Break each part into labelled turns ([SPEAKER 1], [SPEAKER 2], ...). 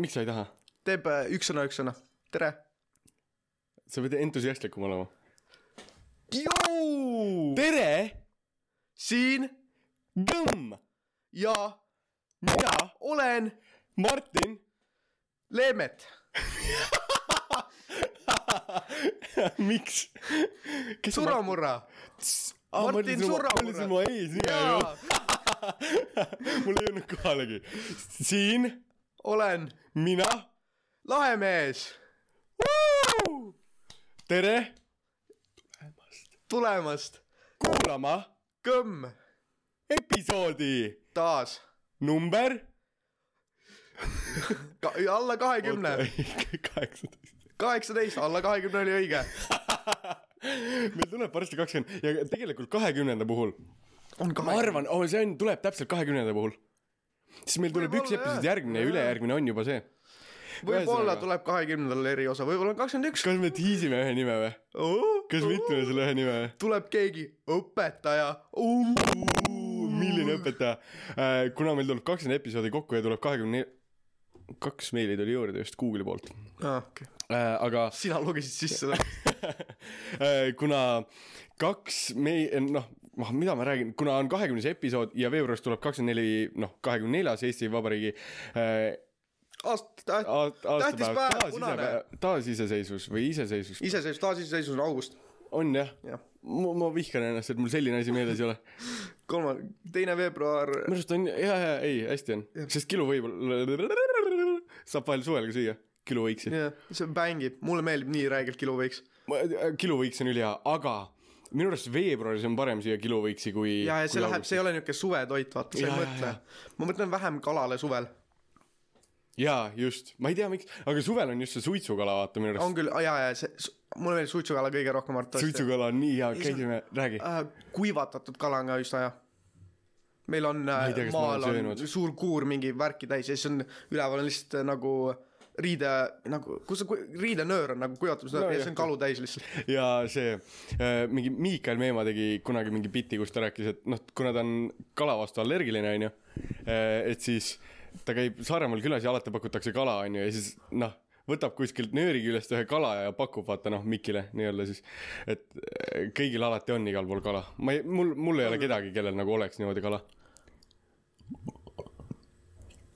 [SPEAKER 1] miks sa ei taha ?
[SPEAKER 2] teeb äh, üks sõna , üks sõna . tere .
[SPEAKER 1] sa pead entusiastlikum olema . tere ,
[SPEAKER 2] siin
[SPEAKER 1] kõmm ,
[SPEAKER 2] ja
[SPEAKER 1] mina ,
[SPEAKER 2] olen
[SPEAKER 1] Martin ,
[SPEAKER 2] Leemet .
[SPEAKER 1] miks ? kes on Mart-
[SPEAKER 2] suramurra .
[SPEAKER 1] Aa,
[SPEAKER 2] Martin
[SPEAKER 1] Martin Sura-
[SPEAKER 2] Suramäe.
[SPEAKER 1] ma olin siin mu ees nime
[SPEAKER 2] jaa
[SPEAKER 1] juures ,, mul ei olnud kohalegi . siin ,
[SPEAKER 2] olen
[SPEAKER 1] mina ,
[SPEAKER 2] lahe mees .
[SPEAKER 1] tere ,
[SPEAKER 2] tulemast
[SPEAKER 1] kuulama
[SPEAKER 2] kõmm
[SPEAKER 1] episoodi
[SPEAKER 2] taas .
[SPEAKER 1] number
[SPEAKER 2] Ka, alla kahekümne ,
[SPEAKER 1] kaheksateist .
[SPEAKER 2] kaheksateist , alla kahekümne oli õige .
[SPEAKER 1] meil tuleb varsti kakskümmend ja tegelikult kahekümnenda puhul
[SPEAKER 2] on
[SPEAKER 1] ma arvan , oh, see on , tuleb täpselt kahekümnenda puhul . siis meil tuleb üks
[SPEAKER 2] Võib-olla,
[SPEAKER 1] episood
[SPEAKER 2] jah.
[SPEAKER 1] järgmine ja ülejärgmine on juba see .
[SPEAKER 2] võib-olla
[SPEAKER 1] ühesõnaga-
[SPEAKER 2] tuleb kahekümnendal eriosa , võib-olla on kakskümmend üks .
[SPEAKER 1] kas me tiisime ühe nime või ? kas me ütleme selle ühe nime või ?
[SPEAKER 2] tuleb keegi õpetaja .
[SPEAKER 1] milline õpetaja ? kuna meil tuleb kakskümmend episoodi kokku ja tuleb kahekümne , kaks meili tuli juurde just Google'i poolt .
[SPEAKER 2] Okay.
[SPEAKER 1] aga
[SPEAKER 2] sina lugesid sisse seda .
[SPEAKER 1] Äh, kuna kaks mei- , noh , mida ma räägin , kuna on kahekümnes episood ja veebruaris tuleb kakskümmend neli , noh , kahekümne neljas Eesti Vabariigi äh,
[SPEAKER 2] aast- ,
[SPEAKER 1] aast-
[SPEAKER 2] tähtis
[SPEAKER 1] aastapäev
[SPEAKER 2] päev , punane .
[SPEAKER 1] taasise- , taasiseseisvus või iseseisvus
[SPEAKER 2] iseseisvus , taasiseseisvus on august .
[SPEAKER 1] on jah
[SPEAKER 2] jah ,
[SPEAKER 1] ma, ma vihkan ennast , et mul selline asi meeles ei ole .
[SPEAKER 2] kolmas , teine veebruar ,
[SPEAKER 1] minu arust on ja , ja ei , hästi on , sest kilu võib-olla saab vahel suvel ka süüa , kiluvõiksi .
[SPEAKER 2] jah , see bängib , mulle meeldib nii räigelt kiluvõiks .
[SPEAKER 1] kiluvõiks äh, on ülihea , aga minu arust veebruaris on parem süüa kiluvõiksi kui .
[SPEAKER 2] ja , ja see läheb , see ei ole niisugune suvetoit , vaata , sa
[SPEAKER 1] Ja,
[SPEAKER 2] ei
[SPEAKER 1] ja,
[SPEAKER 2] mõtle . ma mõtlen vähem kalale suvel .
[SPEAKER 1] jaa , just , ma ei tea , miks , aga suvel on just see suitsukala , vaata minu arust .
[SPEAKER 2] on küll , ja , ja see , mulle meeldib suitsukala kõige rohkem , Artur .
[SPEAKER 1] suitsukala on nii hea ,
[SPEAKER 2] Ei, see on-
[SPEAKER 1] käisime , räägi .
[SPEAKER 2] Äh, kuivatatud kala on ka üsna hea . meil on
[SPEAKER 1] ei tea,
[SPEAKER 2] äh,
[SPEAKER 1] kas ma
[SPEAKER 2] maal
[SPEAKER 1] olen
[SPEAKER 2] on
[SPEAKER 1] söönud.
[SPEAKER 2] suur kuur mingi värki täis ja siis on üleval on lihtsalt äh, nagu riide nagu , kus see ku- riidenöör on nagu kuivatamise no,
[SPEAKER 1] No
[SPEAKER 2] ja
[SPEAKER 1] jah.
[SPEAKER 2] siis on kalu täis lihtsalt .
[SPEAKER 1] ja see äh, mingi Miikael Meemaa tegi kunagi mingi biti , kus ta rääkis , et noh , kuna ta on kala vastu allergiline , onju , et siis ta käib Saaremaal külas ja alati pakutakse kala , onju , ja siis noh , võtab kuskilt nööri küljest ühe kala ja pakub , vaata noh , Mikile nii-öelda siis , et äh, kõigil alati on igal pool kala . ma ei , mul , mul ei ole kedagi , kellel nagu oleks niimoodi kala .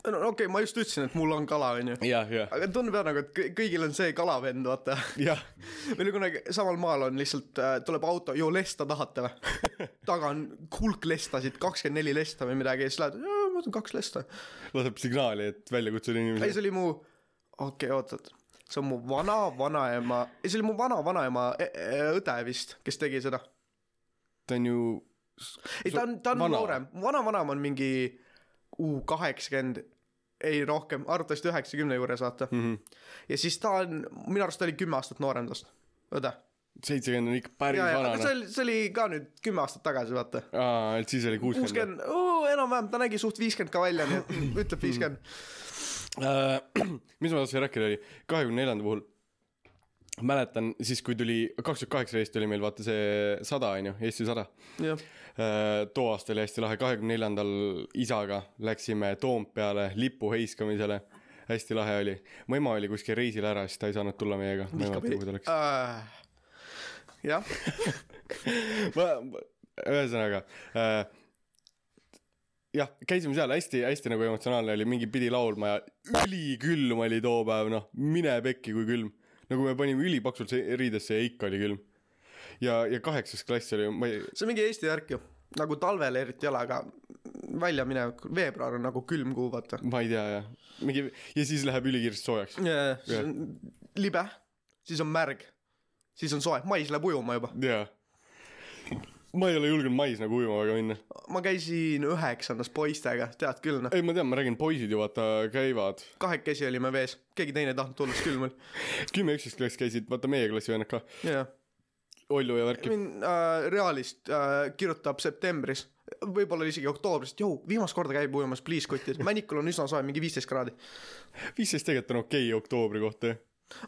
[SPEAKER 2] no okei okay, , ma just ütlesin , et mul on kala , onju .
[SPEAKER 1] jah , jah ,
[SPEAKER 2] aga tundub jah nagu , et kõ- kõigil on see kalavend , vaata .
[SPEAKER 1] jah ,
[SPEAKER 2] meil oli kunagi samal maal on lihtsalt äh, , tuleb auto , joo lesta tahate või ? taga on hulk lestasid , kakskümmend neli lesta või midagi ja siis lähed , ma võtan kaks lesta
[SPEAKER 1] laseb signaali , et välja kutsuda
[SPEAKER 2] ei ,
[SPEAKER 1] inimesi .
[SPEAKER 2] see oli mu , okei okay, , oot-oot , see on mu vana-vanaema , ei see oli mu vana-vanaema e- e- õde vist , kes tegi seda .
[SPEAKER 1] ta on ju ,
[SPEAKER 2] ei , ta on , ta on
[SPEAKER 1] Vana.
[SPEAKER 2] noorem , mu vana-vanaema on mingi U kaheksakümmend , ei rohkem , arvatavasti üheksakümne juures , vaata
[SPEAKER 1] Mhm.
[SPEAKER 2] mm . -hmm. ja siis ta on , minu arust ta oli kümme aastat noorem tast , õde .
[SPEAKER 1] seitsekümmend on ikka päris
[SPEAKER 2] ja , ja , aga see
[SPEAKER 1] vana .
[SPEAKER 2] oli , see oli ka nüüd kümme aastat tagasi , vaata .
[SPEAKER 1] aa , et siis oli kuuskümmend .
[SPEAKER 2] kuuskümmend , enam-vähem , ta nägi suht viiskümmend ka välja , nii et ütleb viiskümmend .
[SPEAKER 1] Mhm. Äh, mis ma tahtsin rääkida , oli kahekümne neljanda puhul mäletan siis , kui tuli kaks tuhat kaheksateist oli meil vaata see sada on ju , Eesti sada .
[SPEAKER 2] jah ,
[SPEAKER 1] too aasta oli hästi lahe , kahekümne neljandal isaga läksime Toompeale lipu heiskamisele . hästi lahe oli , mu ema oli kuskil reisil ära , siis ta ei saanud tulla meiega . ma ei mäleta , kuhu ta läks .
[SPEAKER 2] Äh, jah ,
[SPEAKER 1] ma , ühesõnaga äh, . jah , käisime seal hästi-hästi nagu emotsionaalne oli , mingi pidi laulma ja ülikülm oli too päev , noh , mine pekki , kui külm . nagu me panime ülipaksult see- riidesse ja ikka oli külm . ja , ja kaheksas klass oli , ma ei ,
[SPEAKER 2] see on mingi Eesti värk ju , nagu talvel eriti ei ole , aga välja minek , veebruar on nagu külm kuu , vaata .
[SPEAKER 1] ma ei tea jah , mingi ja siis läheb ülikiiresti soojaks .
[SPEAKER 2] siis on libe , siis on märg , siis on soe , mais läheb ujuma juba .
[SPEAKER 1] jaa . ma ei ole julgenud mais nagu ujuma väga minna .
[SPEAKER 2] ma käisin üheksandas poistega , tead küll noh ,
[SPEAKER 1] ei , ma tean , ma räägin , poisid ju vaata käivad .
[SPEAKER 2] kahekesi olime vees , keegi teine ei tahtnud tulla , sest külm oli .
[SPEAKER 1] kümme , üksteist klass käisid , vaata meie klassi vennad ka ,
[SPEAKER 2] jaa ,
[SPEAKER 1] Ollu ja värki .
[SPEAKER 2] mind äh, Realist äh, kirjutab septembris , võib-olla isegi oktoobris , et jõu , viimast korda käib ujumas pliiskotid , Männikul on üsna soe , mingi viisteist kraadi .
[SPEAKER 1] viisteist tegelikult on okei okay, oktoobri kohta jah .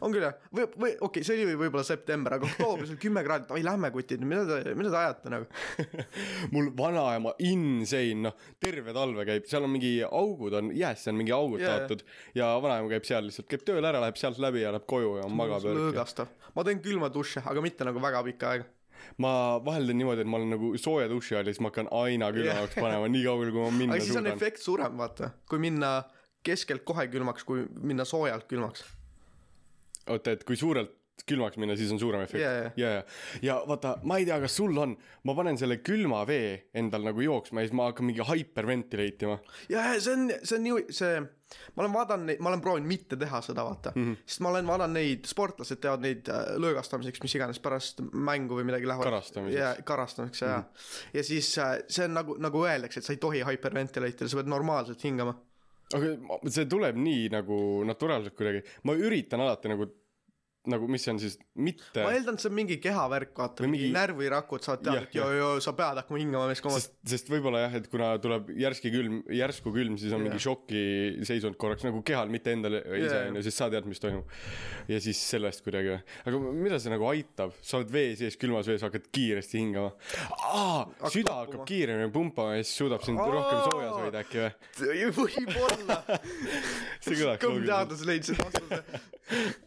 [SPEAKER 2] on küll jah , või , või okei okay, , see oli võib-olla september , aga oktoobris oli kümme kraadi , oi lähme kutid , mida te , mida te ajate nagu .
[SPEAKER 1] mul vanaema insane , noh , terve talve käib , seal on mingi augud on , jäässe on mingi augud
[SPEAKER 2] Jaa,
[SPEAKER 1] yeah.
[SPEAKER 2] jaa.
[SPEAKER 1] taotud ja vanaema käib seal lihtsalt , käib tööl ära , läheb sealt läbi ja läheb koju ja magab .
[SPEAKER 2] lõõgastav , ma teen külma duše , aga mitte nagu väga pikka aega .
[SPEAKER 1] ma vahel teen niimoodi , et ma olen nagu sooja duši all ja siis ma hakkan aina külma
[SPEAKER 2] Jah.
[SPEAKER 1] jaoks panema nii kaugele , kui ma minna
[SPEAKER 2] aga siis on
[SPEAKER 1] suudan .
[SPEAKER 2] efekt suurem , vaata , kui minna keskelt kohe külmaks , kui minna soojalt külmaks .
[SPEAKER 1] oota , et kui suurelt külmaks minna , siis on suurem efekt
[SPEAKER 2] Jaa, jaa.
[SPEAKER 1] ja , ja , ja vaata , ma ei tea , kas sul on , ma panen selle külma vee endal nagu jooksma ja siis ma hakkan mingi hyperventilate ima .
[SPEAKER 2] ja , ja see on , see on nii , see , ma olen vaadanud , ma olen proovinud mitte teha seda , vaata
[SPEAKER 1] Mhm.
[SPEAKER 2] mm , -hmm. sest ma olen vaadanud neid , sportlased teevad neid äh, lõõgastamiseks , mis iganes pärast mängu või midagi lähevad .
[SPEAKER 1] Karastamiseks. Mhm.
[SPEAKER 2] ja karastamiseks mm , -hmm. ja , ja siis äh, see on nagu , nagu öeldakse , et sa ei tohi hyperventilate'ida , sa pead normaalselt hingama .
[SPEAKER 1] aga ma- see tuleb nii nagu naturaalselt kuidagi , ma üritan alati nagu , nagu , mis see on siis , mitte
[SPEAKER 2] ma , eeldan , et see on mingi kehavärk , vaata ,
[SPEAKER 1] Või
[SPEAKER 2] mingi
[SPEAKER 1] mingi-
[SPEAKER 2] närvirakud saavad teada ,
[SPEAKER 1] Jah,
[SPEAKER 2] et joo-joo , sa pead hakkama hingama , mees , kui ma
[SPEAKER 1] sest , sest võib-olla jah , et kuna tuleb järski külm , järsku külm , siis on
[SPEAKER 2] Jaa.
[SPEAKER 1] mingi šokiseisund korraks nagu kehal , mitte endal ise
[SPEAKER 2] Jaa.
[SPEAKER 1] onju , siis sa tead , mis toimub . ja siis sellest kuidagi , aga mida see nagu aitab , sa oled vee sees , külmas vees , hakkad kiiresti hingama . süda hakkab
[SPEAKER 2] pumpama.
[SPEAKER 1] kiiremini pumpama ja siis suudab sind
[SPEAKER 2] Aa!
[SPEAKER 1] rohkem soojas hoida äkki või ?
[SPEAKER 2] võib-olla
[SPEAKER 1] see kõlaks
[SPEAKER 2] kõmm
[SPEAKER 1] loogiliselt .
[SPEAKER 2] teadlase leidis selle vastuse .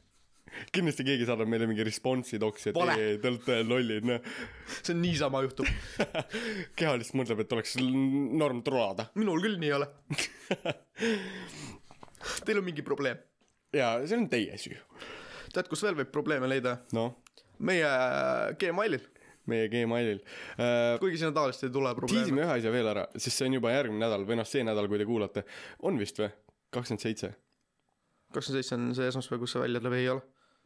[SPEAKER 1] kindlasti keegi saadab meile mingi response'i toksi , et
[SPEAKER 2] Vale.
[SPEAKER 1] ei , te olete lollid , noh .
[SPEAKER 2] see on niisama juhtub .
[SPEAKER 1] keha lihtsalt mõtleb , et oleks l- norm trolada .
[SPEAKER 2] minul küll nii ei ole . Teil on mingi probleem .
[SPEAKER 1] ja see on teie süü .
[SPEAKER 2] tead , kus veel võib probleeme leida ?
[SPEAKER 1] noh ,
[SPEAKER 2] meie Gmailil ,
[SPEAKER 1] meie Gmailil uh, .
[SPEAKER 2] kuigi sinna tavaliselt ei tule probleeme .
[SPEAKER 1] tiisime ühe asja veel ära , sest see on juba järgmine nädal või noh , see nädal , kui te kuulate , on vist või ? kakskümmend seitse ,
[SPEAKER 2] kakskümmend seitse on see esmaspäev , kus see välja tuleb , ei ole .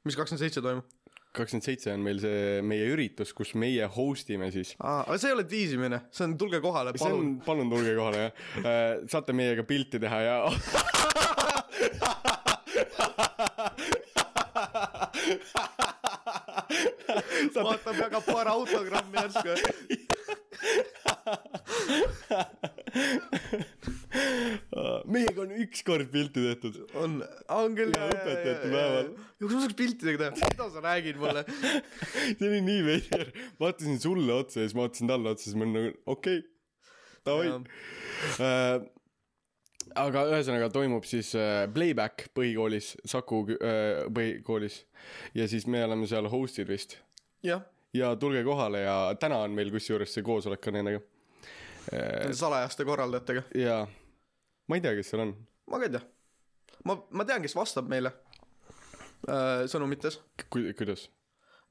[SPEAKER 2] mis kakskümmend seitse toimub ?
[SPEAKER 1] kakskümmend seitse on meil see meie üritus , kus meie host ime siis .
[SPEAKER 2] aga see ei ole tiisimine , see on tulge kohale ,
[SPEAKER 1] see
[SPEAKER 2] palun .
[SPEAKER 1] on , palun tulge kohale jah , saate meiega pilti teha ja
[SPEAKER 2] vaatab , jagab paar autogrammi järsku .
[SPEAKER 1] meiega on ükskord pilti tehtud .
[SPEAKER 2] on , on küll .
[SPEAKER 1] Ja õpetajate päeval. .
[SPEAKER 2] ja kus ma saaks piltidega teha , mida sa räägid mulle ?
[SPEAKER 1] see oli nii veider , ma vaatasin sulle otsa ja siis ma vaatasin talle otsa , siis ma olin nagu okei okay, , davai . aga ühesõnaga toimub siis äh, playback põhikoolis , Saku äh, põhikoolis ja siis me oleme seal host'id vist
[SPEAKER 2] jah ,
[SPEAKER 1] ja tulge kohale ja täna on meil kusjuures see koosolek ka nendega .
[SPEAKER 2] salajaste korraldajatega .
[SPEAKER 1] ja ma ei tea , kes seal on ,
[SPEAKER 2] ma ka ei tea . ma , ma tean , kes vastab meile äh, sõnumites ,
[SPEAKER 1] ku- , kuidas ,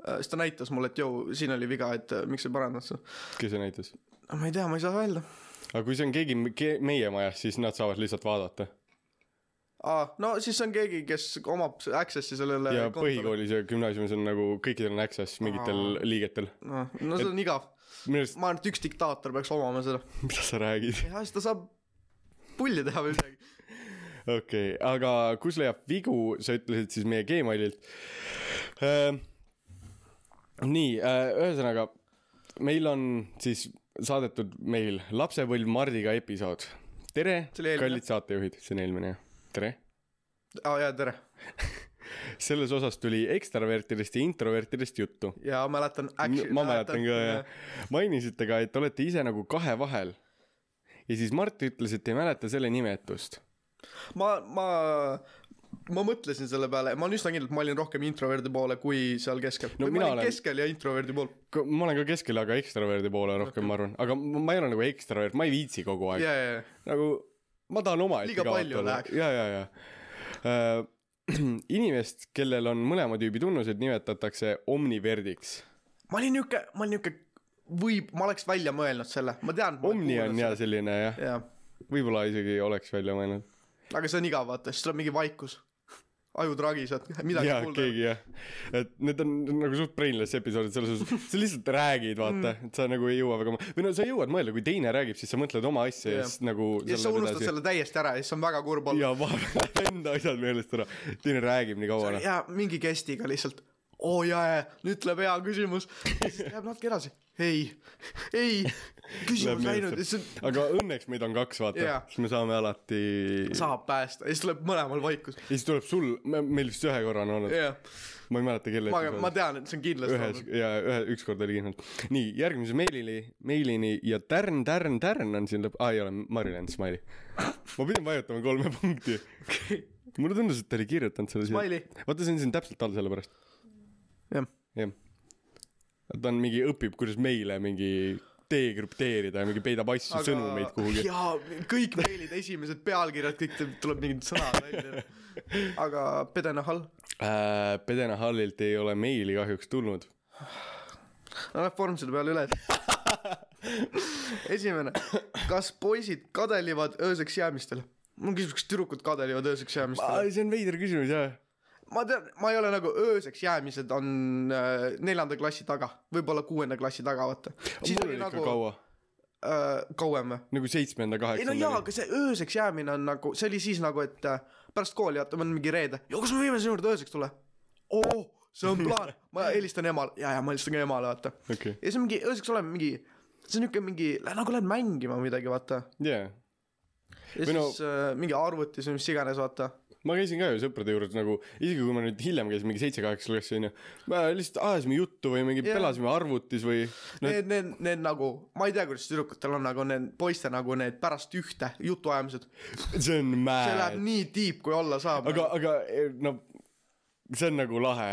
[SPEAKER 2] siis ta näitas mulle , et jõu , siin oli viga , et äh, miks ei parandanud seda .
[SPEAKER 1] kes see näitas .
[SPEAKER 2] ma ei tea , ma ei saa öelda .
[SPEAKER 1] aga kui see on keegi me- ke- meie majas , siis nad saavad lihtsalt vaadata
[SPEAKER 2] aa , Ah, no siis on keegi , kes omab access'i sellele
[SPEAKER 1] ja . põhikoolis ja gümnaasiumis on nagu kõikidel on access mingitel liigetel .
[SPEAKER 2] no Ah, no see on igav .
[SPEAKER 1] minu arust ,
[SPEAKER 2] ma arvan , et üks diktaator peaks omama seda .
[SPEAKER 1] mida sa räägid ?
[SPEAKER 2] jah , siis ta saab pulli teha või midagi .
[SPEAKER 1] okei okay, , aga kus leiab vigu , sa ütlesid siis meie Gmaililt äh, . nii äh, , ühesõnaga meil on siis saadetud meil lapsepõlv Mardiga episood . tere ,
[SPEAKER 2] See oli eelmine.
[SPEAKER 1] kallid saatejuhid , see on eelmine jah , tere .
[SPEAKER 2] aa Ah, jaa , tere .
[SPEAKER 1] selles osas tuli ekstravertidest ja introvertidest juttu .
[SPEAKER 2] ja mäletan . äh,
[SPEAKER 1] ma mäletan ka jah . mainisite ka , et olete ise nagu kahe vahel . ja siis Mart ütles , et ei mäleta selle nimetust .
[SPEAKER 2] ma , ma , ma mõtlesin selle peale , ma olen üsna kindel , et ma olin rohkem introverdi poole kui seal keskel
[SPEAKER 1] No
[SPEAKER 2] no, .
[SPEAKER 1] mina
[SPEAKER 2] ma olin
[SPEAKER 1] olen-
[SPEAKER 2] olen... keskel ja introverdi pool .
[SPEAKER 1] ma olen ka keskel , aga ekstraverdi poole rohkem , ma arvan , aga ma ma ei ole nagu ekstravert , ma ei viitsi kogu aeg
[SPEAKER 2] ja ,
[SPEAKER 1] yeah. ,
[SPEAKER 2] ja , ja ,
[SPEAKER 1] nagu ma tahan omaette
[SPEAKER 2] Liiga palju läheks.
[SPEAKER 1] ja , ja , ja uh, . inimest , kellel on mõlema tüübi tunnused , nimetatakse omniverdiks .
[SPEAKER 2] ma olin niuke , ma olin niuke , võib , ma oleks välja mõelnud selle , ma tean .
[SPEAKER 1] Omni on ja . selline jah ,
[SPEAKER 2] jah ,
[SPEAKER 1] võib-olla isegi oleks välja mõelnud .
[SPEAKER 2] aga see on igav , vaata , siis tuleb mingi vaikus . ajud ragised , midagi
[SPEAKER 1] jaa , keegi jah , et need on nagu suht brainless episoodid selles suhtes , sa lihtsalt räägid , vaata ,
[SPEAKER 2] Mm.
[SPEAKER 1] et sa nagu ei jõua väga , või no sa jõuad mõelda , kui teine räägib , siis sa mõtled oma asja yeah. ja
[SPEAKER 2] Jah.
[SPEAKER 1] siis nagu .
[SPEAKER 2] ja siis sa unustad selle täiesti ära ja siis on väga kurb olla .
[SPEAKER 1] ja vahepeal läheb enda asjad meelest ära , teine räägib nii kaua noh .
[SPEAKER 2] ja mingi kestiga lihtsalt . oo jaa , jaa , nüüd tuleb hea küsimus . siis läheb natuke edasi . ei , ei , küsimus läinud , siis on-
[SPEAKER 1] aga õnneks meid on kaks , vaata
[SPEAKER 2] Jaa.
[SPEAKER 1] yeah. , siis me saame alati . ja
[SPEAKER 2] saab päästa ja siis tuleb mõlemal vaikus .
[SPEAKER 1] siis tuleb sul , meil vist ühe korra on olnud yeah. ,
[SPEAKER 2] jah ,
[SPEAKER 1] ma ei mäleta , kelle
[SPEAKER 2] ma , ma tean , et see on kindlasti
[SPEAKER 1] ühes
[SPEAKER 2] olnud .
[SPEAKER 1] ja ühe , ükskord oli kindlalt . nii , järgmise meilini , meilini ja tärn , tärn , tärn on siin lõpp , aa ei ole , Mari-Len Smiley . ma pidin vajutama kolme punkti . mulle tundus , et ta oli kirjutanud selle
[SPEAKER 2] Smiley. .
[SPEAKER 1] vaata , see on siin täpselt all sellepärast ,
[SPEAKER 2] jah ,
[SPEAKER 1] jah . ta on mingi , õpib , kuidas meile mingi degrüpteerida ja mingi peidab asju Aga... , sõnumeid kuhugi .
[SPEAKER 2] jaa , kõik meilid , esimesed pealkirjad , kõik te- tuleb mingid sõnad välja . aga Pedenahal ,
[SPEAKER 1] Äh, Pedena Hallilt ei ole meili kahjuks tulnud .
[SPEAKER 2] läheb vorm selle peale üle . esimene , kas poisid kadelivad ööseks jäämistel ? mul on küsimus , kas tüdrukud kadelivad ööseks jäämistel ?
[SPEAKER 1] see on veider küsimus jah .
[SPEAKER 2] ma tean , ma ei ole nagu ööseks jäämised on äh, neljanda klassi taga , võib-olla kuuenda klassi taga , vaata .
[SPEAKER 1] mul oli ikka nagu... kaua ,
[SPEAKER 2] äh, kauem või ?
[SPEAKER 1] nagu seitsmenda ,
[SPEAKER 2] ei no jaa ,
[SPEAKER 1] kaheksanda .
[SPEAKER 2] aga see ööseks jäämine on nagu , see oli siis nagu , et äh, pärast kooli , vaata , meil on mingi reede . ja kas me võime sinu juurde ööseks tulla ? oo , see on plaan . ma helistan emale , jaa , jaa , ma helistan ka emale , vaata .
[SPEAKER 1] okei ,
[SPEAKER 2] ja siis mingi ööseks oleme mingi , see on niuke mingi , nagu lähed mängima või midagi , vaata .
[SPEAKER 1] jaa
[SPEAKER 2] ja
[SPEAKER 1] Või
[SPEAKER 2] siis
[SPEAKER 1] no-
[SPEAKER 2] äh, mingi arvutis või mis iganes , vaata .
[SPEAKER 1] ma käisin ka ju sõprade juures nagu , isegi kui ma nüüd hiljem käisin mingi seitse-kaheksa klassi onju , me lihtsalt ajasime juttu või mingi
[SPEAKER 2] Jaa.
[SPEAKER 1] yeah. pelasime arvutis või no,
[SPEAKER 2] Need , need , need nagu , ma ei tea , kuidas tüdrukutel on , aga need poiste nagu need pärast ühte jutuajamised .
[SPEAKER 1] see on
[SPEAKER 2] see läheb
[SPEAKER 1] mad .
[SPEAKER 2] nii tiip , kui olla saab .
[SPEAKER 1] aga , aga eh, no see on nagu lahe .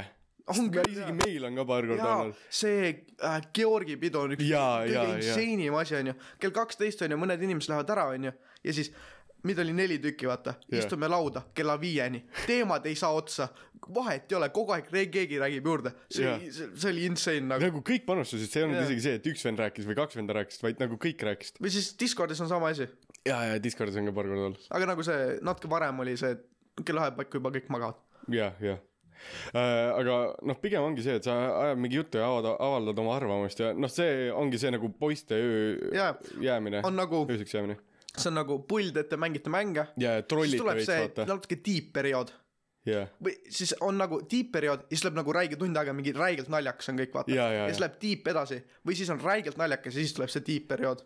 [SPEAKER 2] on küll
[SPEAKER 1] isegi meil on ka paar korda
[SPEAKER 2] jaa
[SPEAKER 1] olnud .,
[SPEAKER 2] see äh, Georgi pidu on üks
[SPEAKER 1] Jaa, jaa,
[SPEAKER 2] kõige
[SPEAKER 1] jaa.
[SPEAKER 2] insane im asi onju , kell kaksteist onju , mõned inimesed lähevad ära onju ja siis meid oli neli tükki , vaata ,
[SPEAKER 1] Jaa.
[SPEAKER 2] istume lauda kella viieni , teemad ei saa otsa , vahet ei ole , kogu aeg re- keegi räägib juurde , see
[SPEAKER 1] Jaa.
[SPEAKER 2] oli , see oli insane nagu .
[SPEAKER 1] nagu kõik panustasid , see ei olnud
[SPEAKER 2] Jaa.
[SPEAKER 1] yeah. isegi see , et üks vend rääkis või kaks venda rääkisid , vaid nagu kõik rääkisid .
[SPEAKER 2] või siis Discordis on sama asi ,
[SPEAKER 1] ja , ja Discordis on ka paar korda olnud .
[SPEAKER 2] aga nagu see natuke varem oli see , et kell ühe paiku juba kõik magavad .
[SPEAKER 1] ja , ja . aga noh , pigem ongi see , et sa ajad mingi juttu ja avada , avaldad oma arvamust ja noh , see ongi see nagu poiste öö
[SPEAKER 2] jaa ,
[SPEAKER 1] jäämine ,
[SPEAKER 2] on nagu ,
[SPEAKER 1] ööseks jäämine .
[SPEAKER 2] see on nagu pull , et te mängite mänge ,
[SPEAKER 1] ja
[SPEAKER 2] siis
[SPEAKER 1] trollite
[SPEAKER 2] tuleb
[SPEAKER 1] veits
[SPEAKER 2] see
[SPEAKER 1] vaata ,
[SPEAKER 2] natuke tiip periood
[SPEAKER 1] ja ,
[SPEAKER 2] või siis on nagu tiip-periood ja siis läheb nagu räige tund aega mingi räigelt naljakas on kõik vaata
[SPEAKER 1] Jaa, jaa,
[SPEAKER 2] ja siis
[SPEAKER 1] jaa.
[SPEAKER 2] läheb tiip edasi või siis on räigelt naljakas ja siis tuleb see tiip-periood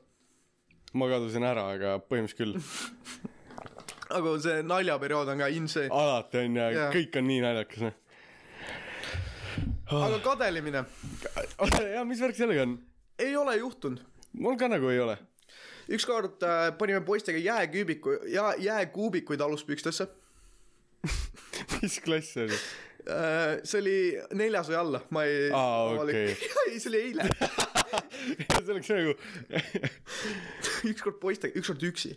[SPEAKER 1] ma kadusin ära , aga põhimõtteliselt
[SPEAKER 2] aga see naljaperiood on ka insane
[SPEAKER 1] küll , alati on ja
[SPEAKER 2] Jaa.
[SPEAKER 1] kõik on nii naljakas noh . Ah.
[SPEAKER 2] aga kadelimine
[SPEAKER 1] oota , ja mis värk sellega on ?
[SPEAKER 2] ei ole juhtunud
[SPEAKER 1] mul ka nagu ei ole .
[SPEAKER 2] ükskord äh, panime poistega jääküübiku ja jääkuubikuid aluspükstesse
[SPEAKER 1] mis klass see oli ?
[SPEAKER 2] äh, see oli neljas või alla ma ei
[SPEAKER 1] Aa,
[SPEAKER 2] ma olin-
[SPEAKER 1] okei.
[SPEAKER 2] ei see oli eile
[SPEAKER 1] see oleks nagu ,
[SPEAKER 2] ükskord poistega ükskord üksi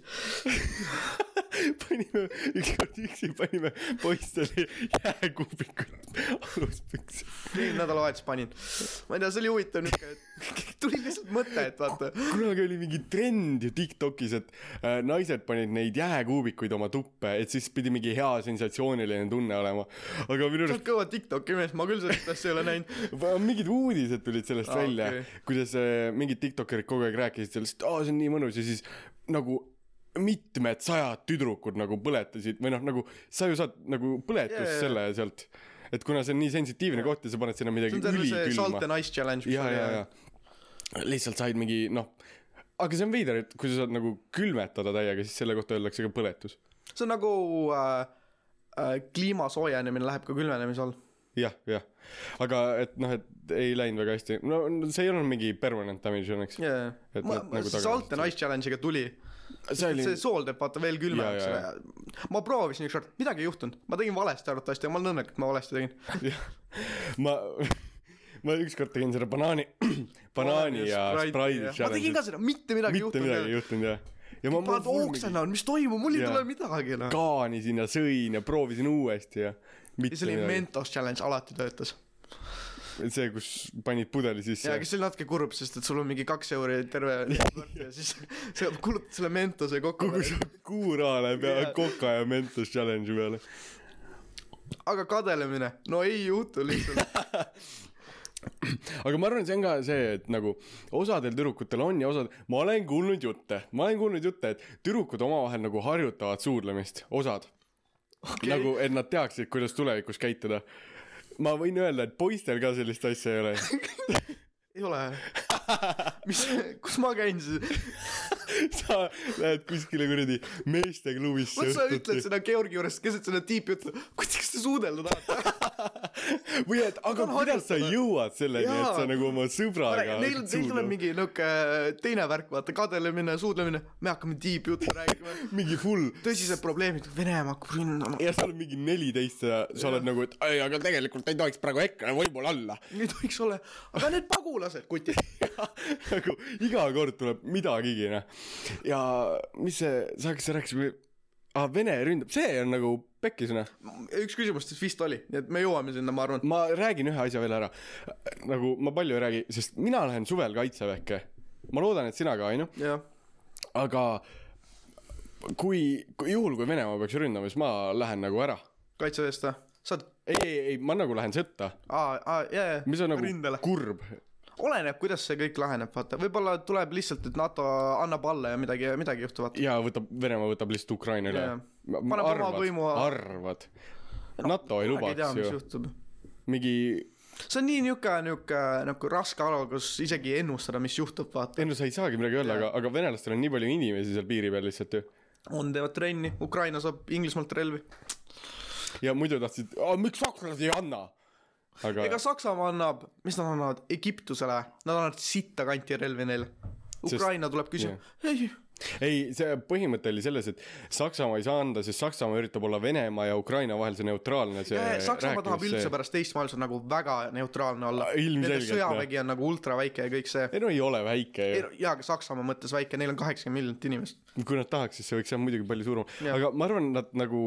[SPEAKER 1] panime ükskord üksi , panime poistele jääkuubikud aluspükse .
[SPEAKER 2] eelmine nädalavahetus panin ma ei tea see oli huvitav niuke et tuli lihtsalt mõte et vaata
[SPEAKER 1] kunagi oli mingi trend ju Tiktokis , et äh, naised panid neid jääkuubikuid oma tuppe , et siis pidi mingi hea sensatsiooniline tunne olema . aga minu
[SPEAKER 2] sa
[SPEAKER 1] arust
[SPEAKER 2] oled kõva Tiktoki mees , ma küll sellist asja ei ole näinud .
[SPEAKER 1] Va- mingid uudised tulid sellest
[SPEAKER 2] Aa,
[SPEAKER 1] ah, välja
[SPEAKER 2] okei.
[SPEAKER 1] okay. , kuidas äh, mingid tiktokerid kogu aeg rääkisid sellest , aa see on nii mõnus ja siis nagu mitmed sajad tüdrukud nagu põletasid või noh , nagu sa ju saad nagu põletus
[SPEAKER 2] Jaa,
[SPEAKER 1] yeah,
[SPEAKER 2] jaa, jaa.
[SPEAKER 1] selle sealt , et kuna see on nii sensitiivne koht ja sa paned sinna
[SPEAKER 2] see
[SPEAKER 1] midagi
[SPEAKER 2] on terve see Salt
[SPEAKER 1] ülikülma
[SPEAKER 2] and Ice challenge .
[SPEAKER 1] ja , ja , ja lihtsalt said mingi noh , aga see on veider , et kui sa saad nagu külmetada täiega , siis selle kohta öeldakse ka põletus .
[SPEAKER 2] see on nagu äh, äh, kliima soojenemine läheb ka külmenemise all .
[SPEAKER 1] jah , jah , aga et noh , et ei läinud väga hästi , no see ei olnud mingi permanent damage õnneks .
[SPEAKER 2] ja , ja , ja .
[SPEAKER 1] Et
[SPEAKER 2] ma ,
[SPEAKER 1] nad
[SPEAKER 2] ma ,
[SPEAKER 1] nagu
[SPEAKER 2] see Salt and Ice challenge'iga tuli .
[SPEAKER 1] see oli
[SPEAKER 2] see sool teeb vaata veel külmemaks
[SPEAKER 1] Jaa, jaa,
[SPEAKER 2] selle . ma proovisin ükskord , midagi ei juhtunud , ma tegin valesti arvatavasti ja ma olen õnnelik , et ma valesti tegin .
[SPEAKER 1] jah , ma , ma ükskord tegin selle banaani , banaani ja spraidi
[SPEAKER 2] ma tegin
[SPEAKER 1] challenge'i .
[SPEAKER 2] ka seda , mitte midagi ei
[SPEAKER 1] mitte midagi ei
[SPEAKER 2] juhtunud .
[SPEAKER 1] juhtunud jah . ja ma
[SPEAKER 2] paned nagu- ooksa näol , mis toimub , mul ei
[SPEAKER 1] Jaa.
[SPEAKER 2] tule midagi noh. enam .
[SPEAKER 1] kaanisin ja sõin ja proovisin uuesti ja
[SPEAKER 2] ja
[SPEAKER 1] mitte
[SPEAKER 2] see oli
[SPEAKER 1] midagi .
[SPEAKER 2] Mentos challenge , alati töötas .
[SPEAKER 1] see , kus panid pudeli sisse
[SPEAKER 2] ja . aga see oli natuke kurb , sest et sul on mingi kaks euri terve kord ja siis sa kulutad selle mentose kokku
[SPEAKER 1] kogu . see kuu raha läheb ja
[SPEAKER 2] Jaa.
[SPEAKER 1] koka ja mentos challenge'i peale .
[SPEAKER 2] aga kadelemine , no ei juhtu lihtsalt .
[SPEAKER 1] aga ma arvan , see on ka see , et nagu osadel tüdrukutel on ja osad , ma olen kuulnud jutte , ma olen kuulnud jutte , et tüdrukud omavahel nagu harjutavad suudlemist , osad okay. . nagu , et nad teaksid , kuidas tulevikus käituda . ma võin öelda , et poistel ka sellist asja ei ole .
[SPEAKER 2] ei ole . mis , kus ma käin siis ?
[SPEAKER 1] sa lähed kuskile kuradi meesteklubisse
[SPEAKER 2] vot sa ütled seda Georgi juures keset seda tiipi , ütled , kurat , kas te suudelda tahate ?
[SPEAKER 1] või et aga
[SPEAKER 2] on
[SPEAKER 1] kuidas sa
[SPEAKER 2] harjutada.
[SPEAKER 1] jõuad selleni , et
[SPEAKER 2] Jaa.
[SPEAKER 1] sa nagu oma sõbraga
[SPEAKER 2] Neil , neil tuleb
[SPEAKER 1] mingi...
[SPEAKER 2] mingi niuke äh, teine värk , vaata , kadelemine , suudlemine , me hakkame tiibjuttu rääkima .
[SPEAKER 1] mingi full
[SPEAKER 2] tõsised probleemid , Venemaa hakkab ründama .
[SPEAKER 1] ja sa oled mingi neliteist ja sa oled nagu , et ei , aga tegelikult ei tohiks praegu EKRE võimul olla .
[SPEAKER 2] ei tohiks olla , aga need pagulased , kutid .
[SPEAKER 1] nagu iga kord tuleb midagigi , noh . ja mis see , sa hakkasid rääkima , aa , Vene ründab , see on nagu pekkis , noh .
[SPEAKER 2] üks küsimustest vist oli , nii et me jõuame sinna , ma arvan .
[SPEAKER 1] ma räägin ühe asja veel ära . nagu ma palju ei räägi , sest mina lähen suvel kaitseväkke . ma loodan , et sina ka , onju .
[SPEAKER 2] jah ,
[SPEAKER 1] aga kui, kui , juhul kui Venemaa peaks ründama , siis ma lähen nagu ära .
[SPEAKER 2] kaitseväest või ? saad ,
[SPEAKER 1] ei , ei , ei , ma nagu lähen sõtta ,
[SPEAKER 2] aa , aa , jaa , jaa .
[SPEAKER 1] mis on nagu
[SPEAKER 2] rindele
[SPEAKER 1] Rindele. . kurb .
[SPEAKER 2] oleneb , kuidas see kõik laheneb , vaata , võib-olla tuleb lihtsalt , et NATO annab alla ja midagi , midagi juhtub , vaata .
[SPEAKER 1] ja võtab , Venemaa võtab lihtsalt Ukraina üle
[SPEAKER 2] Jaa. . Paneb oma võimu-
[SPEAKER 1] arvad . NATO ei
[SPEAKER 2] kunagi ei tea ,
[SPEAKER 1] lubaks
[SPEAKER 2] mis
[SPEAKER 1] ju ,
[SPEAKER 2] juhtub .
[SPEAKER 1] mingi
[SPEAKER 2] see on nii niuke , niuke nagu raske ala , kus isegi ei ennustada , mis juhtub , vaata .
[SPEAKER 1] ei no sa ei saagi midagi öelda ,
[SPEAKER 2] Jaa.
[SPEAKER 1] aga , aga venelastel on nii palju inimesi seal piiri peal lihtsalt ju .
[SPEAKER 2] on , teevad trenni , Ukraina saab Inglismaalt relvi .
[SPEAKER 1] ja muidu tahtsid , miks sakslased ei anna ? aga
[SPEAKER 2] ega Saksamaa annab , mis nad annavad , Egiptusele , nad annavad sitta kanti relvi neile .
[SPEAKER 1] Sest-
[SPEAKER 2] Ukraina tuleb küsima , ei ,
[SPEAKER 1] ei , see põhimõte oli selles , et Saksamaa ei saa anda , sest Saksamaa üritab olla Venemaa ja Ukraina vahel see neutraalne see
[SPEAKER 2] Saksamaa tahab
[SPEAKER 1] rääkimis-
[SPEAKER 2] üldse
[SPEAKER 1] see-
[SPEAKER 2] pärast teist maailmasõda nagu väga neutraalne olla
[SPEAKER 1] Ah, . ilmselgelt,
[SPEAKER 2] Nende sõjavägi on nagu ultraväike ja kõik see .
[SPEAKER 1] ei no ei ole väike ju ,
[SPEAKER 2] jaa , aga Saksamaa mõttes väike , neil on kaheksakümmend miljonit inimest .
[SPEAKER 1] kui nad tahaks , siis see võiks jah muidugi palju suurem ,
[SPEAKER 2] Jah.
[SPEAKER 1] aga ma arvan , nad nagu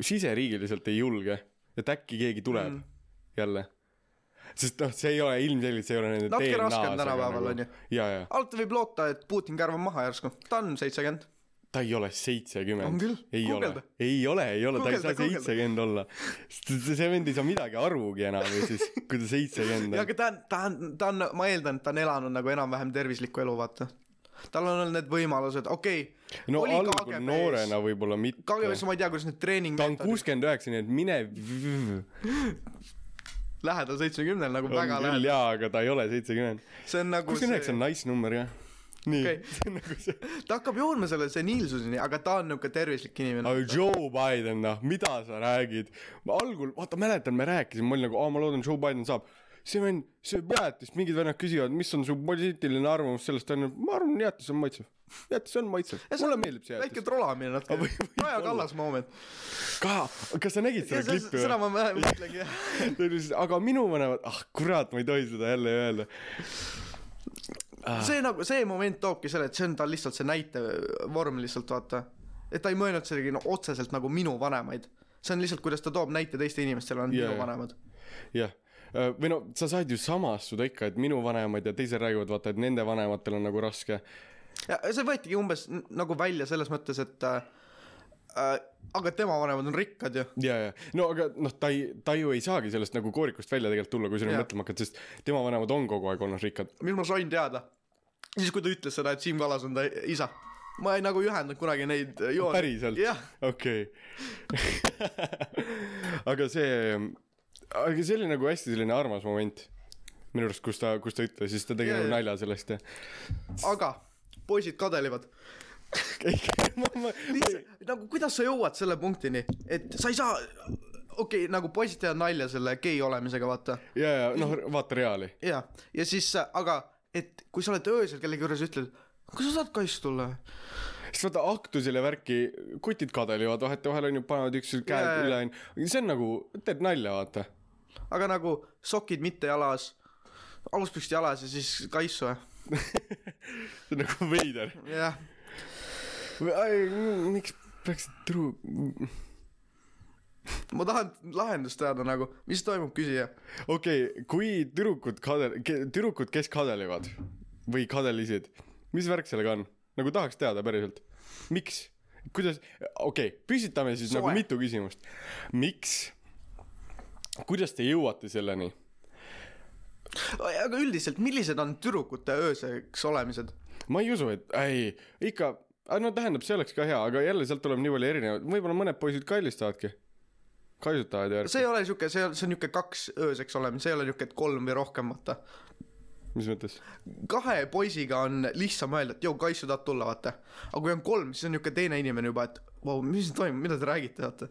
[SPEAKER 1] siseriigiliselt ei julge , et äkki keegi tuleb mm. jälle . sest noh , see ei ole ilmselgelt , see ei ole nende nagu.
[SPEAKER 2] Natuke
[SPEAKER 1] DNA-s .
[SPEAKER 2] raske on tänapäeval, on ju. .
[SPEAKER 1] ja , ja
[SPEAKER 2] alati võib loota , et Putin kärvab maha järsku , ta on seitsekümmend .
[SPEAKER 1] ta ei ole seitsekümmend
[SPEAKER 2] On küll. .
[SPEAKER 1] ei ole
[SPEAKER 2] Guugelda. ,
[SPEAKER 1] ei ole , ei ole , ta ei
[SPEAKER 2] Guugelda,
[SPEAKER 1] saa
[SPEAKER 2] guugelda.
[SPEAKER 1] seitsekümmend olla . see vend ei saa midagi arugi enam ju siis , kui ta seitsekümmend
[SPEAKER 2] jaa ,
[SPEAKER 1] on .
[SPEAKER 2] aga ta on , ta on , ta on , ma eeldan , et ta on elanud nagu enam-vähem tervislikku elu , vaata . tal on olnud need võimalused , okei okay, .
[SPEAKER 1] no algul noorena . võib-olla mitte .
[SPEAKER 2] KGB-s ma ei tea , kuidas need treening
[SPEAKER 1] ta on kuuskümmend üheksa , nii et mine v-
[SPEAKER 2] lähedal seitsmekümnel nagu
[SPEAKER 1] on
[SPEAKER 2] väga
[SPEAKER 1] küll
[SPEAKER 2] lähedal ,
[SPEAKER 1] jaa , aga ta ei ole seitsekümmend .
[SPEAKER 2] see on nagu
[SPEAKER 1] kuuskümmend üheksa
[SPEAKER 2] see
[SPEAKER 1] on , nice number jah . nii
[SPEAKER 2] Okei.
[SPEAKER 1] okay. , see on nagu see .
[SPEAKER 2] ta hakkab jõudma selle seniilsuseni , aga ta on niuke tervislik inimene .
[SPEAKER 1] aga Joe Biden noh , mida sa räägid ? ma algul , vaata mäletan , me rääkisime , ma olin nagu , aa ma loodan , Joe Biden saab . see vend , see jäätis , mingid vennad küsivad , mis on su poliitiline arvamus sellest , ta on , ma arvan , jäätis on maitsev . jäätis on maitsev , mulle meeldib see
[SPEAKER 2] väike
[SPEAKER 1] jäätis .
[SPEAKER 2] trolamine natuke
[SPEAKER 1] Või- , võib
[SPEAKER 2] Kaja
[SPEAKER 1] olla.
[SPEAKER 2] Kallas moment .
[SPEAKER 1] ka , kas sa nägid seda klippi
[SPEAKER 2] seda ma vähem mõtlengi jah .
[SPEAKER 1] Ta ütles , aga minu vanemad , ah kurat , ma ei tohi seda jälle öelda . Ah.
[SPEAKER 2] see nagu , see moment toobki selle , et see on tal lihtsalt see näitevorm lihtsalt vaata . et ta ei mõelnud sellegi no, otseselt nagu minu vanemaid . see on lihtsalt , kuidas ta toob näite teiste inimestele , on yeah.
[SPEAKER 1] Jaa,
[SPEAKER 2] minu
[SPEAKER 1] jaa.
[SPEAKER 2] vanemad .
[SPEAKER 1] jah , või no sa saad ju samastuda ikka , et minu vanemad ja teised räägivad , vaata , et nende vanematel on nagu raske .
[SPEAKER 2] ja see võetigi umbes n- nagu välja selles mõttes , et äh, äh, aga tema vanemad on rikkad ju .
[SPEAKER 1] ja , ja no aga noh , ta ei , ta ju ei saagi sellest nagu koorikust välja tegelikult tulla , kui sa nüüd
[SPEAKER 2] Jah.
[SPEAKER 1] mõtlema hakkad , sest tema vanemad on kogu aeg olnud rikkad .
[SPEAKER 2] mis ma sain teada ? siis , kui ta ütles seda , et Siim Kallas on ta isa . ma ei nagu ei ühendanud kunagi neid äh, jooni .
[SPEAKER 1] päriselt ?
[SPEAKER 2] jah ,
[SPEAKER 1] okei aga see , aga see oli nagu hästi selline armas moment minu arust , kus ta , kus ta ütles , siis ta tegi
[SPEAKER 2] Jaa,
[SPEAKER 1] nagu
[SPEAKER 2] jaa.
[SPEAKER 1] nalja sellest ja
[SPEAKER 2] aga poisid kadelivad .
[SPEAKER 1] ei , ma , ma ,
[SPEAKER 2] lihtsalt nagu kuidas sa jõuad selle punktini , et sa ei saa , okei okay, , nagu poisid teevad nalja selle gei olemisega , vaata .
[SPEAKER 1] ja , ja noh , vaata Reali .
[SPEAKER 2] ja , ja siis , aga , et kui sa oled öösel kellegi juures , ütled , kas sa saad kass tulla ?
[SPEAKER 1] siis vaata aktusele värki , kutid kadelivad vahetevahel onju , panevad üksteisele käed
[SPEAKER 2] Jaa,
[SPEAKER 1] yeah.
[SPEAKER 2] jaa.
[SPEAKER 1] üle onju , see on nagu , teed nalja vaata .
[SPEAKER 2] aga nagu sokid mitte jalas , aluspüksid jalas ja siis kass või ?
[SPEAKER 1] see on nagu veider .
[SPEAKER 2] jah ,
[SPEAKER 1] miks peaks tru- ,
[SPEAKER 2] ma tahan lahendust teada nagu , mis toimub , küsija .
[SPEAKER 1] okei okay, , kui tüdrukud kadel- , tüdrukud , kes kadelivad või kadelisid , mis värk sellega on ? nagu tahaks teada päriselt , miks , kuidas , okei okay, , püstitame siis Soe. nagu
[SPEAKER 2] Soe.
[SPEAKER 1] mitu küsimust . miks , kuidas te jõuate selleni ?
[SPEAKER 2] aga üldiselt , millised on tüdrukute ööseks olemised ?
[SPEAKER 1] ma ei usu , et ei , ikka , no tähendab , see oleks ka hea , aga jälle sealt tuleb nii palju erinevaid , võib-olla mõned poisid ka helistavadki . kaisutavad ja
[SPEAKER 2] see ei ole siuke , see on , see on niuke kaks ööseks olemine , see ei ole niuke , et kolm või rohkem , vaata .
[SPEAKER 1] mis mõttes ?
[SPEAKER 2] kahe poisiga on lihtsam öelda , et jõu , Kaisu tahad tulla , vaata . aga kui on kolm , siis on niuke teine inimene juba , et vau , mis siin toimub , mida te räägite , vaata .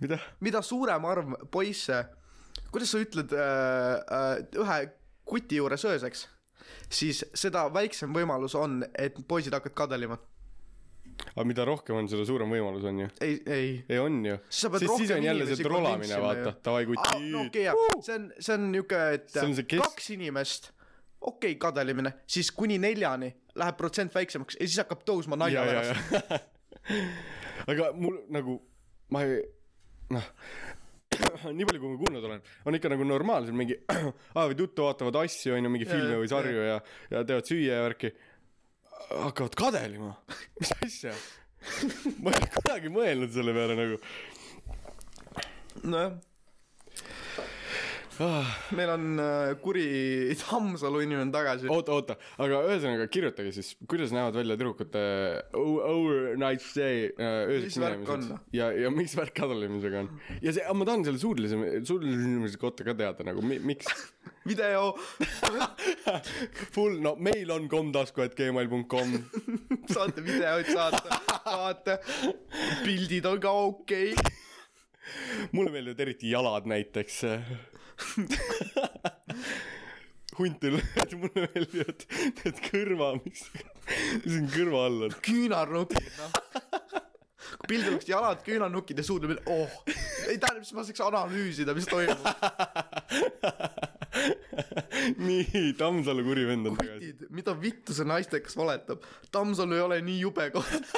[SPEAKER 1] mida ?
[SPEAKER 2] mida suurem arv poisse , kuidas sa ütled äh, äh, ühe kuti juures ööseks , siis seda väiksem võimalus on , et poisid hakkavad kadelima .
[SPEAKER 1] aga mida rohkem on , seda suurem võimalus on ju .
[SPEAKER 2] ei , ei .
[SPEAKER 1] ei on ju .
[SPEAKER 2] Siis sa pead
[SPEAKER 1] siis , siis
[SPEAKER 2] rohkem
[SPEAKER 1] on jälle
[SPEAKER 2] inimesi
[SPEAKER 1] see trolamine ,
[SPEAKER 2] convince'ima
[SPEAKER 1] vaata
[SPEAKER 2] ju. ,
[SPEAKER 1] davai
[SPEAKER 2] Ah,
[SPEAKER 1] kuti
[SPEAKER 2] no okei , jah , see on , see on niuke , et
[SPEAKER 1] See on see kes-
[SPEAKER 2] kaks inimest , okei okay, , kadelimine , siis kuni neljani läheb protsent väiksemaks ja siis hakkab tõusma nalja
[SPEAKER 1] ja , ja ,
[SPEAKER 2] pärast .
[SPEAKER 1] ja . aga mul nagu , ma ei , noh , nii palju , kui ma kuulnud olen , on ikka nagu normaalselt mingi , aa või tuttav vaatavad asju , on ju , mingi
[SPEAKER 2] Ja, ja,
[SPEAKER 1] filme või
[SPEAKER 2] ja.
[SPEAKER 1] sarju ja , ja teevad süüa ja värki . hakkavad kadelima , mis asja ? ma ei ole kunagi mõelnud selle peale nagu .
[SPEAKER 2] nojah ,
[SPEAKER 1] Ah.
[SPEAKER 2] meil on äh, kuri Tammsalu inimene tagasi .
[SPEAKER 1] oota , oota , aga ühesõnaga kirjutage siis , kuidas näevad välja tüdrukute o- overnight stay äh,
[SPEAKER 2] Mis
[SPEAKER 1] ööseks
[SPEAKER 2] värk
[SPEAKER 1] minemised
[SPEAKER 2] on? noh?
[SPEAKER 1] ja , ja miks värk kadalimisega on ? ja see , ma tahan selle suudlise , suudlise inimese kohta ka teada nagu mi, , miks
[SPEAKER 2] video
[SPEAKER 1] full , no meil on komtasku.gmail.com
[SPEAKER 2] saate videoid saata , saate , pildid on ka okei okay. .
[SPEAKER 1] mulle meeldivad eriti jalad näiteks . huntil , mulle meeldivad need kõrva , mis , mis siin kõrva all on .
[SPEAKER 2] küünarnukid , noh . kui pildil oleks jalad küünarnukkid ja suud on veel , oh . ei tähendab , siis ma saaks analüüsida , mis toimub .
[SPEAKER 1] nii , Tammsalu kuri vend on tagasi .
[SPEAKER 2] kutid , mida vittu see naistekas valetab . Tammsalu ei ole nii jube koht .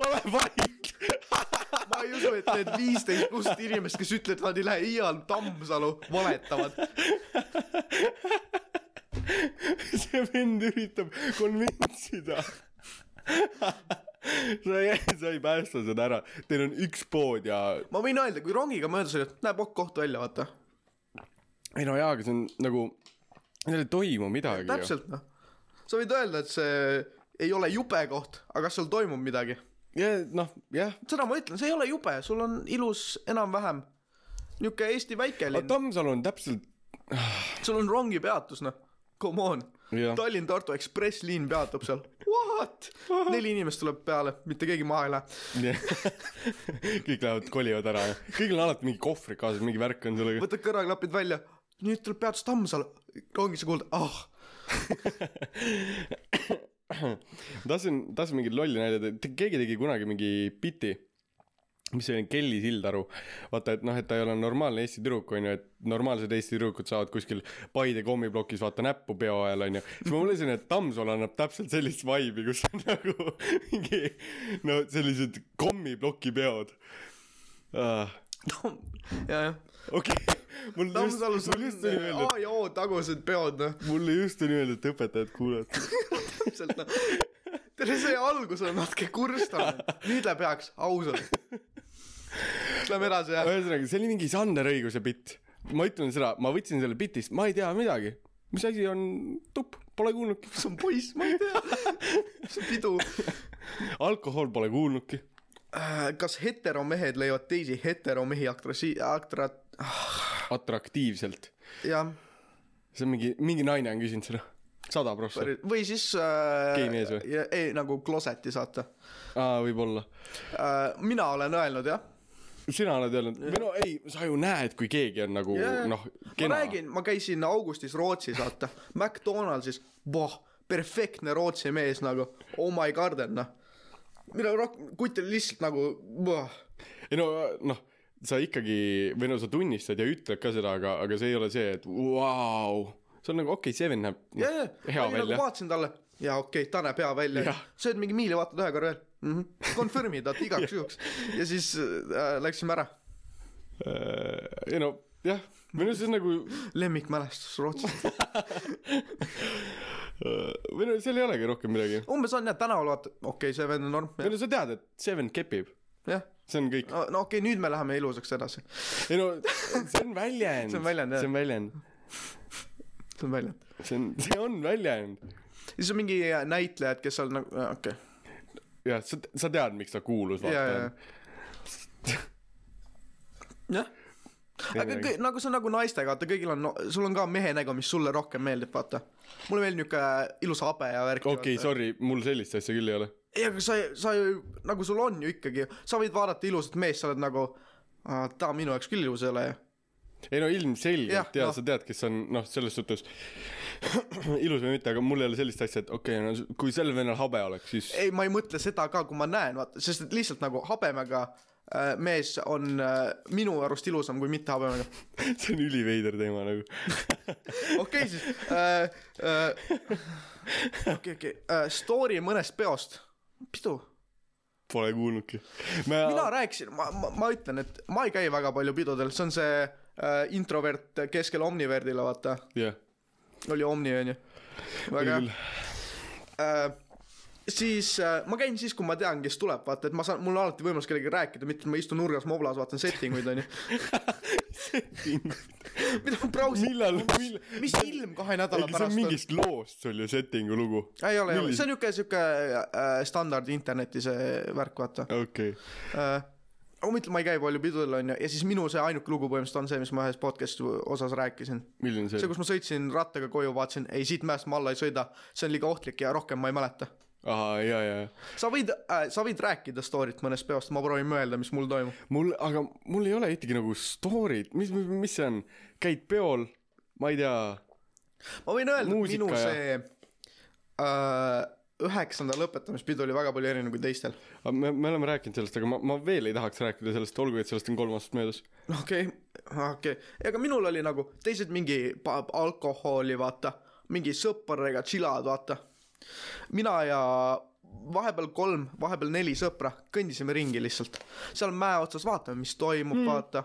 [SPEAKER 1] ole vait .
[SPEAKER 2] ma ei usu , et need viisteist pluss inimest , kes ütlevad , nad ei lähe iial Tammsalu , valetavad .
[SPEAKER 1] see vend üritab konventsida . sa ei , sa ei päästa seda ära , teil on üks pood ja .
[SPEAKER 2] ma võin öelda , kui rongiga mööda sõidad , näeb okk koht välja , vaata .
[SPEAKER 1] ei no jaa , aga see on nagu , seal ei toimu midagi ju .
[SPEAKER 2] täpselt , noh . sa võid öelda , et see ei ole jube koht , aga kas seal toimub midagi ?
[SPEAKER 1] ja noh , jah ,
[SPEAKER 2] seda ma ütlen , see ei ole jube , sul on ilus enam-vähem niuke Eesti väikelinn ,
[SPEAKER 1] Tammsalu on täpselt ,
[SPEAKER 2] sul on rongipeatus , noh . Come on ,
[SPEAKER 1] Jah.
[SPEAKER 2] Tallinn-Tartu ekspressliin peatub seal . What ? neli inimest tuleb peale , mitte keegi maha ei lähe .
[SPEAKER 1] kõik lähevad , kolivad ära ja kõigil on alati mingi kohvrid kaasas , mingi värk on sellega .
[SPEAKER 2] võtad kõrvaklapid välja , nüüd tuleb peatus Tammsalu , rongisse kuulda , ah ,
[SPEAKER 1] ma tahtsin , tahtsin mingit lolli näidata , keegi tegi kunagi mingi biti , mis oli Kelly Sildaru . vaata , et noh , et ta ei ole normaalne Eesti tüdruk , onju , et normaalsed Eesti tüdrukud saavad kuskil Paide kommiplokis vaata näppu peo ajal , onju . siis ma mõtlesin , et Tammsalu annab täpselt sellist vibe'i , kus on nagu mingi , no sellised kommiploki peod uh, .
[SPEAKER 2] Tamm- , jajah .
[SPEAKER 1] okei okay. , mul just ,
[SPEAKER 2] Tammsalus
[SPEAKER 1] mul
[SPEAKER 2] on
[SPEAKER 1] just tuli meelde ,
[SPEAKER 2] A ja O tagused peod , noh ,
[SPEAKER 1] mul just tuli meelde , et õpetajad kuulavad .
[SPEAKER 2] täpselt , noh . tere , see algus on natuke kurstav , nüüd läheb heaks , ausalt . Lähme edasi , jah .
[SPEAKER 1] ühesõnaga , see oli mingi Sander Õiguse bitt . ma ütlen seda , ma võtsin selle bitist , ma ei tea midagi . mis asi on tupp , pole kuulnudki .
[SPEAKER 2] see on poiss , ma ei tea . see on pidu .
[SPEAKER 1] alkohol pole kuulnudki .
[SPEAKER 2] Äh, kas heteromehed leiavad teisi heteromehi aktrasi- , aktra- ,
[SPEAKER 1] atraktiivselt .
[SPEAKER 2] jah ,
[SPEAKER 1] see on mingi , mingi naine on küsinud seda . sada prossa .
[SPEAKER 2] või siis äh,
[SPEAKER 1] Gei mees või?
[SPEAKER 2] ja- ei , nagu kloseti saata
[SPEAKER 1] aa , võib-olla .
[SPEAKER 2] äh, . mina olen öelnud , jah .
[SPEAKER 1] sina oled öelnud , või no ei , sa ju näed , kui keegi on nagu
[SPEAKER 2] Jaa.
[SPEAKER 1] noh ,
[SPEAKER 2] ma
[SPEAKER 1] kena .
[SPEAKER 2] räägin , ma käisin augustis Rootsis , vaata , McDonaldsis , voh , perfektne Rootsi mees nagu , oh my garden , noh . mida rohkem , kutt oli lihtsalt nagu , voh
[SPEAKER 1] ei no , noh , sa ikkagi , või no sa tunnistad ja ütled ka seda , aga , aga see ei ole see , et vau . see on nagu okei okay, , see vend näeb noh,
[SPEAKER 2] jajah ,
[SPEAKER 1] hea
[SPEAKER 2] ma olin nagu
[SPEAKER 1] välja .
[SPEAKER 2] vaatasin talle ja okei okay, , ta näeb hea välja
[SPEAKER 1] Jah. ,
[SPEAKER 2] sööd mingi miili , vaatad ühe korra veel mm -hmm. , confirm'id vaata igaks juhuks ja siis äh, läksime ära .
[SPEAKER 1] Äh, ei no jah , või no see on nagu
[SPEAKER 2] lemmikmälestus Rootsis ,
[SPEAKER 1] Äh, või no seal ei olegi rohkem midagi .
[SPEAKER 2] umbes on jah , tänaval vaata , okei okay, , see vend on norm ,
[SPEAKER 1] või no sa tead , et see vend kepib ,
[SPEAKER 2] jah ,
[SPEAKER 1] see on kõik .
[SPEAKER 2] no okei okay, , nüüd me läheme ilusaks edasi ,
[SPEAKER 1] ei no see on väljend .
[SPEAKER 2] See on väljend, jah.
[SPEAKER 1] see on väljend ,
[SPEAKER 2] see on välja .
[SPEAKER 1] see on , see on väljend .
[SPEAKER 2] äh, siis on mingi näitlejad , kes on nagu , äh, okei okay. ,
[SPEAKER 1] jah , sa , sa tead , miks ta kuulus ,
[SPEAKER 2] ja ,
[SPEAKER 1] vaata
[SPEAKER 2] ja ,. ja . jah . aga kõik , nagu see on nagu naistega , vaata kõigil on no, , sul on ka mehe nägu , mis sulle rohkem meeldib , vaata . mulle meeldib niuke äh, ilus habe ja värk .
[SPEAKER 1] okei , sorry , mul sellist asja küll ei ole .
[SPEAKER 2] ei , aga sa , sa ju , nagu sul on ju ikkagi , sa võid vaadata ilusat meest , sa oled nagu , ta minu jaoks küll ilus ei ole ju .
[SPEAKER 1] ei no
[SPEAKER 2] Jah,
[SPEAKER 1] ilmselgelt ja, ja
[SPEAKER 2] noh.
[SPEAKER 1] no. sa tead , kes on noh , selles suhtes ilus või mitte , aga mul ei ole sellist asja , et okei okay, , no kui sel vennal habe oleks , siis
[SPEAKER 2] ei , ma ei mõtle seda ka , kui ma näen , vaata , sest et lihtsalt nagu habemega äh, mees on äh, minu arust ilusam kui mitte habemega .
[SPEAKER 1] see on üliveider teema nagu .
[SPEAKER 2] okei , siis äh, . okei , okei , story mõnest peost , pidu
[SPEAKER 1] Pole kuulnudki .
[SPEAKER 2] mina rääkisin , ma , ma , ma ütlen , et ma ei käi väga palju pidudel , see on see äh, introvert keskel Omniverdile , vaata ,
[SPEAKER 1] jah ,
[SPEAKER 2] oli Omni onju . väga
[SPEAKER 1] küll
[SPEAKER 2] hea ,. äh, . siis äh, ma käin siis , kui ma tean , kes tuleb , vaata , et ma saan , mul on alati võimalus kellegagi rääkida , mitte et ma istun nurgas moblas , vaatan settinguid onju . mida ma brausin ,
[SPEAKER 1] millal , millal ?
[SPEAKER 2] mis ilm kahe nädala
[SPEAKER 1] see on
[SPEAKER 2] pärast on ?
[SPEAKER 1] mingist loost sul ju settingu lugu .
[SPEAKER 2] ei ole , ei ole , see
[SPEAKER 1] on .
[SPEAKER 2] on niuke , siuke äh, standard interneti see värk , vaata
[SPEAKER 1] okei okay. ,
[SPEAKER 2] äh, . aga ma ütlen , ma ei käi palju pidudel onju , ja siis minu see ainuke lugu põhimõtteliselt on see , mis ma ühes podcast'i osas rääkisin .
[SPEAKER 1] milline see
[SPEAKER 2] see ,
[SPEAKER 1] oli ?
[SPEAKER 2] kus ma sõitsin rattaga koju , vaatasin , ei siit mäest ma alla ei sõida , see on liiga ohtlik ja rohkem ma ei mäleta .
[SPEAKER 1] ahah , ja , ja , ja .
[SPEAKER 2] sa võid äh, , sa võid rääkida story't mõnest peost , ma proovin mõelda , mis mul toimub .
[SPEAKER 1] mul , aga mul ei ole ühtegi nagu story't , mis , mis see on ? käid peol , ma ei tea ,
[SPEAKER 2] ma võin öelda , et
[SPEAKER 1] Muusika
[SPEAKER 2] minu
[SPEAKER 1] ja-
[SPEAKER 2] see äh, üheksanda lõpetamispidu oli väga palju erinev kui teistel .
[SPEAKER 1] me , me oleme rääkinud sellest , aga ma , ma veel ei tahaks rääkida sellest , olgugi et sellest on kolm aastat möödas .
[SPEAKER 2] no okei okay, , okei okay. , aga minul oli nagu teised mingi pa- alkoholi , vaata , mingi sõpradega tšilad , vaata . mina ja vahepeal kolm , vahepeal neli sõpra kõndisime ringi lihtsalt , seal mäe otsas vaatame , mis toimub mm. , vaata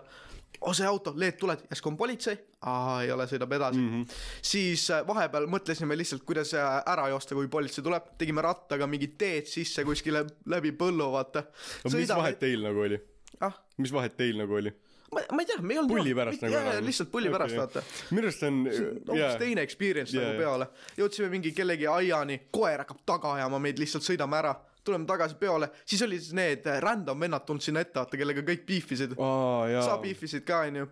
[SPEAKER 2] oo see auto , Leet , tuled , järsku on politsei , aa ei ole , sõidab edasi mm .
[SPEAKER 1] Mhm.
[SPEAKER 2] -hmm. siis äh, vahepeal mõtlesime lihtsalt , kuidas äh, ära joosta , kui politsei tuleb , tegime rattaga mingid teed sisse kuskile läbi põllu , vaata .
[SPEAKER 1] aga mis vahet ? teil nagu oli ?
[SPEAKER 2] ah ,
[SPEAKER 1] mis vahet teil nagu oli ?
[SPEAKER 2] ma , ma ei tea , me ei olnud
[SPEAKER 1] pulli pärast nagu
[SPEAKER 2] ära . lihtsalt pulli pärast okay. , vaata .
[SPEAKER 1] minu arust on ,
[SPEAKER 2] hoopis yeah.
[SPEAKER 1] jaa ,
[SPEAKER 2] teine experience yeah,
[SPEAKER 1] Jaa,
[SPEAKER 2] nagu
[SPEAKER 1] jaa.
[SPEAKER 2] peole . jõudsime mingi kellegi aiani , koer hakkab taga ajama meid , lihtsalt sõidame ära , tuleme tagasi peole , siis olid siis need äh, random vennad tundsin ette , vaata kellega kõik piifisid oh, ,
[SPEAKER 1] aa
[SPEAKER 2] sa
[SPEAKER 1] jaa ,
[SPEAKER 2] piifisid ka onju .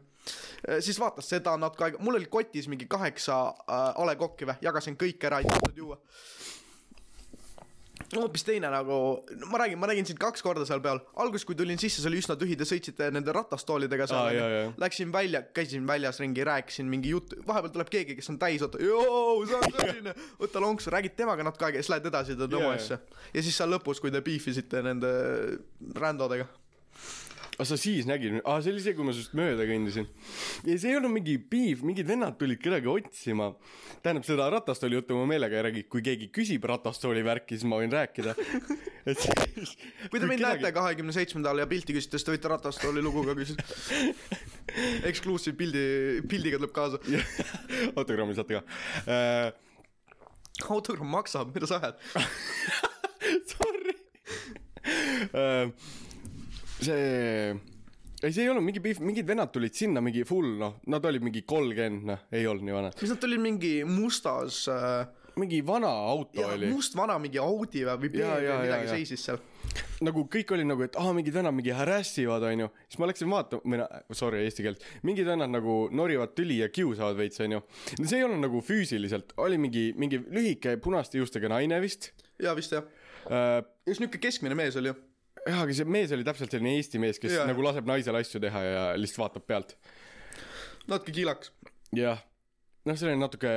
[SPEAKER 2] siis vaatas seda natuke aega , mul oli kotis mingi kaheksa äh, A Le Coq'i või , jagasin kõik ära , ei tahtnud juua . hoopis teine nagu , ma räägin , ma nägin sind kaks korda seal peal , alguses kui tulin sisse , see oli üsna tühi , te sõitsite nende ratastoolidega
[SPEAKER 1] Aa,
[SPEAKER 2] seal
[SPEAKER 1] jaa,
[SPEAKER 2] onju.
[SPEAKER 1] jaa.
[SPEAKER 2] läksin välja , käisin väljas ringi , rääkisin mingi juttu , vahepeal tuleb keegi , kes on täis , oota , joo , sa oled selline , võta lonksu , räägid temaga natuke aega ja siis lähed edasi , teed oma
[SPEAKER 1] Jaa,
[SPEAKER 2] asja . ja siis seal lõpus , kui te piifisite nende rändodega .
[SPEAKER 1] aa Ah, sa siis nägid , aa see oli see , kui ma sinust mööda kõndisin . ja see ei olnud mingi piif , mingid vennad tulid kedagi otsima . tähendab seda ratastooli juttu ma meelega ei räägi , kui keegi küsib ratastooli värki , siis ma võin rääkida . et siis .
[SPEAKER 2] kui te mind näete kahekümne seitsmendal ja pilti küsite , siis te võite ratastooli lugu ka küsida . Exclusive pildi , pildiga tuleb kaasa .
[SPEAKER 1] näete . autogrammi saate ka äh, .
[SPEAKER 2] autogramm maksab , mida sa ajad ?
[SPEAKER 1] Sorry äh, . see , ei see ei olnud mingi piif , mingid vennad tulid sinna mingi full noh , nad olid mingi kolmkümmend noh , ei olnud nii vanad .
[SPEAKER 2] mis nad tulid mingi mustas äh, ,
[SPEAKER 1] mingi vana auto ja, oli .
[SPEAKER 2] must vana mingi Audi või või
[SPEAKER 1] Jaa,
[SPEAKER 2] BMW
[SPEAKER 1] jaa,
[SPEAKER 2] või midagi
[SPEAKER 1] jaa, jaa.
[SPEAKER 2] seisis seal .
[SPEAKER 1] nagu kõik oli nagu , et aa , mingid vennad mingi harass ivad , onju . siis ma läksin vaatama , või noh , sorry , eesti keelt . mingid vennad nagu norivad tüli ja kiusavad veits , onju . no see ei olnud nagu füüsiliselt , oli mingi , mingi lühike punaste juustega naine vist
[SPEAKER 2] jaa , vist jah .
[SPEAKER 1] äh, .
[SPEAKER 2] just niisugune keskmine mees oli ju
[SPEAKER 1] jah , aga see mees oli täpselt selline eesti mees , kes
[SPEAKER 2] Jaa.
[SPEAKER 1] ja. nagu laseb naisele asju teha ja lihtsalt vaatab pealt .
[SPEAKER 2] natuke kiilaks .
[SPEAKER 1] jah . noh , selline natuke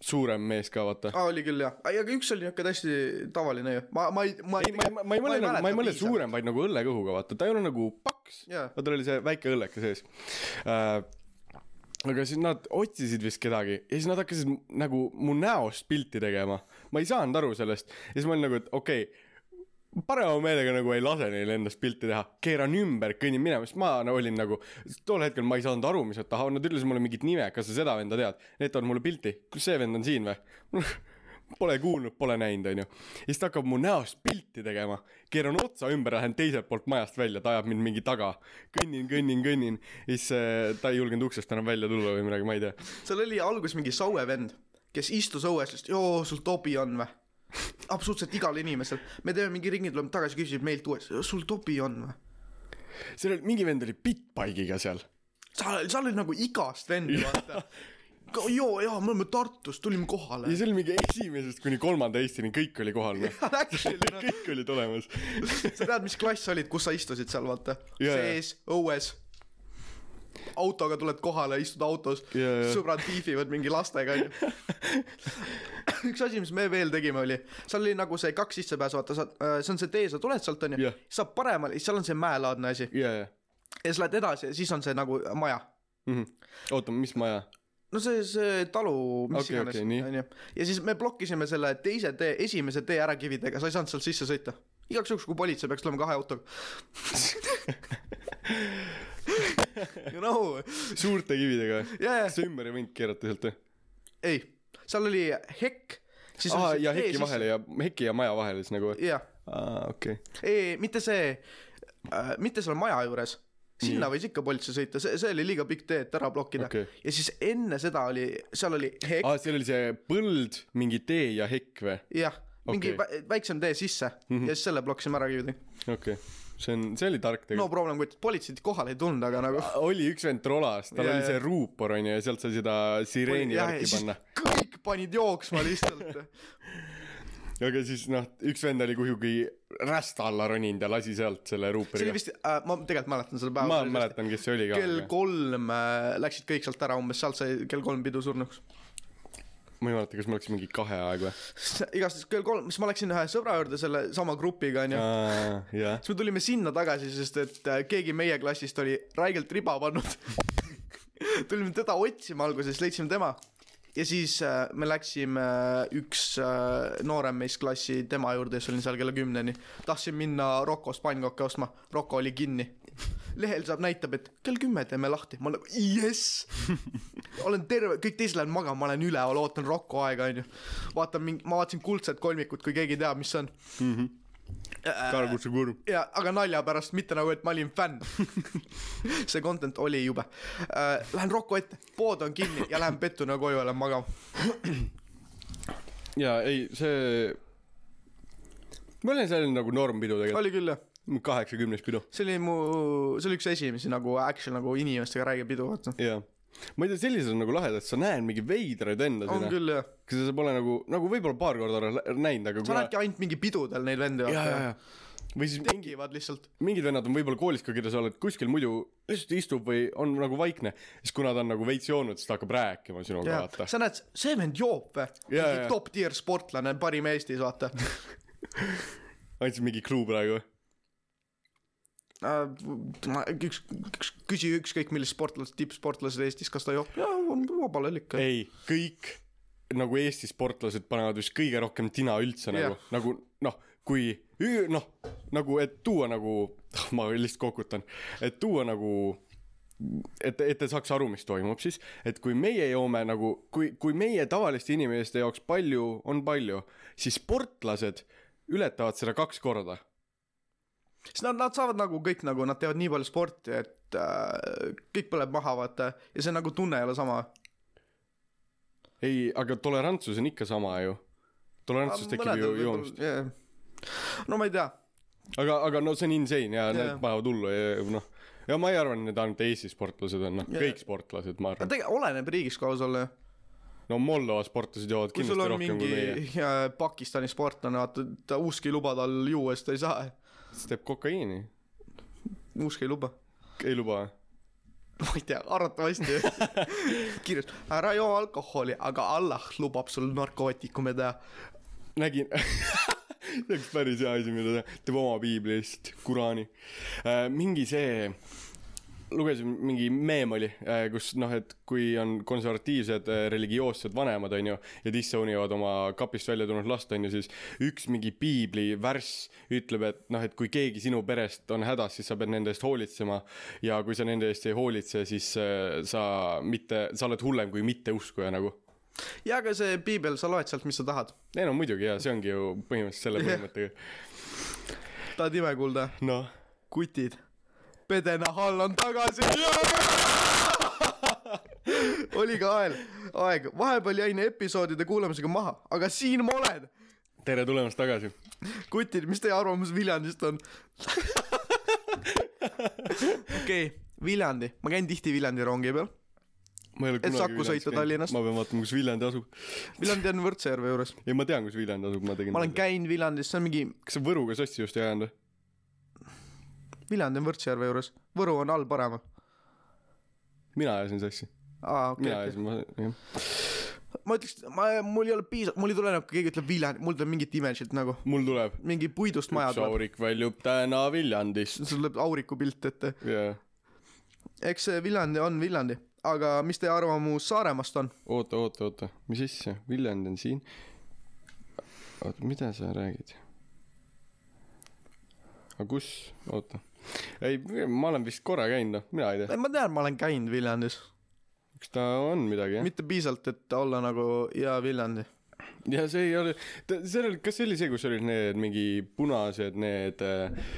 [SPEAKER 1] suurem mees ka , vaata .
[SPEAKER 2] aa , oli küll jah , aga üks oli niisugune täiesti tavaline ju , ma , ma ei , ma
[SPEAKER 1] ei , ma ei , ma ei mõtle nagu , ma ei mõtle suurem , vaid nagu õllekõhuga , vaata , ta ei ole nagu paks
[SPEAKER 2] Jaa.
[SPEAKER 1] aga tal oli see väike õlleke sees äh, . aga siis nad otsisid vist kedagi ja siis nad hakkasid m- nagu mu näost pilti tegema . ma ei saanud aru sellest ja siis ma olin nagu , et okei okay, , parema meelega nagu ei lase neil endast pilti teha , keeran ümber , kõnnin minema , siis ma no, olin nagu , tol hetkel ma ei saanud aru , mis nad tahavad , nad ütlesid mulle mingit nime , kas sa seda venda tead , need toovad mulle pilti , kas see vend on siin või ? Pole kuulnud , pole näinud , onju . ja siis ta hakkab mu näost pilti tegema , keeran otsa ümber , lähen teiselt poolt majast välja , ta ajab mind mingi taga . kõnnin , kõnnin , kõnnin , siis äh, ta ei julgenud uksest enam välja tulla või midagi , ma ei tea .
[SPEAKER 2] seal oli alguses mingi Saue vend , kes istus õues , ütles , joo , sul tobi on või ? absoluutselt igal inimesel , me teeme mingi ringi , tuleb tagasi , küsib meilt uuesti , sul topi on või ?
[SPEAKER 1] seal oli , mingi vend oli Bitbike'iga seal .
[SPEAKER 2] sa , sa olid nagu igast vendi , vaata . joo , jaa , me oleme Tartust , tulime kohale
[SPEAKER 1] ja . see oli mingi esimesest kuni kolmanda Eestini , kõik oli kohal , noh .
[SPEAKER 2] Actually , noh ,
[SPEAKER 1] kõik olid olemas .
[SPEAKER 2] sa tead , mis klass sa olid , kus sa istusid seal , vaata
[SPEAKER 1] Jaa, jaa.
[SPEAKER 2] sees , õues . autoga tuled kohale , istud autos
[SPEAKER 1] Jaa, jaa.
[SPEAKER 2] sõbrad piifivad mingi lastega , onju . üks asi , mis me veel tegime , oli , seal oli nagu see kaks sissepääsu , vaata , sa , see on see tee , sa tuled sealt , onju
[SPEAKER 1] Jah. ,
[SPEAKER 2] saab paremale , seal on see mäelaadne asi
[SPEAKER 1] ja , ja .
[SPEAKER 2] ja siis lähed edasi ja siis on see nagu maja
[SPEAKER 1] Mhm. oota , mis maja ?
[SPEAKER 2] no see , see talu , mis okay,
[SPEAKER 1] Okei,
[SPEAKER 2] iganes
[SPEAKER 1] okei, nii.
[SPEAKER 2] okay, , onju . ja siis me blokkisime selle teise tee , esimese tee ära kividega , sa ei saanud sealt sisse sõita . igaks juhuks , kui politsei peaks tulema kahe autoga . You know ,
[SPEAKER 1] suurte kividega või ?
[SPEAKER 2] jajah ,
[SPEAKER 1] kas sa ümber ei võinud keerata sealt või ?
[SPEAKER 2] ei , seal oli hekk , siis
[SPEAKER 1] aa ,
[SPEAKER 2] oli
[SPEAKER 1] ja heki vahele ja , heki ja maja vahele siis nagu või ?
[SPEAKER 2] jah ,
[SPEAKER 1] aa , okei .
[SPEAKER 2] ei , mitte see äh, , mitte seal maja juures , sinna võis ikka politsei sõita , see , see oli liiga pikk tee , et ära blokkida
[SPEAKER 1] Okei.
[SPEAKER 2] okay. . ja siis enne seda oli , seal oli hekk ,
[SPEAKER 1] aa , seal oli see põld , mingi tee ja hekk või ?
[SPEAKER 2] jah , mingi
[SPEAKER 1] Okei. Mhm.
[SPEAKER 2] okay. väiksem tee sisse mm -hmm. ja siis selle blokkisime ära kividega .
[SPEAKER 1] okei okay. , see on , see oli
[SPEAKER 2] no
[SPEAKER 1] tark tegelikult no. .
[SPEAKER 2] problem , kuid politseid kohale ei tulnud , aga nagu
[SPEAKER 1] oli üks vend trolas , tal
[SPEAKER 2] Jaa,
[SPEAKER 1] oli
[SPEAKER 2] jaa.
[SPEAKER 1] see ruupor onju ja sealt sai seda sireeni
[SPEAKER 2] Jah, ja
[SPEAKER 1] värki
[SPEAKER 2] siis
[SPEAKER 1] panna .
[SPEAKER 2] kõik panid jooksma lihtsalt .
[SPEAKER 1] aga siis noh , üks vend oli kuhugi rästa alla roninud ja lasi sealt selle
[SPEAKER 2] see oli
[SPEAKER 1] ruuporiga .
[SPEAKER 2] vist äh, , ma tegelikult mäletan seda päeva .
[SPEAKER 1] ma . mäletan , kes see oli
[SPEAKER 2] kell
[SPEAKER 1] ka .
[SPEAKER 2] kolm äh, läksid kõik sealt ära umbes , sealt sai kell kolm pidu surnuks .
[SPEAKER 1] ma ei mäleta , kas ma oleks mingi kahe aeg või ?
[SPEAKER 2] igastahes kell kolm , siis ma läksin ühe sõbra juurde selle sama grupiga onju .
[SPEAKER 1] jah .
[SPEAKER 2] siis me tulime sinna tagasi , sest et äh, keegi meie klassist oli räigelt riba pannud . tulime teda otsima alguses , leidsime tema ja siis äh, me läksime äh, üks äh, noorem meist klassi tema juurde , siis olin seal kella kümneni . tahtsin minna Rokost pannkokke ostma , Roko oli kinni . lehel saab , näitab , et kell kümme teeme lahti , ma nagu jess . olen terve , kõik teised lähevad magama , ma olen üleval , ootan Roko aega onju . vaatan mingi , ma vaatasin Kuldset kolmikut , kui keegi teab , mis see on . Äh.
[SPEAKER 1] karguse kurv .
[SPEAKER 2] ja , aga nalja pärast , mitte nagu , et ma olin fänn . see content oli jube . Lähen Rocco ette , pood on kinni ja lähen pettuna koju ja lähen magama .
[SPEAKER 1] jaa , ei , see . ma olin seal nagu normpidu tegelikult ,
[SPEAKER 2] oli küll jah ,
[SPEAKER 1] kaheksakümnes pidu .
[SPEAKER 2] see oli mu , see oli üks esimesi nagu action nagu inimestega räägib pidu , vaata .
[SPEAKER 1] jaa . ma ei tea , sellised on nagu lahedad , sa näed mingi veidraid enda
[SPEAKER 2] on
[SPEAKER 1] sinna .
[SPEAKER 2] küll jah ,
[SPEAKER 1] kas sa pole nagu , nagu võib-olla paar korda oled lä- näinud , aga
[SPEAKER 2] sa näedki ainult mingi pidudel neid vende ,
[SPEAKER 1] jaa , jaa ,
[SPEAKER 2] vaata .
[SPEAKER 1] jaa . või siis mingi ,
[SPEAKER 2] tekivad lihtsalt ,
[SPEAKER 1] mingid vennad on võib-olla koolis ka , keda sa oled kuskil muidu lihtsalt istub või on nagu vaikne , siis kuna ta on nagu veits joonud , siis ta hakkab rääkima sinuga , vaata .
[SPEAKER 2] sa näed , see vend joob või ?
[SPEAKER 1] Jaa, jaa.
[SPEAKER 2] top tier sportlane , parim Eestis , vaata .
[SPEAKER 1] andsid mingi clue praegu või ?
[SPEAKER 2] Äh, üks , üks , küsi ükskõik millist sportlast , tippsportlased Eestis , kas ta joob ? jaa , vabal ajal ikka .
[SPEAKER 1] ei , kõik nagu Eesti sportlased panevad vist kõige rohkem tina üldse nagu
[SPEAKER 2] Jah.
[SPEAKER 1] yeah. , nagu noh , kui ü- noh , nagu et tuua nagu , ma lihtsalt kokutan , et tuua nagu et , et te saaks aru , mis toimub siis , et kui meie joome nagu , kui , kui meie tavaliste inimeste jaoks palju on palju , siis sportlased ületavad seda kaks korda .
[SPEAKER 2] siis nad , nad saavad nagu kõik nagu , nad teevad nii palju sporti , et äh, kõik põleb maha , vaata , ja see nagu tunne ei ole sama .
[SPEAKER 1] ei , aga tolerantsus on ikka sama ju . tolerantsus tekib ju joomist .
[SPEAKER 2] Yeah. no ma ei tea ,
[SPEAKER 1] aga , aga no see on insane ja yeah.
[SPEAKER 2] Jaa.
[SPEAKER 1] need panevad hullu ja noh , ja ma ei arva , et need ainult Eesti sportlased on , noh
[SPEAKER 2] Jaa.
[SPEAKER 1] yeah. kõik sportlased , ma arvan .
[SPEAKER 2] tegelikult oleneb riigist ka ausalt öelda .
[SPEAKER 1] no Moldova sportlased joovad
[SPEAKER 2] kui sul
[SPEAKER 1] kindlasti
[SPEAKER 2] on
[SPEAKER 1] rohkem mingi...
[SPEAKER 2] mingi
[SPEAKER 1] kui meie ,
[SPEAKER 2] äh, Pakistani sportlane , vaata , ta usk ei luba tal juua , siis ta ei saa ,
[SPEAKER 1] siis teeb kokaiini ,
[SPEAKER 2] usk ei luba .
[SPEAKER 1] ei luba .
[SPEAKER 2] ma ei tea , arvatavasti kirjutas , ära joo alkoholi , aga Allah lubab sul narkootikume teha .
[SPEAKER 1] nägin , see oleks päris hea asi , mida teha , teeb oma piibli lihtsalt , Kuraani äh, . mingi see , lugesin mingi meem oli äh, , kus noh , et kui on konservatiivsed äh, religioossed vanemad , onju , ja disown ivad oma kapist välja tulnud last , onju , siis üks mingi piibli värss ütleb , et noh , et kui keegi sinu perest on hädas , siis sa pead nende eest hoolitsema ja kui sa nende eest ei hoolitse , siis äh, sa mitte , sa oled hullem kui mitteuskuja nagu
[SPEAKER 2] ja aga see piibel , sa loed sealt , mis sa tahad .
[SPEAKER 1] ei no muidugi jaa , see ongi ju põhimõtteliselt selle
[SPEAKER 2] Jah.
[SPEAKER 1] põhimõttega ,
[SPEAKER 2] tahad ime kuulda ?
[SPEAKER 1] noh
[SPEAKER 2] kutid , pedenahall on tagasi . oli ka aeg , aeg , vahepeal jäin episoodide kuulamisega maha , aga siin ma olen .
[SPEAKER 1] tere tulemast tagasi .
[SPEAKER 2] kutid , mis teie arvamus Viljandist on ? okei okay, , Viljandi , ma käin tihti Viljandi rongi peal .
[SPEAKER 1] ma ei ole
[SPEAKER 2] Et
[SPEAKER 1] kunagi
[SPEAKER 2] Saku
[SPEAKER 1] Viljandis
[SPEAKER 2] sõita
[SPEAKER 1] käinud.
[SPEAKER 2] Tallinnast?
[SPEAKER 1] ma pean vaatama , kus Viljandi asub .
[SPEAKER 2] Viljandi on Võrtsjärve juures .
[SPEAKER 1] ei , ma tean , kus Viljand asub , ma tegin .
[SPEAKER 2] ma olen käinud Viljandis , see on mingi ,
[SPEAKER 1] kas sa Võruga sassi just ei ajanud või ?
[SPEAKER 2] Viljandi on Võrtsjärve juures , Võru on all paremal .
[SPEAKER 1] mina ajasin sassi .
[SPEAKER 2] aa , okei okei .
[SPEAKER 1] mina , ajasin , ma , jah .
[SPEAKER 2] ma ütleks , ma , mul ei ole piisav , mul ei tule nagu , kui keegi ütleb Viljandi , mul tuleb mingit image'it nagu ,
[SPEAKER 1] mul tuleb .
[SPEAKER 2] mingi puidust maja
[SPEAKER 1] üks
[SPEAKER 2] tuleb ,
[SPEAKER 1] aurik väljub täna Viljandist .
[SPEAKER 2] sul tuleb auriku pilt ette .
[SPEAKER 1] jaa .
[SPEAKER 2] eks see Viljandi on Viljandi , aga mis teie arvamus Saaremaast on ?
[SPEAKER 1] oota , oota , oota , mis asja , Viljand on siin . oota , mida sa räägid ? aga kus , oota . ei , ma olen vist korra käinud , noh , mina ei tea ,
[SPEAKER 2] Eh, ma tean , ma olen käinud Viljandis ,
[SPEAKER 1] kas ta on midagi , jah ?
[SPEAKER 2] mitte piisavalt , et olla nagu hea Viljandi .
[SPEAKER 1] ja see ei ole , see oli , kas see oli see , kus olid need mingi punased , need äh,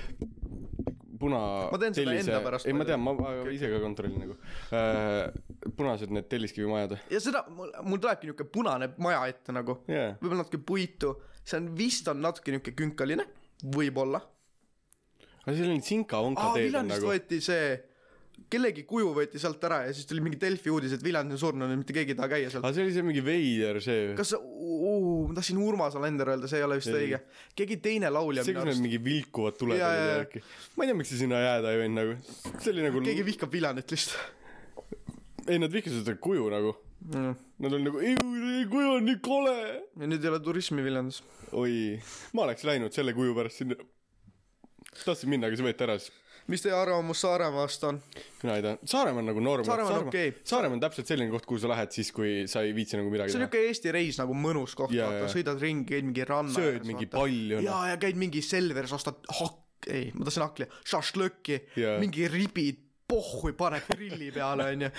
[SPEAKER 1] puna .
[SPEAKER 2] Ma teen seda enda pärast
[SPEAKER 1] ei , ma
[SPEAKER 2] muidu.
[SPEAKER 1] tean , ma ma ise ka kontrollin nagu äh, . punased need telliskivimajad ,
[SPEAKER 2] ja seda , mul , mul tulebki niisugune punane maja ette nagu ,
[SPEAKER 1] jaa .
[SPEAKER 2] võib-olla natuke puitu , see on vist on natuke niisugune künkaline , võib-olla .
[SPEAKER 1] aga selline sinka-onka
[SPEAKER 2] aa ,
[SPEAKER 1] teed on
[SPEAKER 2] Viljandist
[SPEAKER 1] nagu
[SPEAKER 2] nagu... . võeti see , kellegi kuju võeti sealt ära ja siis tuli mingi Delfi uudis , et Viljandi on surnud ja mitte keegi ei taha käia seal .
[SPEAKER 1] aga see oli see mingi veider see .
[SPEAKER 2] kas see , ma tahtsin Urmas Alender öelda , see ei ole vist
[SPEAKER 1] Ei.
[SPEAKER 2] õige . keegi teine laulja
[SPEAKER 1] see ,
[SPEAKER 2] minu
[SPEAKER 1] kus need
[SPEAKER 2] arust ,
[SPEAKER 1] mingi vilkuvad tuled
[SPEAKER 2] Jaa,
[SPEAKER 1] olid
[SPEAKER 2] jaa,
[SPEAKER 1] ja
[SPEAKER 2] jaa.
[SPEAKER 1] värki . ma ei tea , miks sa sinna jääda ei võinud nagu . see oli nagu
[SPEAKER 2] keegi vihkab Viljandit lihtsalt
[SPEAKER 1] ei nad vihkasid seda kuju nagu .
[SPEAKER 2] mm. .
[SPEAKER 1] Nad olid nagu , ei kuju on nii kole .
[SPEAKER 2] ja nüüd ei ole turismi Viljandis .
[SPEAKER 1] oi , ma oleks läinud selle kuju pärast sinna . tahtsin minna , aga see võeti ära siis .
[SPEAKER 2] mis teie arvamus Saaremaast on ?
[SPEAKER 1] mina ei tea , Saaremaa on nagu norm .
[SPEAKER 2] Saaremaa on okei.
[SPEAKER 1] Saaremaa on täpselt selline koht , kuhu sa lähed siis , kui sa ei viitsi nagu midagi
[SPEAKER 2] see on
[SPEAKER 1] teha .
[SPEAKER 2] niisugune Eesti reis nagu mõnus koht
[SPEAKER 1] Jaa,
[SPEAKER 2] yeah, , vaata
[SPEAKER 1] jaa. ,
[SPEAKER 2] sõidad ringi , käid mingi ranna
[SPEAKER 1] sööd mingi palju . noh.
[SPEAKER 2] ja , ja käid mingi Selveris , ostad hakk- , ei , ma tahtsin hakli , šašlõkki
[SPEAKER 1] Jaa.
[SPEAKER 2] yeah. , mingi ribid , pohhui paned grilli peale , onju .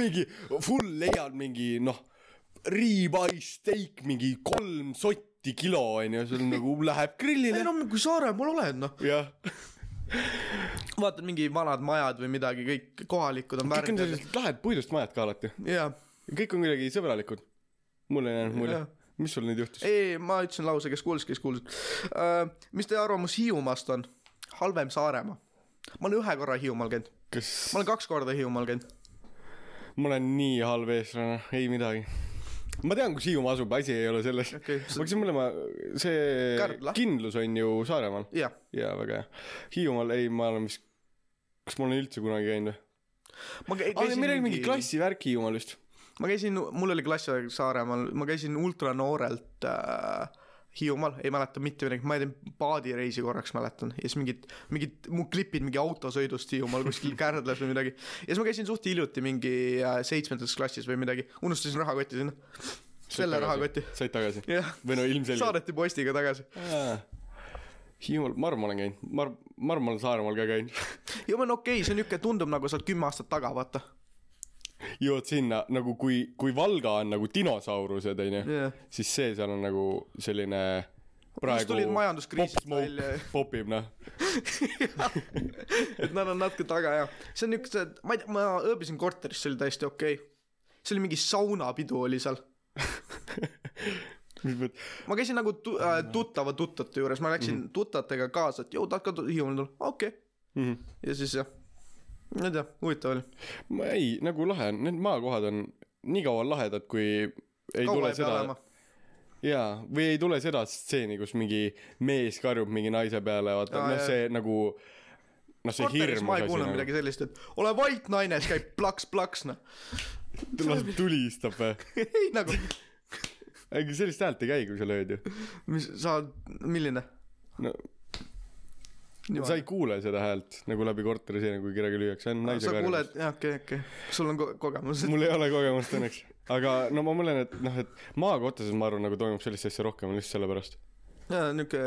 [SPEAKER 1] mingi full leiad mingi noh , ribeye steak mingi kolm sotti kilo onju , see on nagu läheb grillile
[SPEAKER 2] ei . no kui Saaremaal oled , noh .
[SPEAKER 1] jah ,
[SPEAKER 2] vaatad mingi vanad majad või midagi , kõik kohalikud on
[SPEAKER 1] kõik on
[SPEAKER 2] värved .
[SPEAKER 1] sellised lahedad puidust majad ka alati ,
[SPEAKER 2] jaa ,
[SPEAKER 1] kõik on kuidagi sõbralikud . mulle ei jäänud mulje
[SPEAKER 2] Jah. ,
[SPEAKER 1] mis sul nüüd juhtus ?
[SPEAKER 2] ei , ma ütlesin lause , kes kuulis , kes kuulis uh, . mis teie arvamus Hiiumaast on ? halvem Saaremaa . ma olen ühe korra Hiiumaal käinud ,
[SPEAKER 1] kas
[SPEAKER 2] ma olen kaks korda Hiiumaal käinud .
[SPEAKER 1] ma olen nii halb eestlane , ei midagi . ma tean , kus Hiiumaa asub , asi ei ole selles
[SPEAKER 2] Okei,
[SPEAKER 1] okay, .
[SPEAKER 2] see-
[SPEAKER 1] ma hakkasin mõtlema , see
[SPEAKER 2] Kärdla.
[SPEAKER 1] kindlus on ju Saaremaal
[SPEAKER 2] jah ,
[SPEAKER 1] ja väga hea . Hiiumaal ei , ma olen vist , kas ma olen üldse kunagi käinud või ?
[SPEAKER 2] ma kä-
[SPEAKER 1] aa ,
[SPEAKER 2] käisin
[SPEAKER 1] meil oli mingi klassivärk Hiiumaal just .
[SPEAKER 2] ma käisin , mul oli klass Saaremaal , ma käisin ultranoorelt äh, Hiiumaal , ei mäleta mitte midagi , ma tegin paadireisi korraks mäletan ja siis mingid , mingid mu klipid mingi autosõidust Hiiumaal kuskil Kärdlas või midagi . ja siis ma käisin suht hiljuti mingi äh, seitsmendas klassis või midagi , unustasin rahakotti sinna , selle rahakotti ,
[SPEAKER 1] said tagasi ?
[SPEAKER 2] jah ,
[SPEAKER 1] või no ilmselgelt .
[SPEAKER 2] saadeti postiga tagasi .
[SPEAKER 1] Hiiumaal , ma arvan , ma olen käinud , ma arvan , ma arvan , ma olen Saaremaal ka käinud
[SPEAKER 2] Hiiumaa on okei okay, , see on niuke , tundub nagu sa oled kümme aastat taga , vaata .
[SPEAKER 1] jõuad sinna nagu kui , kui Valga on nagu dinosaurused onju ,
[SPEAKER 2] jah ,
[SPEAKER 1] siis see seal on nagu selline praegu
[SPEAKER 2] tulid majanduskriisist
[SPEAKER 1] Pop Smoke
[SPEAKER 2] välja.
[SPEAKER 1] popib noh ,
[SPEAKER 2] et nad on natuke taga ja see on niukse , ma ei tea , ma ööbisin korteris , see oli täiesti okei okay. . see oli mingi saunapidu oli seal
[SPEAKER 1] mis mõttes ,
[SPEAKER 2] ma käisin nagu tu- , äh, tuttava tuttavate juures , ma läksin mm -hmm. tuttavatega kaasa , et jõu , tahad ka tu- Hiiumaale tulla , okei okay. . ja siis jah , ma ei tea , huvitav oli .
[SPEAKER 1] ma ei , nagu lahe on , need maakohad on nii kaua lahedad , kui ei Kaua tule seda ,. jaa , või ei tule seda stseeni , kus mingi mees karjub mingi naise peale , vaata
[SPEAKER 2] Aa,
[SPEAKER 1] noh ,
[SPEAKER 2] jaa.
[SPEAKER 1] see nagu noh , see
[SPEAKER 2] korteris
[SPEAKER 1] hirmus
[SPEAKER 2] ma ei
[SPEAKER 1] asi
[SPEAKER 2] kuulnud
[SPEAKER 1] nagu ,
[SPEAKER 2] midagi sellist , et ole vait , naine , siis käib plaks-plaks , noh .
[SPEAKER 1] las tulistab või ,
[SPEAKER 2] ei nagu ,
[SPEAKER 1] ega sellist häält ei käi , kui sa lööd ju ,
[SPEAKER 2] mis sa , milline ?
[SPEAKER 1] no sa ei kuule seda häält nagu läbi korteri seina , kui kedagi lüüakse , see on naise
[SPEAKER 2] sa
[SPEAKER 1] karjus.
[SPEAKER 2] kuuled , jah , okei , okei , sul on ko- kogemus .
[SPEAKER 1] mul ei ole kogemust õnneks , aga no ma mõtlen , et noh , et maakohtades ma arvan , nagu toimub sellist asja rohkem lihtsalt sellepärast .
[SPEAKER 2] jaa , niuke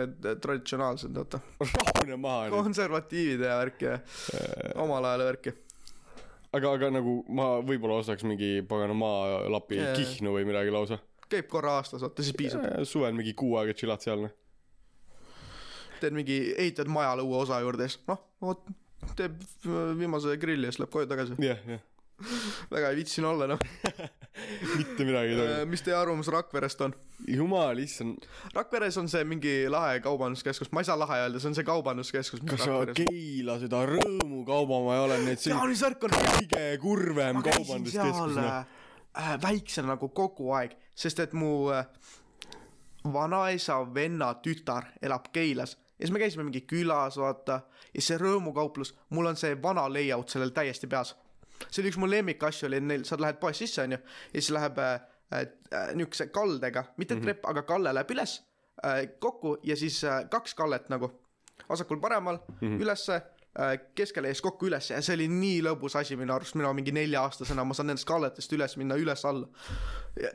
[SPEAKER 2] traditsionaalsed , vaata .
[SPEAKER 1] rahune maha nüüd ,
[SPEAKER 2] konservatiivide ja värki ja omal ajal ja värki .
[SPEAKER 1] aga , aga nagu ma võib-olla ostaks mingi pagana maalapi
[SPEAKER 2] Jaa.
[SPEAKER 1] yeah. Kihnu või midagi lausa .
[SPEAKER 2] käib korra aastas , vaata , siis piisab .
[SPEAKER 1] suvel mingi kuu aega tšillad seal , noh .
[SPEAKER 2] teed mingi , ehitad majale uue osa juurde ja siis noh , vot teeb viimase grilli ja siis läheb koju tagasi .
[SPEAKER 1] jah , jah .
[SPEAKER 2] väga ei viitsinud olla noh .
[SPEAKER 1] mitte midagi ei toimu .
[SPEAKER 2] mis teie arvamus Rakverest on ?
[SPEAKER 1] jumal issand ,
[SPEAKER 2] Rakveres on see mingi lahe kaubanduskeskus , ma ei saa lahe öelda , see on see kaubanduskeskus , mis
[SPEAKER 1] kas sa Keila seda Rõõmu kaubamaja oled , nii et see on
[SPEAKER 2] jaanisärk on
[SPEAKER 1] kõige kurvem
[SPEAKER 2] ma käisin seal
[SPEAKER 1] kaubanduskeskus , noh .
[SPEAKER 2] äh, äh, väiksena nagu kogu aeg , sest et mu äh, vanaisa venna tütar elab Keilas ja siis me käisime mingi külas , vaata , ja see rõõmukauplus , mul on see vana layout sellel täiesti peas . see oli üks mu lemmikasju oli , et neil , sa lähed poest sisse , onju , ja siis läheb äh, äh, niisuguse kaldega , mitte trepp , aga kalle läheb üles äh, kokku ja siis äh, kaks kallet nagu vasakul-paremal mm -hmm. ülesse äh, keskele ja siis kokku ülesse ja see oli nii lõbus asi minu arust , mina mingi nelja-aastasena , ma saan nendest kalletest üles minna üles-alla .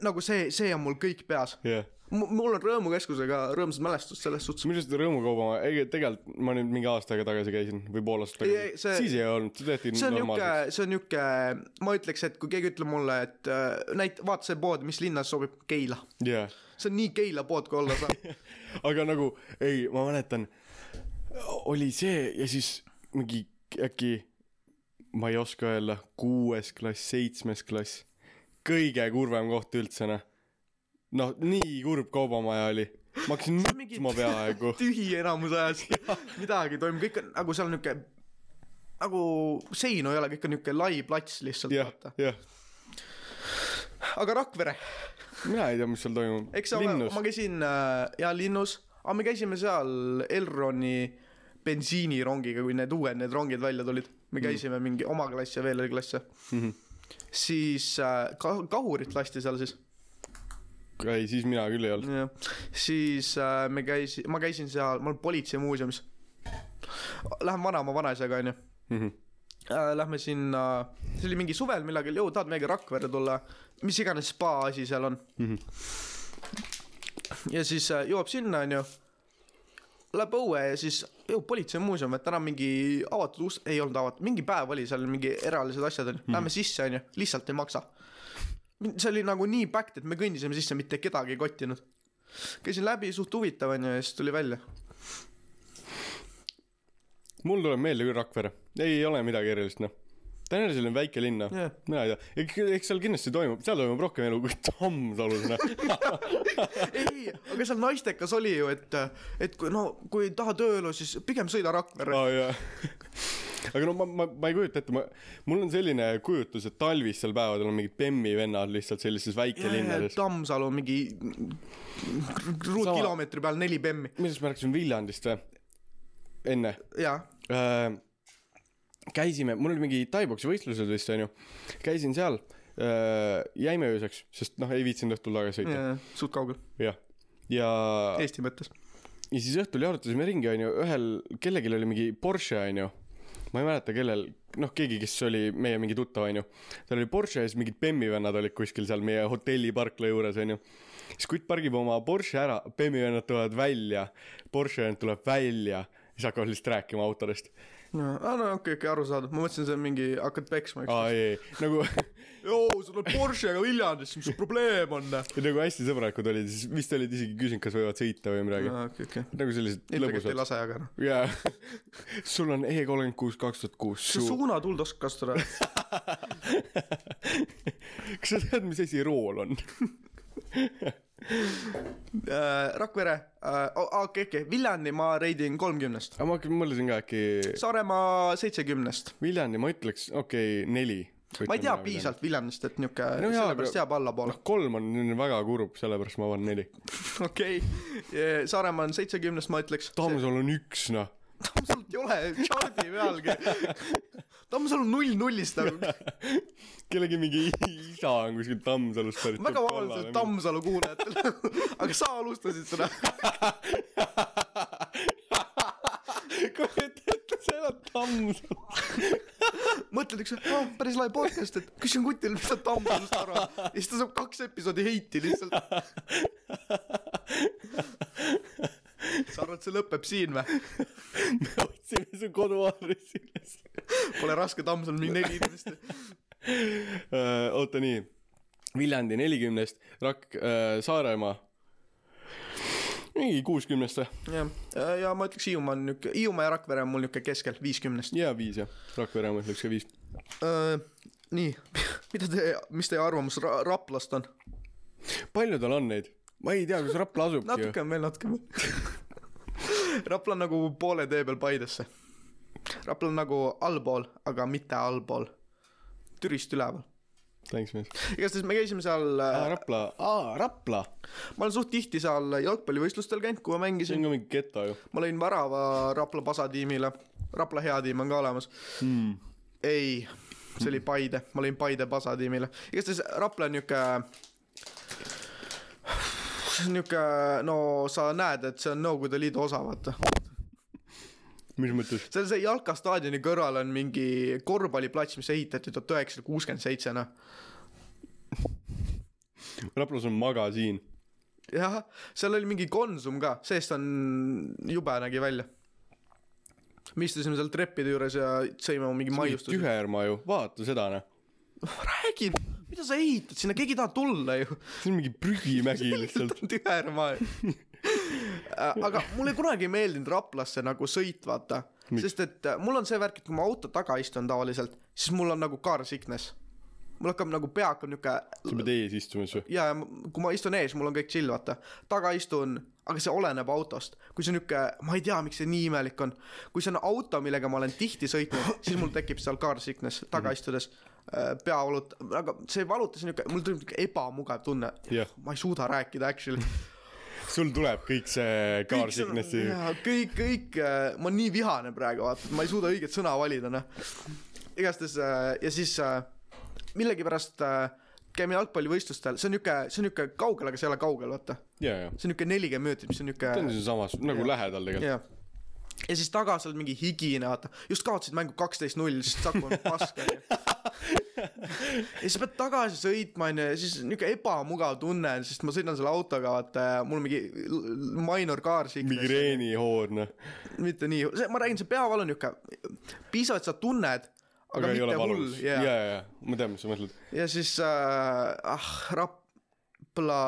[SPEAKER 2] nagu see , see on mul kõik peas
[SPEAKER 1] jah yeah.
[SPEAKER 2] M . mul on rõõmukeskusega rõõmsad mälestused selles suhtes .
[SPEAKER 1] minu arust Rõõmu kaubamaja , ei tegelikult ma nüüd mingi aasta aega tagasi käisin või pool
[SPEAKER 2] Ei,
[SPEAKER 1] aastat tagasi
[SPEAKER 2] ei, , see-
[SPEAKER 1] siis ei olnud , see tehti
[SPEAKER 2] see on niuke
[SPEAKER 1] Mm, normaalseks .,
[SPEAKER 2] see on niuke , ma ütleks , et kui keegi ütleb mulle , et äh, näit- , vaata see pood , mis linnas sobib , Keila .
[SPEAKER 1] jah yeah. ,
[SPEAKER 2] see on nii Keila pood , kui olla saab .
[SPEAKER 1] aga nagu ei , ma mäletan , oli see ja siis mingi äkki , ma ei oska öelda , kuues klass , seitsmes klass , kõige kurvem koht üldse noh , noh nii kurb kaubamaja oli , ma hakkasin
[SPEAKER 2] See on mingi-
[SPEAKER 1] nutma peaaegu
[SPEAKER 2] tühi enamus ajast , midagi ei toimu , kõik on nagu seal on niuke , nagu seinu ei ole , kõik on niuke lai plats lihtsalt
[SPEAKER 1] jah
[SPEAKER 2] yeah. , vaata .
[SPEAKER 1] jah ,
[SPEAKER 2] aga Rakvere ,
[SPEAKER 1] mina ei tea , mis seal toimub ,
[SPEAKER 2] eks ole ,
[SPEAKER 1] linnus
[SPEAKER 2] ma käisin äh, ja linnus , aga me käisime seal Elroni bensiinirongiga , kui need uued , need rongid välja tulid . me käisime mm. mingi oma klass ja veel oli klasse
[SPEAKER 1] mm . -hmm.
[SPEAKER 2] siis äh, ka- , kahurit lasti seal siis
[SPEAKER 1] ei , siis mina küll ei olnud .
[SPEAKER 2] jah , siis äh, me käis , ma käisin seal , ma olen politseimuuseumis . Lähen vanaema vanaisaga onju
[SPEAKER 1] Mhm.
[SPEAKER 2] äh, , lähme sinna , see oli mingi suvel millalgi , jõu tahad meiega Rakverre tulla , mis iganes spa asi seal on mm . -hmm. ja siis äh, jõuab sinna onju , läheb õue ja siis jõuab politseimuuseum , et täna mingi avatud ust , ei olnud avatud , mingi päev oli seal mingi eralised asjad onju , lähme sisse onju , lihtsalt ei maksa . see oli nagu nii packed , et me kõndisime sisse , mitte kedagi ei kottinud . käisin läbi , suht huvitav onju ja siis tuli välja .
[SPEAKER 1] mul tuleb meelde küll Rakvere , ei ole midagi erilist noh . Tänel selline väike linn noh
[SPEAKER 2] Jah.
[SPEAKER 1] yeah. , mina ei tea , eks , eks seal kindlasti toimub , seal toimub rohkem elu kui Tammsalus noh .
[SPEAKER 2] ei , aga seal naistekas oli ju , et , et kui no , kui ei taha tööelu , siis pigem sõida Rakverre .
[SPEAKER 1] aa jaa . aga no ma , ma , ma ei kujuta ette , ma , mul on selline kujutus , et talvistel päevadel on mingid bemmi vennad lihtsalt sellises väikelinnades .
[SPEAKER 2] Tammsalu mingi ruutkilomeetri peal neli bemmi .
[SPEAKER 1] millest ma rääkisin Viljandist või ? enne
[SPEAKER 2] jaa ,
[SPEAKER 1] äh, käisime , mul oli mingi taiboksi võistlused vist onju , käisin seal äh, , jäime ööseks , sest noh , ei viitsinud õhtul tagasi sõita
[SPEAKER 2] suht kaugel ,
[SPEAKER 1] jah , ja , ja
[SPEAKER 2] Eesti mõttes .
[SPEAKER 1] siis õhtul jalutasime ringi , onju , ühel , kellelgi oli mingi Porsche , onju . ma ei mäleta , kellel , noh , keegi , kes oli meie mingi tuttav , onju . tal oli Porsche ja siis mingid Bemmi vennad olid kuskil seal meie hotelliparkla juures , onju . siis kutt pargib oma Porsche ära , Bemmi vennad tulevad välja , Porsche vend tuleb välja ja siis hakkavad lihtsalt rääkima autodest .
[SPEAKER 2] aa no okei , okei , arusaadav , ma mõtlesin , see on mingi , hakkad peksma , eks .
[SPEAKER 1] aa ei , nagu
[SPEAKER 2] joo , sa tuled Porschega Viljandisse , mis su probleem on ?
[SPEAKER 1] nagu hästi sõbralikud olid , siis vist olid isegi küsinud , kas võivad sõita või midagi .
[SPEAKER 2] okei , okei .
[SPEAKER 1] nagu sellised
[SPEAKER 2] ilmselgelt ei
[SPEAKER 1] lõbusad .
[SPEAKER 2] lase , aga noh .
[SPEAKER 1] jaa , sul on E kolmkümmend kuus , kaks tuhat kuus .
[SPEAKER 2] sa suunad hullult oskad kasutada .
[SPEAKER 1] kas sa tead , mis asi rool on ?
[SPEAKER 2] Rakvere , okei , okei , Viljandi ma reidin kolmkümnest ,
[SPEAKER 1] aga ma hakkan- mõtlesin ka äkki
[SPEAKER 2] Saaremaa seitsekümnest .
[SPEAKER 1] Viljandi , ma ütleks , okei okay, , neli .
[SPEAKER 2] ma ei tea . piisavalt Viljandist , et niuke
[SPEAKER 1] No
[SPEAKER 2] no,
[SPEAKER 1] jaa,
[SPEAKER 2] sellepärast
[SPEAKER 1] aga-
[SPEAKER 2] jääb allapoole
[SPEAKER 1] noh , kolm on väga kurb , sellepärast ma panen neli .
[SPEAKER 2] okei okay. , Saaremaa on seitsekümnest , ma ütleks .
[SPEAKER 1] Tammsaal on üks , noh .
[SPEAKER 2] Tammsalult ei ole charti pealgi . Tammsalu null nullist nagu ,
[SPEAKER 1] kellegi mingi isa on kuskil Tammsalust pärit .
[SPEAKER 2] väga vabandust Tammsalu kuulajatele , aga sa alustasid seda .
[SPEAKER 1] kujuta ette , sa elad Tammsalus .
[SPEAKER 2] mõtled üks , et oh, päris lahe podcast , et küsin kutil , mis ta Tammsalust arvab ja siis ta saab kaks episoodi heiti lihtsalt . sa arvad , see lõpeb siin või ?
[SPEAKER 1] me otsime su koduaadressi üles .
[SPEAKER 2] Pole raske Tammsalul mingi neli inimest .
[SPEAKER 1] Äh, oota , nii . Viljandi nelikümnest , Rak- , Saaremaa . mingi kuuskümnest või ?
[SPEAKER 2] jah , Äh, ja ma ütleks Hiiumaa on niuke , Hiiumaa ja Rakvere on mul niuke keskel , viiskümnest .
[SPEAKER 1] jaa , viis jah . Rakvere oma ütleks ka viis .
[SPEAKER 2] nii mida te , mis teie arvamus ra- , Raplast on ?
[SPEAKER 1] palju tal on neid ? ma ei tea , kus Rapla asubki ju .
[SPEAKER 2] natuke on veel , natuke on veel . Rapla on nagu poole tee peal Paidesse . Rapla on nagu allpool , aga mitte allpool . Türist üleval .
[SPEAKER 1] Thanks , mees .
[SPEAKER 2] igastahes me käisime seal ,
[SPEAKER 1] aa ,
[SPEAKER 2] ma
[SPEAKER 1] Rapla , aa , Rapla .
[SPEAKER 2] olen suht tihti seal jalgpallivõistlustel käinud , kui ma
[SPEAKER 1] see
[SPEAKER 2] mängisin .
[SPEAKER 1] on ka mingi geto ju
[SPEAKER 2] ma lõin värava Rapla Pasa tiimile . Rapla hea tiim on ka olemas . Hmm.
[SPEAKER 1] mm. .
[SPEAKER 2] ei , see oli Paide , ma lõin Paide Pasa tiimile . igastahes Rapla on niuke , see on niuke , no sa näed , et see on Nõukogude Liidu osa , vaata
[SPEAKER 1] mis mõttes ?
[SPEAKER 2] seal see Jalka staadioni kõrval on mingi korvpalliplats , mis ehitati tuhat üheksasada kuuskümmend seitse , noh .
[SPEAKER 1] Raplas on magasiin .
[SPEAKER 2] jah , seal oli mingi Konsum ka , seest on , jube nägi välja . me istusime seal treppide juures ja sõime mingi maiustusi .
[SPEAKER 1] tüherma ju , vaata seda noh .
[SPEAKER 2] räägi , mida sa ehitad sinna , keegi ei taha tulla ju .
[SPEAKER 1] see on mingi prügimägi lihtsalt .
[SPEAKER 2] lihtsalt on tühermaa ju aga mulle kunagi ei meeldinud Raplasse nagu sõit , vaata .
[SPEAKER 1] Miks?
[SPEAKER 2] sest et äh, mul on see värk , et kui ma auto taga istun tavaliselt , siis mul on nagu car sickness . mul hakkab nagu pea hakkab niuke
[SPEAKER 1] sa pead ees istuma siis või ?
[SPEAKER 2] ja , ja m- kui ma istun ees , mul on kõik chill , vaata . taga istun , aga see oleneb autost . kui see on niuke , ma ei tea , miks see nii imelik on . kui see on auto , millega ma olen tihti sõitnud , siis mul tekib seal car sickness
[SPEAKER 1] Mhm.
[SPEAKER 2] taga istudes äh, pea valut- , aga see ei valuta , see on niuke , mul tuleb niuke ebamugav tunne
[SPEAKER 1] Jah.
[SPEAKER 2] ma ei suuda rääkida actually .
[SPEAKER 1] sul tuleb kõik see car sickness'i .
[SPEAKER 2] kõik , kõik , ma olen nii vihane praegu , vaata , ma ei suuda õiget sõna valida , noh . igastahes äh, ja siis äh, millegipärast äh, käime jalgpallivõistlustel , see on niuke , see on niuke kaugel , aga see ei ole kaugel , vaata .
[SPEAKER 1] ja , ja .
[SPEAKER 2] see on niuke nelikümmend minutit , mis on niuke
[SPEAKER 1] see on sealsamas nagu
[SPEAKER 2] Jah.
[SPEAKER 1] lähedal tegelikult .
[SPEAKER 2] jah . ja siis taga sa oled mingi higine , vaata , just kaotasid mängu kaksteist null , siis Saku on paske . ja siis sa pead tagasi sõitma , onju , ja siis niuke ebamugav tunne on , sest ma sõidan selle autoga , vaata , ja mul on mingi l- l- minor car sickness ,
[SPEAKER 1] migreenihoor noh .
[SPEAKER 2] mitte nii , ma räägin , see peavalu on niuke , piisavalt sa tunned , aga,
[SPEAKER 1] aga ei ole
[SPEAKER 2] mitte hull
[SPEAKER 1] valus ., ja , ja , ja , ma tean , mis sa mõtled .
[SPEAKER 2] ja siis äh, , ah , Rapla ,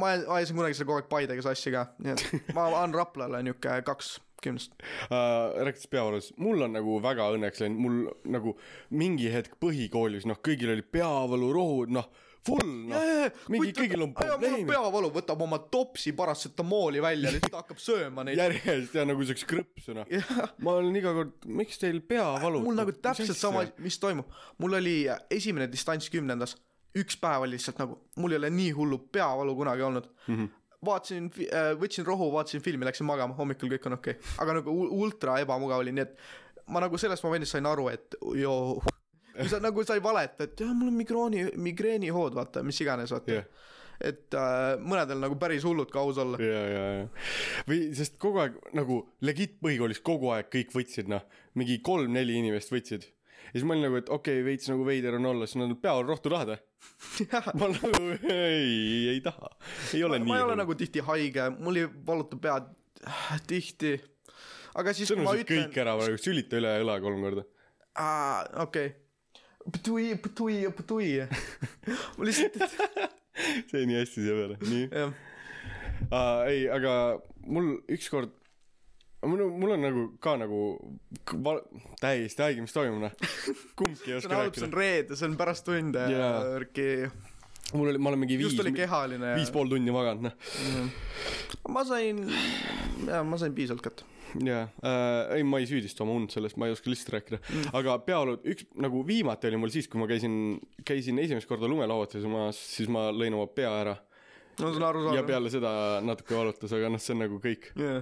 [SPEAKER 2] ma ajan- ajasin kunagi seal kogu aeg Paidega sassi ka , nii et ma annan Raplale niuke kaks kümnest .
[SPEAKER 1] äh, . rääkides peavalust , mul on nagu väga õnneks läinud , mul nagu mingi hetk põhikoolis , noh , kõigil oli peavalu , rohud , noh , full , noh , mingi , kõigil on
[SPEAKER 2] probleem .
[SPEAKER 1] probleemid
[SPEAKER 2] peavalu võtab oma topsi parasetamooli välja , lihtsalt hakkab sööma neid .
[SPEAKER 1] järjest ja nagu siukest krõpsu , noh . ma olen iga kord , miks teil pea valutab ?
[SPEAKER 2] mul nagu täpselt sama , mis toimub , mul oli esimene distants kümnendas , üks päev oli lihtsalt nagu , mul ei ole nii hullu peavalu kunagi olnud mm . -hmm vaatasin , võtsin rohu , vaatasin filmi , läksin magama , hommikul kõik on okei okay. , aga nagu ul- ultra ebamugav oli , nii et ma nagu selles momendis sain aru , et joo , kui sa nagu sa ei valeta , et jah , mul on migrooni , migreenihood , vaata , mis iganes , vaata
[SPEAKER 1] Jah.
[SPEAKER 2] yeah. et äh, mõnedel nagu päris hullud ka aus olla .
[SPEAKER 1] ja , ja , ja või sest kogu aeg nagu legit põhikoolis kogu aeg kõik võtsid noh , mingi kolm-neli inimest võtsid . ja siis ma olin nagu , et okei okay, , veits nagu veider on olla , siis nad peavad rohtu tahada . ma nagu ei , ei taha , ei ole
[SPEAKER 2] ma,
[SPEAKER 1] nii .
[SPEAKER 2] ma ei ole nagu tihti haige , mul ei valuta pead äh, tihti . aga siis , kui ma
[SPEAKER 1] sõnusid
[SPEAKER 2] ütlen
[SPEAKER 1] kõik , ära praegu , sülita üle õla kolm korda .
[SPEAKER 2] okei . Ptui , ptui , ptui . ma lihtsalt ,
[SPEAKER 1] see nii hästi siia peale , nii
[SPEAKER 2] jah .
[SPEAKER 1] uh, . ei , aga mul ükskord , mul , mul on nagu ka nagu k- val- täiesti haige , mis toimub noh . kumbki ei
[SPEAKER 2] see on
[SPEAKER 1] oska
[SPEAKER 2] halb , see
[SPEAKER 1] rääkida
[SPEAKER 2] on . reede , see on pärast tunde
[SPEAKER 1] Jaa.
[SPEAKER 2] värki .
[SPEAKER 1] mul oli , ma olen mingi viis
[SPEAKER 2] just , oli kehaline .
[SPEAKER 1] viis pool tundi maganud noh .
[SPEAKER 2] ma sain , jaa , ma sain piisavalt kätte .
[SPEAKER 1] jaa uh, , ei ma ei süüdista oma und sellest , ma ei oska lihtsalt rääkida mm. . aga peaolud , üks nagu viimati oli mul siis , kui ma käisin , käisin esimest korda lumelauates , ma , siis ma lõin oma pea ära .
[SPEAKER 2] ma saan aru
[SPEAKER 1] ja
[SPEAKER 2] saada .
[SPEAKER 1] peale seda natuke valutas , aga noh , see on nagu kõik .
[SPEAKER 2] jaa .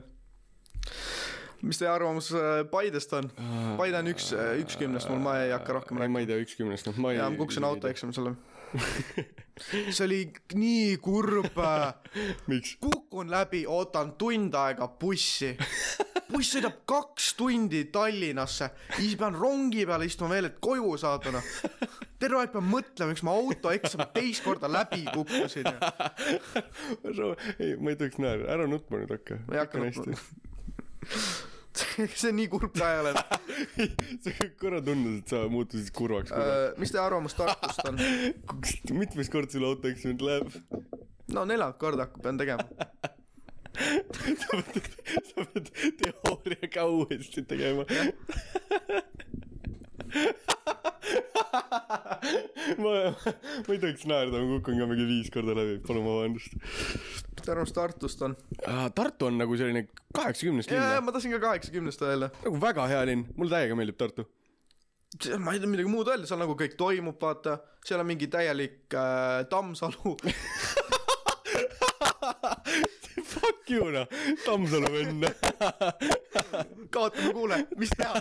[SPEAKER 2] mis teie arvamus äh, Paidest on ? Paide on üks , Äh, üks kümnest mul , ma ei hakka rohkem
[SPEAKER 1] ei , ma ei tea , üks kümnest , noh , ma ei .
[SPEAKER 2] ja ma kukkusin autoeksami selle see oli nii kurb
[SPEAKER 1] miks ?
[SPEAKER 2] kukun läbi ootan tund aega bussi buss sõidab kaks tundi Tallinnasse siis pean rongi peale istuma veel et koju saada noh terve aeg pean mõtlema miks ma autoeksami teist korda läbi kukkusin ja
[SPEAKER 1] ei , ma ei tohiks naerda , ära nutma nüüd hakka .
[SPEAKER 2] Ma ei hakka nutma. . see on nii kurb ka ei ole
[SPEAKER 1] sa korra tundus , et sa muutusid kurvaks korra .
[SPEAKER 2] Öö, Äh, mis teie arvamus Tartust on
[SPEAKER 1] mitmes kord sul autoeksamit läheb ?
[SPEAKER 2] no neljandat korda pean tegema
[SPEAKER 1] sa pead , sa pead teooria ka uuesti tegema . ma , ma ei tohiks naerda , ma kukun ka mingi viis korda läbi , palun vabandust .
[SPEAKER 2] arvamust Tartust on .
[SPEAKER 1] Tartu on nagu selline kaheksakümnest
[SPEAKER 2] ja , ja
[SPEAKER 1] linn , noh.
[SPEAKER 2] ma tahtsin ka kaheksakümnest öelda .
[SPEAKER 1] nagu väga hea linn , mulle täiega meeldib Tartu .
[SPEAKER 2] ma ei tea midagi muud öelda , seal nagu kõik toimub , vaata , seal on mingi täielik äh, Tammsalu ,
[SPEAKER 1] Fuck you noh , Tammsalu vend . noh.
[SPEAKER 2] kaotame kuule , mis teha .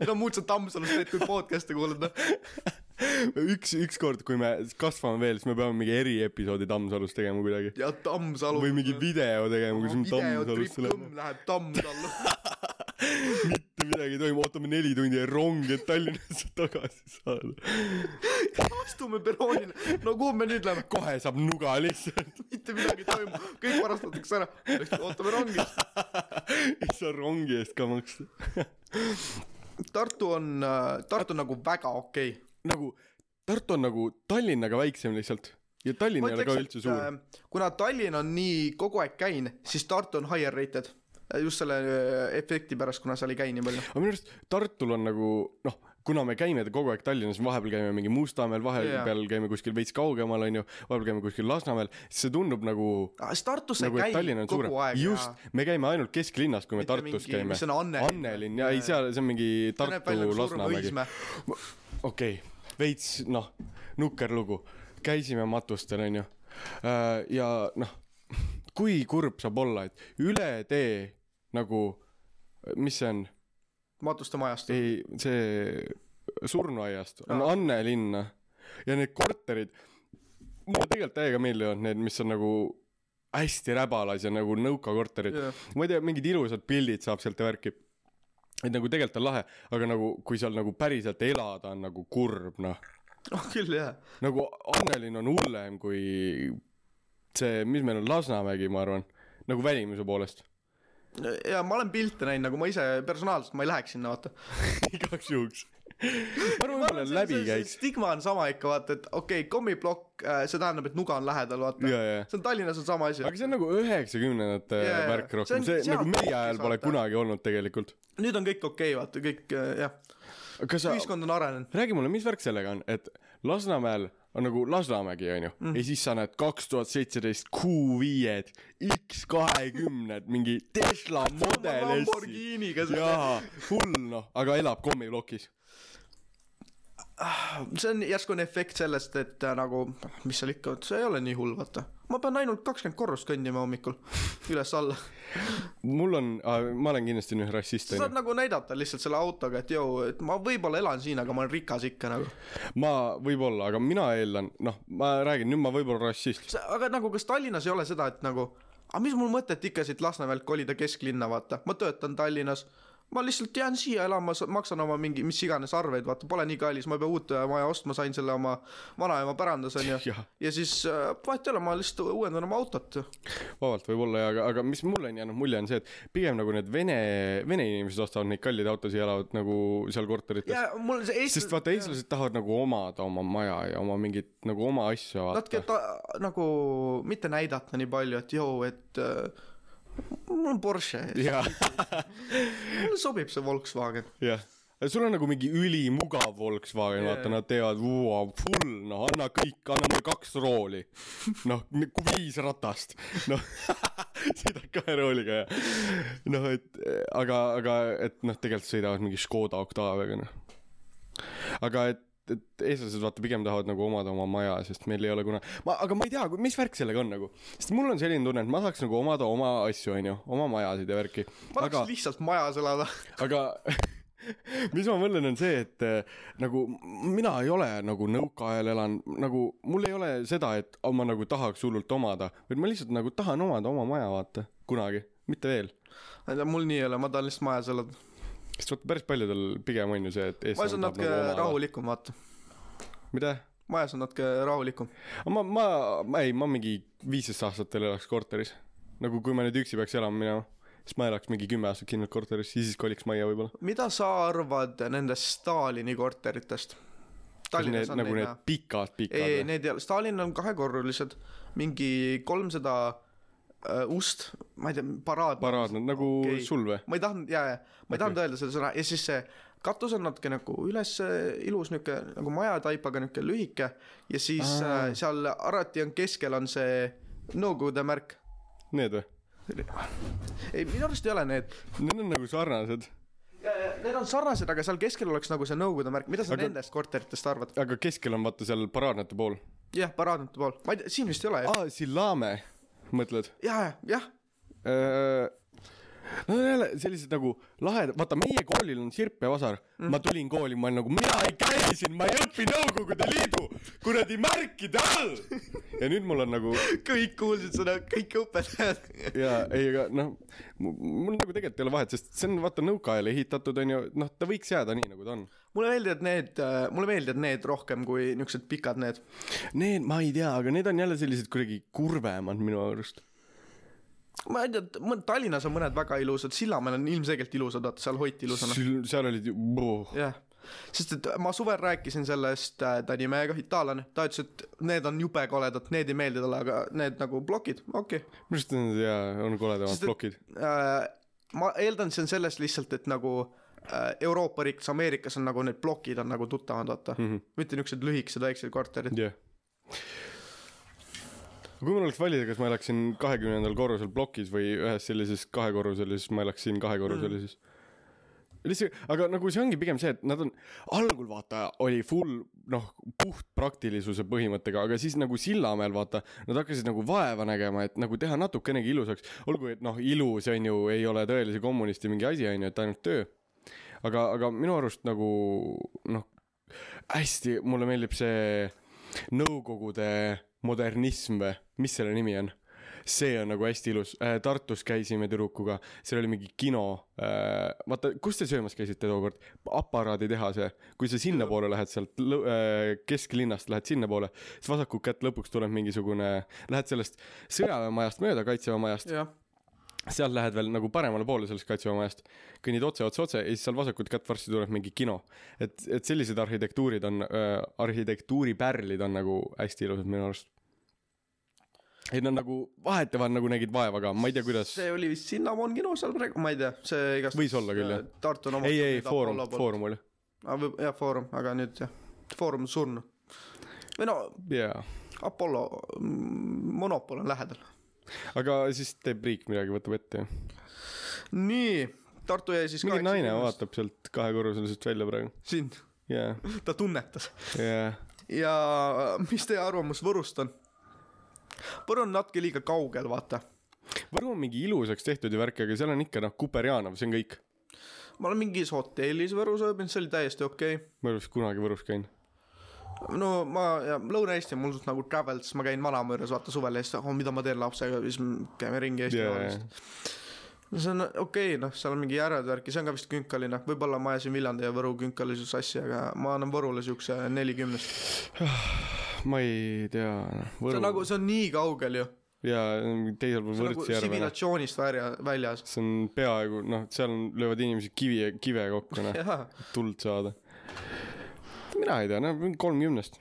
[SPEAKER 2] meil on muud seal Tammsalus teed kui podcast'e noh? kuulata .
[SPEAKER 1] üks , ükskord , kui me kasvame veel , siis me peame mingi eriepisoodi Tammsalus tegema kuidagi .
[SPEAKER 2] ja Tammsalu .
[SPEAKER 1] või mingi video tegema , kus me Tammsalusse läheme .
[SPEAKER 2] videotripp läheb Tammsallu .
[SPEAKER 1] mitte midagi ei toimu , ootame neli tundi ja rong , et Tallinnasse tagasi saada .
[SPEAKER 2] astume perroonile , no kuhu me nüüd läheme ?
[SPEAKER 1] kohe saab nuga lihtsalt .
[SPEAKER 2] mitte midagi ei toimu , kõik varastatakse ära . ootame rongi .
[SPEAKER 1] ei saa rongi eest ka maksta .
[SPEAKER 2] Tartu on , Tartu on nagu väga okei okay. .
[SPEAKER 1] nagu Tartu on nagu Tallinnaga väiksem lihtsalt ja Tallinn ei ole ka üldse suur .
[SPEAKER 2] äh, kuna Tallinn on nii kogu aeg käin , siis Tartu on higher rated . just selle äh, efekti pärast , kuna seal ei käi nii palju .
[SPEAKER 1] aga minu arust Tartul on nagu noh , kuna me käime kogu aeg Tallinnas , vahepeal käime mingi Mustamäel , vahepeal yeah. käime kuskil veits kaugemal , onju , vahepeal käime kuskil Lasnamäel , siis see tundub nagu ,
[SPEAKER 2] siis Tartus sa
[SPEAKER 1] nagu
[SPEAKER 2] ei
[SPEAKER 1] et Tallinn
[SPEAKER 2] käi
[SPEAKER 1] on suurem
[SPEAKER 2] kogu . aeg .
[SPEAKER 1] just , me käime ainult kesklinnas , kui me
[SPEAKER 2] Mitte
[SPEAKER 1] Tartus
[SPEAKER 2] mingi-
[SPEAKER 1] käime
[SPEAKER 2] mis see on, . Annelinn või?
[SPEAKER 1] Annelinn ja ei , seal , see on mingi
[SPEAKER 2] see näeb välja
[SPEAKER 1] Tartu ,
[SPEAKER 2] nagu suurem
[SPEAKER 1] Lasnamägi .
[SPEAKER 2] Õismäe .
[SPEAKER 1] okei okay, , veits noh , nukkerlugu , käisime matustel onju Äh, ja noh , kui kurb saab olla , et üle tee nagu , mis see on ,
[SPEAKER 2] Matuste majast .
[SPEAKER 1] ei see surnuaiast on
[SPEAKER 2] Aa.
[SPEAKER 1] Annelinna ja need korterid , mulle tegelikult täiega meeldivad need , mis on nagu hästi räbalas ja nagu nõukakorterid
[SPEAKER 2] Jah.
[SPEAKER 1] yeah. . ma ei tea , mingid ilusad pildid saab sealt ja värki . et nagu tegelikult on lahe , aga nagu kui seal nagu päriselt elada on nagu kurb noh
[SPEAKER 2] oh küll jah .
[SPEAKER 1] nagu Annelinn on hullem kui see , mis meil on Lasnamägi , ma arvan , nagu välimuse poolest .
[SPEAKER 2] ja ma olen pilte näinud , nagu ma ise personaalselt , ma ei läheks sinna vaata .
[SPEAKER 1] igaks juhuks . ma arvan , võib-olla läbi käiks .
[SPEAKER 2] stigma on sama ikka vaata , et okei okay, , kommiplokk , see tähendab , et nuga on lähedal , vaata
[SPEAKER 1] Jaa, jaa.
[SPEAKER 2] see on Tallinnas on sama asi
[SPEAKER 1] aga . see on nagu üheksakümnendate
[SPEAKER 2] Jaa, jaa.
[SPEAKER 1] värk
[SPEAKER 2] See
[SPEAKER 1] rohkem ,
[SPEAKER 2] on-
[SPEAKER 1] see
[SPEAKER 2] see on
[SPEAKER 1] nagu meie
[SPEAKER 2] kokku
[SPEAKER 1] ajal pole
[SPEAKER 2] saada.
[SPEAKER 1] kunagi olnud tegelikult .
[SPEAKER 2] nüüd on kõik okei okay, , vaata kõik äh, jah ,
[SPEAKER 1] kas sa ,
[SPEAKER 2] ühiskond on arenenud .
[SPEAKER 1] räägi mulle , mis värk sellega on , et Lasnamäel on nagu Lasnamägi , onju ,
[SPEAKER 2] Mm.
[SPEAKER 1] ja siis sa näed kaks tuhat seitseteist Q5-d , X-kahekümned , mingi Tesla Model S-i .
[SPEAKER 2] Lamborghiniga see ,
[SPEAKER 1] jaa , hull noh , aga elab kommiplokis
[SPEAKER 2] see on järsku on efekt sellest , et äh, nagu mis seal ikka , see ei ole nii hull , vaata ma pean ainult kakskümmend korrust kõndima hommikul üles-alla .
[SPEAKER 1] mul on , ma olen kindlasti nüüd rassist
[SPEAKER 2] sa saad
[SPEAKER 1] onju ,
[SPEAKER 2] nagu näidata lihtsalt selle autoga , et jõu , et ma võib-olla elan siin , aga ma olen rikas ikka nagu .
[SPEAKER 1] ma võib-olla , aga mina eeldan , noh , ma räägin , nüüd ma võib-olla olen rassist .
[SPEAKER 2] aga nagu kas Tallinnas ei ole seda , et nagu , aga mis mul mõtet ikka siit Lasnamäelt kolida kesklinna , vaata , ma töötan Tallinnas ma lihtsalt jään siia elama , maksan oma mingi , mis iganes arveid , vaata , pole nii kallis , ma ei pea uut äh, maja ostma , sain selle oma vanaema pärandas , onju .
[SPEAKER 1] jah ,
[SPEAKER 2] ja siis äh, vahet ei ole , ma lihtsalt uuendan oma autot .
[SPEAKER 1] vabalt võib-olla ja , aga , aga mis mulle on jäänud mulje , on see , et pigem nagu need vene , vene inimesed ostavad neid kalleid autosid ja elavad nagu seal korterites .
[SPEAKER 2] ja mul see Eesti
[SPEAKER 1] sest vaata , eestlased tahavad nagu omada oma maja ja oma mingit nagu oma asja
[SPEAKER 2] natuke
[SPEAKER 1] vaata .
[SPEAKER 2] ta nagu mitte näidata nii palju , et jõu , et äh, mul on Porsche ,
[SPEAKER 1] jah ,
[SPEAKER 2] mulle sobib see Volkswagen .
[SPEAKER 1] jah . sul on nagu mingi ülimugav Volkswagen ,
[SPEAKER 2] Jaa,
[SPEAKER 1] vaata ,
[SPEAKER 2] jaa.
[SPEAKER 1] nad teevad , full , noh , anna kõik , anna mulle kaks rooli . noh , viis ratast , noh , sõidad kahe rooliga ja noh , et eh, aga , aga et noh , tegelikult sõidavad mingi Škoda Octaviaga , noh . aga et , et eestlased vaata pigem tahavad nagu omada oma maja , sest meil ei ole kuna- , ma , aga ma ei tea , mis värk sellega on nagu , sest mul on selline tunne , et ma tahaks nagu omada oma asju , onju , oma majasid ja värki .
[SPEAKER 2] ma tahaks aga... lihtsalt majas elada .
[SPEAKER 1] aga mis ma mõtlen , on see , et eh, nagu mina ei ole nagu nõukaajal elan , nagu mul ei ole seda , et oh, ma nagu tahaks hullult omada , vaid ma lihtsalt nagu tahan omada oma maja , vaata , kunagi , mitte veel .
[SPEAKER 2] ma ei tea , mul nii ei ole , ma tahan lihtsalt majas elada .
[SPEAKER 1] sest vaata , päris paljudel pigem on ju see , et
[SPEAKER 2] majas on
[SPEAKER 1] eestlane tahab
[SPEAKER 2] natuke
[SPEAKER 1] nagu omada .
[SPEAKER 2] rahulikum , vaata .
[SPEAKER 1] mida ?
[SPEAKER 2] majas on natuke rahulikum .
[SPEAKER 1] ma , ma , ma ei , ma mingi viisteist aastatel elaks korteris . nagu kui ma nüüd üksi peaks elama minema , siis ma elaks mingi kümme aastat kindlalt korteris , siis siis koliks majja võib-olla .
[SPEAKER 2] mida sa arvad nendest Stalini korteritest ? Tallinnas on
[SPEAKER 1] nagu
[SPEAKER 2] neid
[SPEAKER 1] need
[SPEAKER 2] näha .
[SPEAKER 1] pikad , pikad .
[SPEAKER 2] ei , need ei ole , Stalin on kahekorrulised , mingi kolmsada äh, ust , ma ei tea , paraad .
[SPEAKER 1] paraadne , nagu
[SPEAKER 2] Okei.
[SPEAKER 1] sul või ?
[SPEAKER 2] ma ei tahtnud , jaa , jaa , ma ei
[SPEAKER 1] Okei.
[SPEAKER 2] tahtnud öelda selle sõna ja siis see katus on natuke nagu üles ilus niuke nagu majataipaga niuke lühike ja siis
[SPEAKER 1] Aa.
[SPEAKER 2] äh, seal alati on keskel on see Nõukogude märk .
[SPEAKER 1] Need või ?
[SPEAKER 2] ei , minu arust ei ole need ,
[SPEAKER 1] Need on nagu sarnased ,
[SPEAKER 2] need on sarnased , aga seal keskel oleks nagu see Nõukogude märk , mida sa
[SPEAKER 1] Aga-
[SPEAKER 2] aga... nendest korteritest arvad ?
[SPEAKER 1] aga keskel on vaata seal paraadnate pool .
[SPEAKER 2] jah , paraadmatu pool , ma ei tea , siin vist ei ole ju .
[SPEAKER 1] aa , Sillamäe , mõtled ? Äh.
[SPEAKER 2] ja , jah ,
[SPEAKER 1] no jälle sellised nagu lahedad , vaata meie koolil on Sirp ja Vasar mm. , ma tulin kooli , ma olin nagu mina ei käi siin , ma ei õpi Nõukogude Liidu kuradi märkide all . ja nüüd mul on nagu
[SPEAKER 2] kõik kuulsid seda , kõik õpetajad .
[SPEAKER 1] ja ei , aga noh , mul nagu tegelikult ei ole vahet , sest see on vaata nõukaajal ehitatud onju , noh , ta võiks jääda nii , nagu ta on .
[SPEAKER 2] mulle meeldivad need , mulle meeldivad need rohkem kui niuksed pikad need .
[SPEAKER 1] Need ma ei tea , aga need on jälle sellised kuidagi kurvemad minu arust .
[SPEAKER 2] ma ei tea , Tallinnas on mõned väga ilusad , Sillamäel on ilmselgelt ilusad , vaata seal hoiti ilusana .
[SPEAKER 1] seal olid ju ,
[SPEAKER 2] jah , sest et ma suvel rääkisin sellest äh, ta nimega itaallane , ta ütles , et need on jube koledad , need ei meeldi talle , aga need nagu plokid , okei okay. .
[SPEAKER 1] minu arust on jaa , on koledamad
[SPEAKER 2] Sest et-
[SPEAKER 1] plokid .
[SPEAKER 2] Äh, ma eeldan , see on sellest lihtsalt , et nagu äh, Euroopa riikides , Ameerikas on nagu need plokid on nagu tuttavad , vaata mm .
[SPEAKER 1] Mhm.
[SPEAKER 2] -hmm. mitte niisugused lühikesed väiksed korterid .
[SPEAKER 1] jah . kui mul oleks valida , kas ma elaksin kahekümnendal korrusel plokis või ühes sellises kahekorruselises , ma elaks siin kahekorruselises mm. . lihtsalt , aga nagu see ongi pigem see , et nad on , algul vaata oli full noh , puht praktilisuse põhimõttega , aga siis nagu Sillamäel vaata , nad hakkasid nagu vaeva nägema , et nagu teha natukenegi ilusaks , olgu et noh , ilus on ju , ei ole tõelise kommunisti mingi asi on ju , et ainult töö . aga , aga minu arust nagu noh , hästi , mulle meeldib see Nõukogude modernism või , mis selle nimi on ? see on nagu hästi ilus , Tartus käisime tüdrukuga , seal oli mingi kino , vaata , kus te söömas käisite tookord ? aparaaditehase , kui sa sinnapoole lähed sealt lõ- äh, kesklinnast lähed sinnapoole , siis vasakut kätt lõpuks tuleb mingisugune , lähed sellest sõjaväemajast mööda , kaitseväe majast ,
[SPEAKER 2] jah ,
[SPEAKER 1] sealt lähed veel nagu paremale poole sellest kaitseväemajast , kõnnid otse , otse , otse ja siis seal vasakut kätt varsti tuleb mingi kino . et , et sellised arhitektuurid on äh, , arhitektuuripärlid on nagu hästi ilusad minu arust . ei nad nagu vahetevahel nagu nägid vaeva ka , ma ei tea , kuidas .
[SPEAKER 2] see oli vist Cinnamon kino seal praegu , ma ei tea , see igast .
[SPEAKER 1] Võis olla küll, jah. .
[SPEAKER 2] Tartu on
[SPEAKER 1] ei , ei , Foorum , Foorum oli .
[SPEAKER 2] Foorum . Ah, jah , Foorum , aga nüüd jah , Foorum on surnud . või no
[SPEAKER 1] jaa .
[SPEAKER 2] Apollo mm, monopol on lähedal .
[SPEAKER 1] aga siis teeb riik midagi , võtab ette ju .
[SPEAKER 2] nii , Tartu jäi siis
[SPEAKER 1] mingi
[SPEAKER 2] kaheksa
[SPEAKER 1] naine
[SPEAKER 2] inimest.
[SPEAKER 1] vaatab sealt kahekorruselisest välja praegu .
[SPEAKER 2] sind ,
[SPEAKER 1] jaa ,
[SPEAKER 2] ta tunnetas .
[SPEAKER 1] jaa .
[SPEAKER 2] ja äh, mis teie arvamus Võrust on ? Võru on natuke liiga kaugel , vaata .
[SPEAKER 1] Võru on mingi ilusaks tehtud ja värk , aga seal on ikka noh , Kuperjanov , see on kõik .
[SPEAKER 2] ma olen mingis hotellis Võrus ööbinud , see oli täiesti okei okay. .
[SPEAKER 1] ma ei ole vist kunagi Võrus käinud .
[SPEAKER 2] no ma , Lõuna-Eesti on mul suht nagu travels , ma käin vanaema juures , vaata suvel ja siis oh, , mida ma teen lapsega , siis me käime ringi Eesti
[SPEAKER 1] jaa ,
[SPEAKER 2] yeah.
[SPEAKER 1] jaa .
[SPEAKER 2] no see on okei okay, , noh , seal on mingi järved värki , see on ka vist künkaline , võib-olla ma ajasin Viljandi ja Võru künkalisu sassi , aga ma annan Võrule siukse nelikümnest .
[SPEAKER 1] ma ei tea , noh ,
[SPEAKER 2] see
[SPEAKER 1] Võru
[SPEAKER 2] on nagu , see on nii kaugel ju .
[SPEAKER 1] ja teisel pool
[SPEAKER 2] see on nagu
[SPEAKER 1] Võrtsjärve nagu
[SPEAKER 2] tsivilatsioonist välja , väljas .
[SPEAKER 1] see on peaaegu noh , seal on- löövad inimesed kivi , kive kokku noh ,
[SPEAKER 2] jaa ,
[SPEAKER 1] tuld saada . mina ei tea , no mingi kolmkümnest .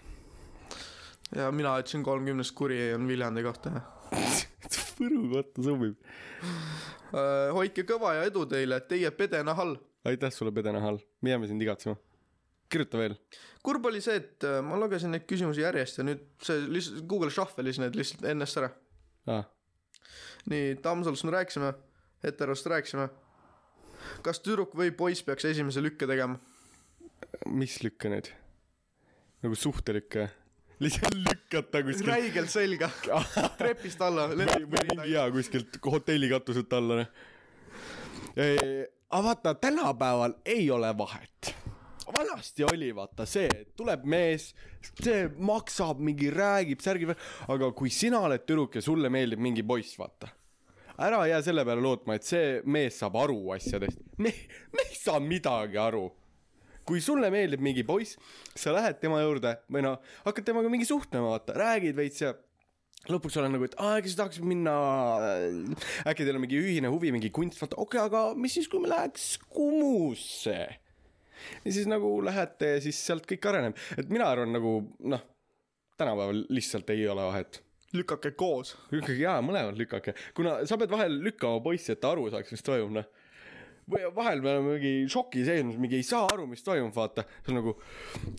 [SPEAKER 2] ja mina ütlesin kolmkümnest kuri ei olnud Viljandi kohta .
[SPEAKER 1] Võru kohta sobib .
[SPEAKER 2] Äh, hoidke kõva ja edu teile , teie pedenahal .
[SPEAKER 1] aitäh sulle , Pede Nahal , me jääme sind igatsema . kirjuta veel .
[SPEAKER 2] kurb oli see , et äh, ma lugesin neid küsimusi järjest ja nüüd see lihtsalt Google Shuffle'is need lihtsalt ennast ära .
[SPEAKER 1] aa ,
[SPEAKER 2] nii , Tammsalust me rääkisime , heterost rääkisime . kas tüdruk või poiss peaks esimese lükke tegema ?
[SPEAKER 1] mis lükke nüüd ? nagu suhtelükke ? lihtsalt lükata kuskilt
[SPEAKER 2] räigelt selga , trepist alla ,
[SPEAKER 1] või või mingi jaa kuskilt hotelli katuselt alla . aga vaata , tänapäeval ei ole vahet . vanasti oli vaata see , et tuleb mees , see maksab mingi , räägib , särgib , aga kui sina oled tüdruk ja sulle meeldib mingi poiss , vaata ära jää selle peale lootma , et see mees saab aru asjadest . me , me ei saa midagi aru kui sulle meeldib mingi poiss , sa lähed tema juurde või noh , hakkad temaga mingi suhtlema , vaata , räägid veits ja lõpuks olen nagu , et aa , äkki sa tahaksid minna , äkki teil on mingi ühine huvi , mingi kunst , vaata , okei okay, , aga mis siis , kui me läheks Kumusse ? ja siis nagu lähete ja siis sealt kõik areneb , et mina arvan nagu noh , tänapäeval lihtsalt ei ole vahet
[SPEAKER 2] lükake koos .
[SPEAKER 1] lükkage jaa , mõlemad lükake , kuna sa pead vahel lükkama poissi , et ta aru saaks , mis toimub , noh . või vahel me oleme mingi šoki sees , mingi ei saa aru , mis toimub , vaata . see on nagu ,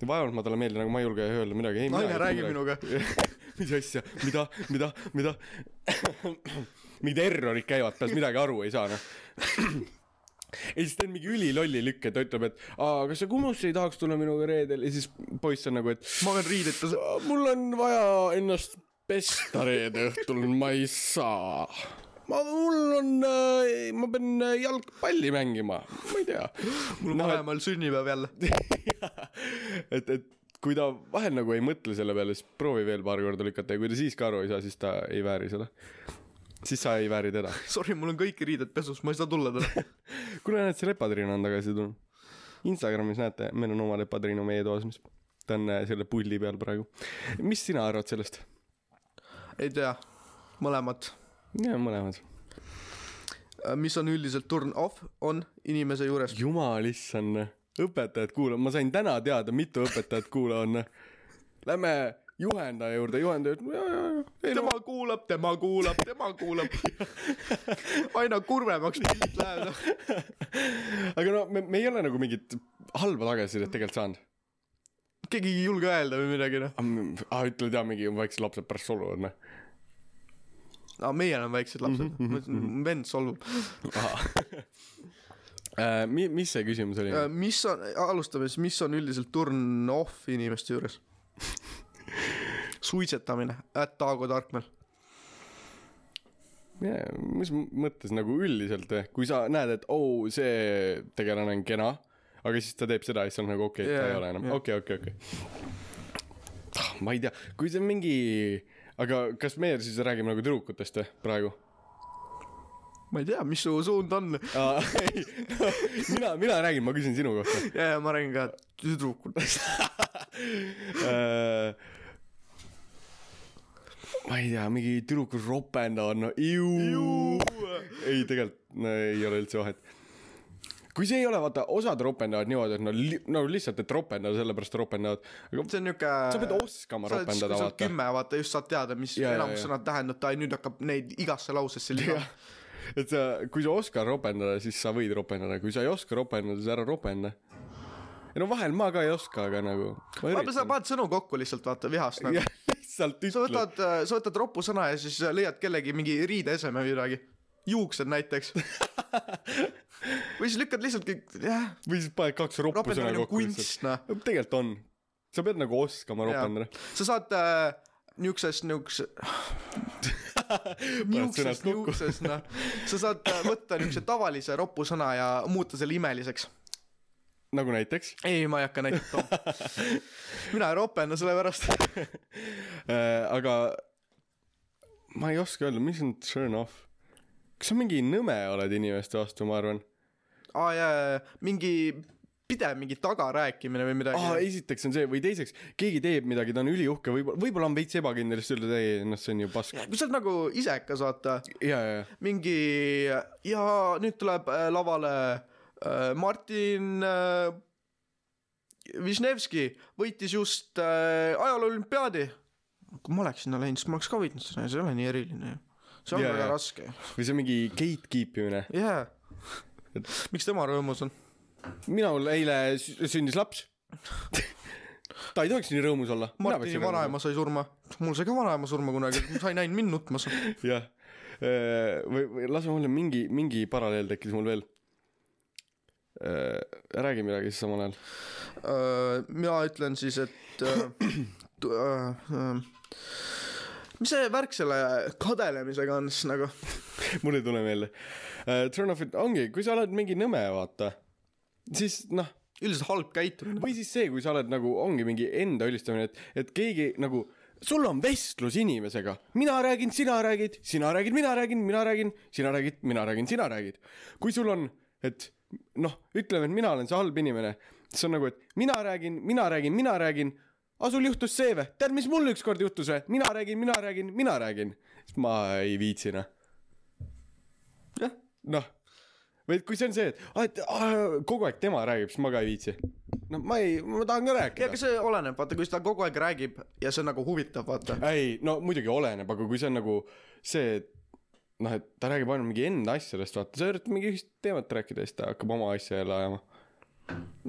[SPEAKER 1] vaevalt ma talle meeldin , nagu ma ei julge öelda midagi .
[SPEAKER 2] Naine räägib
[SPEAKER 1] mis asja , mida , mida , mida ? mingid errorid käivad peas , midagi aru ei saa , noh . ja siis teen mingi ülilolli lükke , ta ütleb , et aa , kas sa Kumusse ei tahaks tulla minuga reedel ja siis poiss on nagu , et
[SPEAKER 2] ma olen riideta ,
[SPEAKER 1] mul on vaja ennast pesta reede õhtul , ma ei saa . ma , mul on , ma pean äh, jalgpalli mängima , ma ei tea .
[SPEAKER 2] mul on vahemal sünnipäev jälle .
[SPEAKER 1] et , et kui ta vahel nagu ei mõtle selle peale , siis proovi veel paar korda lükata ja kui ta siis ka aru ei saa , siis ta ei vääri seda . siis sa ei vääri teda .
[SPEAKER 2] Sorry , mul on kõik riided pesus , ma ei saa tulla täna .
[SPEAKER 1] kuule , näed , see lepatriin on tagasi tulnud . Instagramis näete , meil on oma lepatriin meie toas , mis ta on äh, selle pulli peal praegu . mis sina arvad sellest ?
[SPEAKER 2] ei tea , mõlemad .
[SPEAKER 1] jaa , mõlemad
[SPEAKER 2] mis on üldiselt turn off , on inimese juures .
[SPEAKER 1] jumal issand , õpetajad kuulavad , ma sain täna teada , mitu õpetajat kuulaja on . Lähme juhendaja juurde , juhendaja ütleb ja , ja , ja , ei no
[SPEAKER 2] tema kuulab , tema kuulab , tema kuulab . aina kurvemaks pilt läheb . noh.
[SPEAKER 1] aga no me , me ei ole nagu mingit halba tagasisidet tegelikult saanud .
[SPEAKER 2] keegi ei julge öelda või midagi , noh .
[SPEAKER 1] aa , ah, ütle tea , mingi väiksed lapsed pärast solvuvad , noh .
[SPEAKER 2] aga meil on väiksed lapsed , vend solvub .
[SPEAKER 1] Äh, Mi- , mis see küsimus oli ?
[SPEAKER 2] mis on , alustame siis , mis on üldiselt turn off inimeste juures ? suitsetamine , at Taago Tarkmäel .
[SPEAKER 1] mis mõttes nagu üldiselt , kui sa näed , et oo oh, , see tegelane on kena , aga siis ta teeb seda ja siis on nagu okei okay, , ta
[SPEAKER 2] Jaa,
[SPEAKER 1] ei ole enam
[SPEAKER 2] jaa. ,
[SPEAKER 1] okei , okei , okei . ma ei tea , kui see on mingi , aga kas me siis räägime nagu tüdrukutest või praegu ?
[SPEAKER 2] ma ei tea , mis su suund on .
[SPEAKER 1] Ah, ei , mina , mina räägin , ma küsin sinu kohta .
[SPEAKER 2] ja , ja ma räägin ka tüdrukutest .
[SPEAKER 1] Äh, ma ei tea , mingi tüdruku ropenda on , no ei , tegelikult no, ei ole üldse vahet . kui see ei ole , vaata , osad ropendavad niimoodi , et no, li- no lihtsalt , et ropendada , sellepärast ropendavad . aga
[SPEAKER 2] see on niuke .
[SPEAKER 1] sa pead oskama ropendada , vaata .
[SPEAKER 2] kümme , vaata just saad teada , mis
[SPEAKER 1] Jaa, jaa,
[SPEAKER 2] enamus
[SPEAKER 1] jaa.
[SPEAKER 2] sõnad tähendab , ta nüüd hakkab neid igasse lausesse lisama .
[SPEAKER 1] et sa , kui sa oskad ropendada , siis sa võid ropendada , kui sa ei oska ropendada , siis ära ropenda . ja no vahel ma ka ei oska , aga nagu .
[SPEAKER 2] vahepeal sa paned sõnu kokku lihtsalt vaata vihast nagu .
[SPEAKER 1] lihtsalt
[SPEAKER 2] sa
[SPEAKER 1] ütled .
[SPEAKER 2] võtad , sa võtad ropu sõna ja siis äh, leiad kellegi mingi riideeseme või midagi . juuksed näiteks . või siis lükkad lihtsalt kõik , jah ,
[SPEAKER 1] või siis paned kaks roppu sõna
[SPEAKER 2] ropendamine on
[SPEAKER 1] kokku
[SPEAKER 2] kunst ,
[SPEAKER 1] lihtsalt .
[SPEAKER 2] noh .
[SPEAKER 1] tegelikult on . sa pead nagu oskama ropendada .
[SPEAKER 2] sa saad äh, niuksest , niuks- , niuksest ,
[SPEAKER 1] kokku.
[SPEAKER 2] niuksest , noh . sa saad äh, võtta niukse tavalise ropu sõna ja muuta selle imeliseks .
[SPEAKER 1] nagu näiteks
[SPEAKER 2] ei , ma ei hakka näiteks tooma . mina ei ropenda selle pärast .
[SPEAKER 1] äh, . aga ma ei oska öelda , mis on turn off . kas sa mingi nõme oled inimeste vastu , ma arvan .
[SPEAKER 2] aa jaa , jaa , jaa , mingi pidev mingi tagarääkimine või
[SPEAKER 1] aa ,
[SPEAKER 2] midagi .
[SPEAKER 1] Ah, esiteks on see või teiseks , keegi teeb midagi , ta on üliuhke , võib-olla , võib-olla on veits ebakindel , siis ütled ei , noh , see on ju pask .
[SPEAKER 2] kui sa oled nagu isekas , vaata
[SPEAKER 1] ja , ja ,
[SPEAKER 2] mingi ja nüüd tuleb äh, lavale äh, Martin äh, Višnevski võitis just äh, ajaloo-olümpiaadi . kui ma oleks sinna läinud , siis ma oleks ka võitnud seda , see ei ole nii eriline ju . see on
[SPEAKER 1] Jaa,
[SPEAKER 2] yeah, väga
[SPEAKER 1] jaa.
[SPEAKER 2] yeah. raske .
[SPEAKER 1] ja . või see on mingi gatekeep imine .
[SPEAKER 2] jaa . miks tema rõõmus on ?
[SPEAKER 1] minul eile sü- sündis laps . ta ei tohiks nii rõõmus olla .
[SPEAKER 2] Martini vanaema sai surma . mul sai ka vanaema surma kunagi , sa ei näinud mind nutmas .
[SPEAKER 1] jah , või , või lase mulle mingi , mingi paralleel tekkis mul veel . räägi midagi siis samal ajal .
[SPEAKER 2] Äh, mina ütlen siis , et äh, tu- äh, äh, mis see värk selle kadelemisega on siis nagu ?
[SPEAKER 1] mul ei tule meelde . Turn off , ongi , kui sa oled mingi nõme , vaata , siis noh ,
[SPEAKER 2] üldiselt halb käitumine .
[SPEAKER 1] või siis see , kui sa oled nagu , ongi mingi enda ülistamine , et , et keegi nagu , sul on vestlus inimesega , mina räägin , sina räägid , sina räägid , mina räägin , mina räägin , sina räägid , mina räägin , sina räägid . kui sul on , et noh , ütleme , et mina olen see halb inimene , siis on nagu , et mina räägin , mina räägin , mina räägin , aga sul juhtus see või , tead , mis mul ükskord juhtus või , mina räägin , mina räägin , mina räägin . siis ma ei viitsi noh ,
[SPEAKER 2] jah ,
[SPEAKER 1] noh , või et kui see on see , et aa , et aa, kogu aeg tema räägib , siis ma ka ei viitsi . no ma ei , ma tahan ka rääkida
[SPEAKER 2] ja . aga see oleneb , vaata , kui ta kogu aeg räägib ja see on nagu huvitav , vaata .
[SPEAKER 1] ei , no muidugi oleneb , aga kui see on nagu see , et noh , et ta räägib ainult mingi enda asjadest , vaata , sa üritad mingi ühist teemat rääkida ja siis ta hakkab oma asja jälle ajama .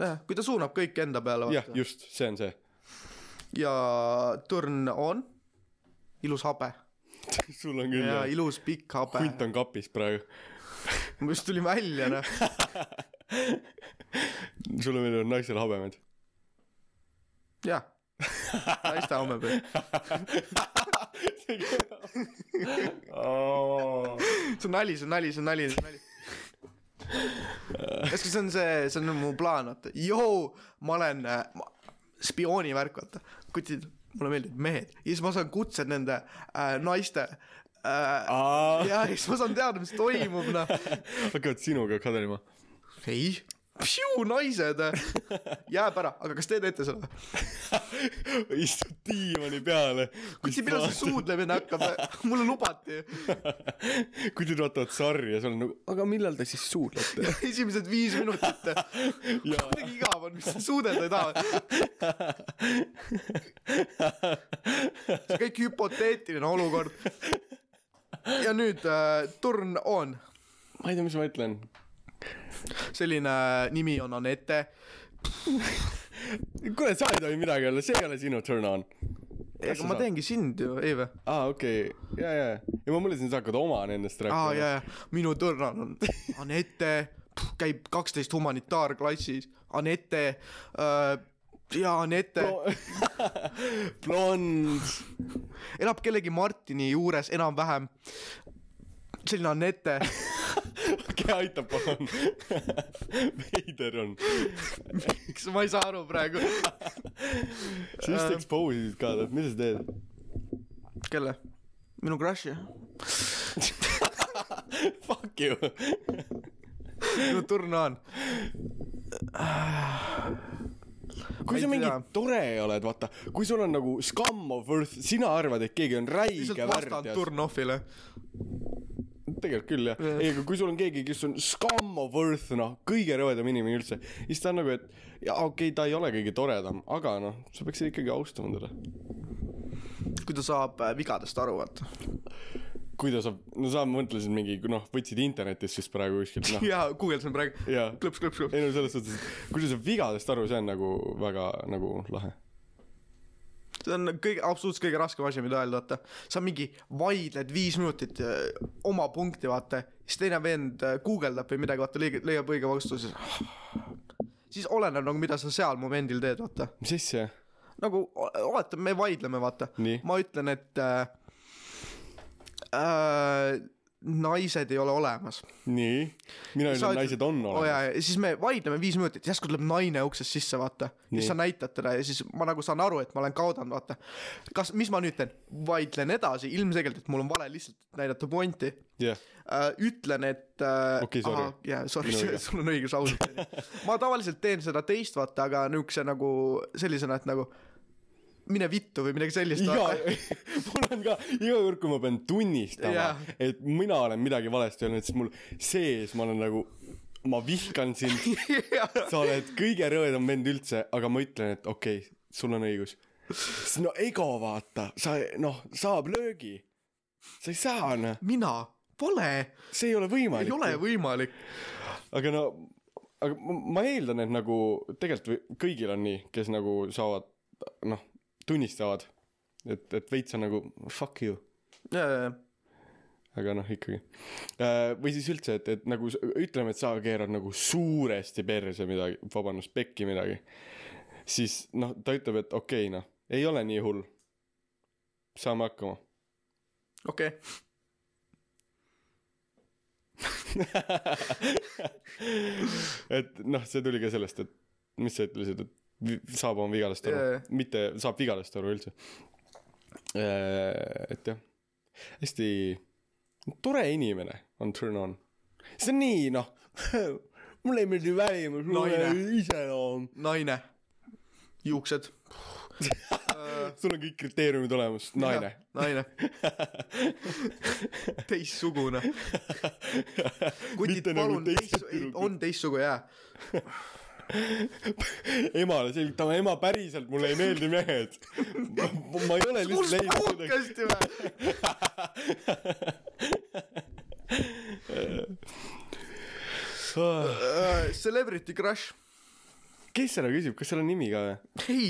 [SPEAKER 2] jah , kui ta suunab kõik enda peale ,
[SPEAKER 1] jah ,
[SPEAKER 2] vaata .
[SPEAKER 1] just , see on see .
[SPEAKER 2] ja turn on ilus habe
[SPEAKER 1] sul on küll
[SPEAKER 2] ja
[SPEAKER 1] jah ,
[SPEAKER 2] ilus pikk habe .
[SPEAKER 1] hunt on kapis praegu .
[SPEAKER 2] ma just tulin välja , noh .
[SPEAKER 1] sul on veel naisel habemed .
[SPEAKER 2] jah , naiste homme peal . see on nali , see on nali , see on nali , see on nali . kas see on see , see on mu plaan , vaata , joo , ma olen äh, ma- spiooni värk , vaata , kutid , mulle meeldivad mehed ja siis ma saan kutsed nende äh, naiste äh,
[SPEAKER 1] hakkavad
[SPEAKER 2] ja siis ma saan teada , mis toimub , noh .
[SPEAKER 1] sinuga kadelema .
[SPEAKER 2] ei , naised äh. jääb ära , aga kas te teete seda ?
[SPEAKER 1] istud diivani peale .
[SPEAKER 2] kutsi , millal see suudlemine hakkab , mulle lubati
[SPEAKER 1] kuidid vaatavad sarja , seal on nagu , aga millal te siis suudlete ?
[SPEAKER 2] esimesed viis minutit .
[SPEAKER 1] Jaa.
[SPEAKER 2] kuidagi igav on , mis sa suudelda ei taha . see on kõik hüpoteetiline olukord . ja nüüd äh, turn on ,
[SPEAKER 1] ma ei tea , mis ma ütlen .
[SPEAKER 2] selline äh, nimi on Anette .
[SPEAKER 1] kuule , sa ei tohi midagi öelda , see ei ole sinu turn on .
[SPEAKER 2] ega ma . teengi sind ju , ei või ?
[SPEAKER 1] aa , okei okay. , ja , ja , ja ma mõtlesin , sa hakkad oma nendest
[SPEAKER 2] aa
[SPEAKER 1] rääkima .
[SPEAKER 2] jaa , jaa , minu turn on on Anette , käib kaksteist humanitaarklassis , Anette äh, ja Anette no.
[SPEAKER 1] blond ,
[SPEAKER 2] elab kellegi Martini juures enam-vähem . selline Anette
[SPEAKER 1] okei , aitab , palun . veider on ,
[SPEAKER 2] miks ma ei saa aru praegu .
[SPEAKER 1] sa just expose'isid ka , tead , mida sa teed ?
[SPEAKER 2] kelle ? minu crush'i ,
[SPEAKER 1] Fuck you .
[SPEAKER 2] minu turnaan .
[SPEAKER 1] kui
[SPEAKER 2] ei
[SPEAKER 1] sa mingi
[SPEAKER 2] tea.
[SPEAKER 1] tore oled , vaata , kui sul on nagu scum of earth , sina arvad , et keegi on
[SPEAKER 2] lihtsalt
[SPEAKER 1] räige
[SPEAKER 2] vastan
[SPEAKER 1] värdjas .
[SPEAKER 2] turn-off'ile .
[SPEAKER 1] tegelikult küll jah ,
[SPEAKER 2] Jah.
[SPEAKER 1] ei aga kui sul on keegi , kes on scum of earth noh , kõige rõvedam inimene üldse , siis ta on nagu , et jaa okei okay, , ta ei ole kõige toredam , aga noh , sa peaksid ikkagi austama teda .
[SPEAKER 2] kui ta saab äh, vigadest aru , vaata .
[SPEAKER 1] kui ta saab , no sa mõtlesid mingi noh , võtsid internetist siis praegu kuskilt noh ,
[SPEAKER 2] jaa , guugeldasin praegu .
[SPEAKER 1] jaa .
[SPEAKER 2] klõps , klõps , klõps .
[SPEAKER 1] ei no selles suhtes , et kui ta saab vigadest aru , see on nagu väga nagu lahe .
[SPEAKER 2] see on kõige , absoluutselt kõige raskem asi , mida öelda , vaata . sa mingi vaidled viis minutit äh, oma punkti , vaata . siis teine vend äh, guugeldab või midagi , vaata , leiab , leiab õige vastuse . siis oleneb nagu , mida sa seal momendil teed , vaata
[SPEAKER 1] mis asja ?
[SPEAKER 2] nagu o- oletame , me vaidleme , vaata
[SPEAKER 1] Nii. .
[SPEAKER 2] ma ütlen , et äh, äh, naised ei ole olemas .
[SPEAKER 1] nii , mina
[SPEAKER 2] Sa
[SPEAKER 1] ütlen ,
[SPEAKER 2] ütled-
[SPEAKER 1] naised on
[SPEAKER 2] Oh,
[SPEAKER 1] olemas .
[SPEAKER 2] ja, ja siis me vaidleme viis minutit , järsku tuleb naine uksest sisse , vaata .
[SPEAKER 1] Nii.
[SPEAKER 2] siis sa näitad teda ja siis ma nagu saan aru , et ma olen kaotanud , vaata . kas , mis ma nüüd teen ? vaidlen edasi , ilmselgelt , et mul on vale lihtsalt näidata pointi
[SPEAKER 1] jah ,
[SPEAKER 2] äh, ütlen , et äh,
[SPEAKER 1] Okei, sorry.
[SPEAKER 2] ahah, jaa , sorry
[SPEAKER 1] Minu , viga.
[SPEAKER 2] sul on õigus , ausalt . ma tavaliselt teen seda teist , vaata , aga niisuguse nagu sellisena , et nagu mine vittu või midagi sellist .
[SPEAKER 1] iga
[SPEAKER 2] ja ,
[SPEAKER 1] mul on ka iga kord , kui ma pean tunnistama
[SPEAKER 2] Jah.
[SPEAKER 1] yeah. , et mina olen midagi valesti öelnud , siis mul sees ma olen nagu , ma vihkan sind , sa oled kõige rõvedam vend üldse , aga ma ütlen , et okei okay, , sul on õigus . no ego vaata , sa noh , saab löögi . sa ei saa noh ,
[SPEAKER 2] mina pole ,
[SPEAKER 1] see ei ole
[SPEAKER 2] ei ole
[SPEAKER 1] võimalik .
[SPEAKER 2] võimalik .
[SPEAKER 1] aga no , aga ma- ma eeldan , et nagu tegelikult või- kõigil on nii , kes nagu saavad noh , tunnistavad , et , et veits on nagu fuck you aga noh , ikkagi . või siis üldse , et , et nagu s- ütleme , et sa keerad nagu suuresti perse midagi , vabandust , pekki midagi . siis noh , ta ütleb , et okei okay, , noh , ei ole nii hull . saame hakkama .
[SPEAKER 2] okei ,
[SPEAKER 1] et noh , see tuli ka sellest , et mis sa ütlesid , et vi- saab oma vigadest aru
[SPEAKER 2] Jajah.
[SPEAKER 1] yeah. , mitte saab vigadest aru üldse . et jah , hästi tore inimene on turn on . see on nii noh , mulle ei meeldi välimus , mulle
[SPEAKER 2] Naine.
[SPEAKER 1] iseloom .
[SPEAKER 2] naine , juuksed ,
[SPEAKER 1] sul on kõik kriteeriumid olemas , naine .
[SPEAKER 2] naine , teistsugune . kutid ,
[SPEAKER 1] Mitte nagu
[SPEAKER 2] palun ,
[SPEAKER 1] teised
[SPEAKER 2] teist ,
[SPEAKER 1] tüdrukud.
[SPEAKER 2] on teistsugune , jaa .
[SPEAKER 1] emale selgitama , ema päriselt mulle ei meeldi mehed . ma ei ole
[SPEAKER 2] kus
[SPEAKER 1] lihtsalt leidnud
[SPEAKER 2] podcast'i või ?
[SPEAKER 1] Ah.
[SPEAKER 2] Äh, Celebrity Crush .
[SPEAKER 1] kes seda küsib , kas seal on nimi ka või ?
[SPEAKER 2] ei ,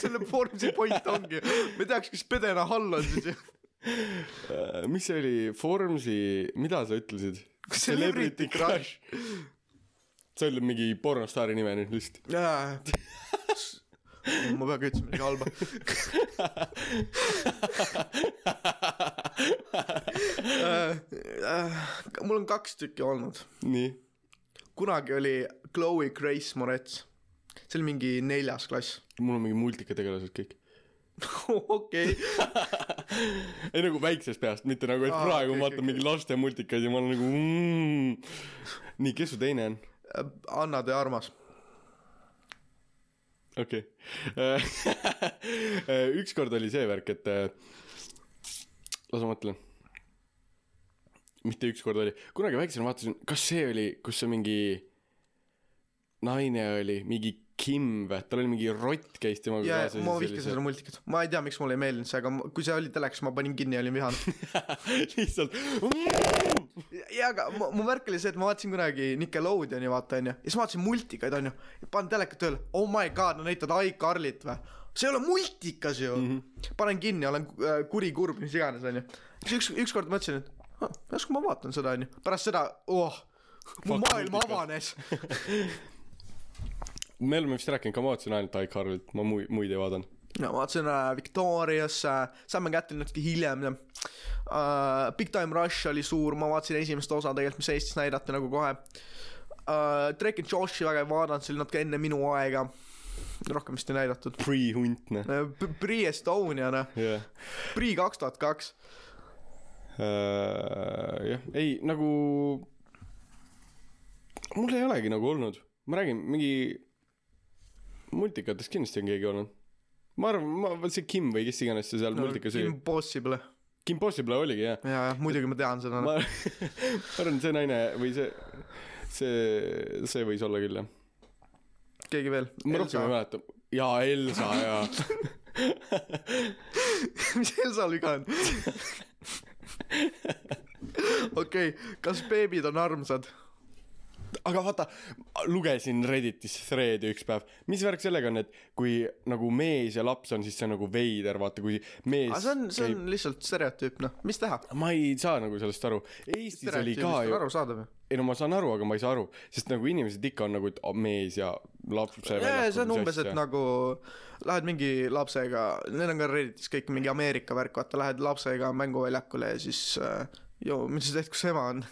[SPEAKER 2] selle Foorumsi point ongi , me teaks , kes Pedena Hall on siis ju .
[SPEAKER 1] Äh, mis see oli , Formsi , mida sa ütlesid ?
[SPEAKER 2] Celebrity Crush. .
[SPEAKER 1] see oli mingi pornostaari nime nüüd lihtsalt .
[SPEAKER 2] ma peagi ütlesime midagi halba . Äh, mul on kaks tükki olnud ,
[SPEAKER 1] nii ,
[SPEAKER 2] kunagi oli Chloe Grace Moretz , see oli mingi neljas klass .
[SPEAKER 1] mul on mingi multikategelased kõik .
[SPEAKER 2] okei ,
[SPEAKER 1] ei nagu väiksest peast , mitte nagu , et
[SPEAKER 2] Aa,
[SPEAKER 1] praegu
[SPEAKER 2] okei,
[SPEAKER 1] ma vaatan
[SPEAKER 2] okei,
[SPEAKER 1] mingi laste multikaid ja ma olen nagu mm. . nii , kes su teine on ?
[SPEAKER 2] Äh, Anna de Armas ,
[SPEAKER 1] okei okay. . ükskord oli see värk , et äh, las ma mõtlen . mitte ükskord oli , kunagi väiksena vaatasin , kas see oli , kus see mingi naine oli , mingi Kim või , tal oli mingi rott käis temaga
[SPEAKER 2] ja ,
[SPEAKER 1] kaasas ja
[SPEAKER 2] ma
[SPEAKER 1] siis oli
[SPEAKER 2] vihkasin
[SPEAKER 1] see-
[SPEAKER 2] seda multikat , ma ei tea , miks mulle ei meeldinud see , aga ma- kui see oli telekas , ma panin kinni ja olin vihane .
[SPEAKER 1] lihtsalt .
[SPEAKER 2] jaa , aga mu, mu värk oli see , et ma vaatasin kunagi Nickelodeoni , vaata onju , ja siis ma vaatasin multikaid onju , panen teleka tööle , oh my god , no näitad iCarlit või ? see ei ole multikas ju mm . -hmm. panen kinni , olen äh, kuri , kurb , mis iganes onju . siis üks , ükskord mõtlesin , et ah, las ma vaatan seda onju , pärast seda , oh , mu
[SPEAKER 1] Fuck
[SPEAKER 2] maailm
[SPEAKER 1] multikas.
[SPEAKER 2] avanes .
[SPEAKER 1] me oleme vist rääkinud ka , ma vaatasin ainult iCarlit , ma muid , muid ei vaadanud .
[SPEAKER 2] no vaatasin äh, Victoriasse äh, , saime kätte natuke hiljem ja äh, Big Time Rush oli suur , ma vaatasin esimest osa tegelikult , mis Eestis näidati nagu kohe äh, . Drake and Joshi väga ei vaadanud , see oli natuke enne minu aega , rohkem vist ei näidatud . Äh,
[SPEAKER 1] Pre-hunt , noh .
[SPEAKER 2] Prii Estonia , noh ,
[SPEAKER 1] jah ,
[SPEAKER 2] Prii kaks tuhat kaks ,
[SPEAKER 1] jah , ei nagu . mul ei olegi nagu olnud , ma räägin mingi . multikates kindlasti on keegi olnud . ma arvan , ma , see Kim või kes iganes see seal multikas oli ,
[SPEAKER 2] Impossible ,
[SPEAKER 1] Kim Possible oligi jah .
[SPEAKER 2] jaa , jah , muidugi ma tean seda noh. ma... ,
[SPEAKER 1] ma , ma arvan , see naine või see , see , see võis olla küll jah .
[SPEAKER 2] keegi veel .
[SPEAKER 1] ma rohkem ei mäleta . jaa , Elsa jaa
[SPEAKER 2] mis Elsal viga on ? okei okay, , kas beebid on armsad ?
[SPEAKER 1] aga vaata , lugesin Redditis thread'i üks päev , mis värk sellega on , et kui nagu mees ja laps on , siis see on nagu veider , vaata kui mees
[SPEAKER 2] aga see on , see on lihtsalt stereotüüp , noh , mis teha ?
[SPEAKER 1] käib... ma ei saa nagu sellest aru , Eestis oli ka ju ,
[SPEAKER 2] arusaadav ju .
[SPEAKER 1] ei no ma saan aru , aga ma ei saa aru , sest nagu inimesed ikka on nagu , et oh, mees ja laps .
[SPEAKER 2] jaa , see on umbes , et nagu lähed mingi lapsega , need on ka Redditis kõik mingi Ameerika värk , vaata , lähed lapsega mänguväljakule ja siis äh, joo , mis sa teed , kus ema on ?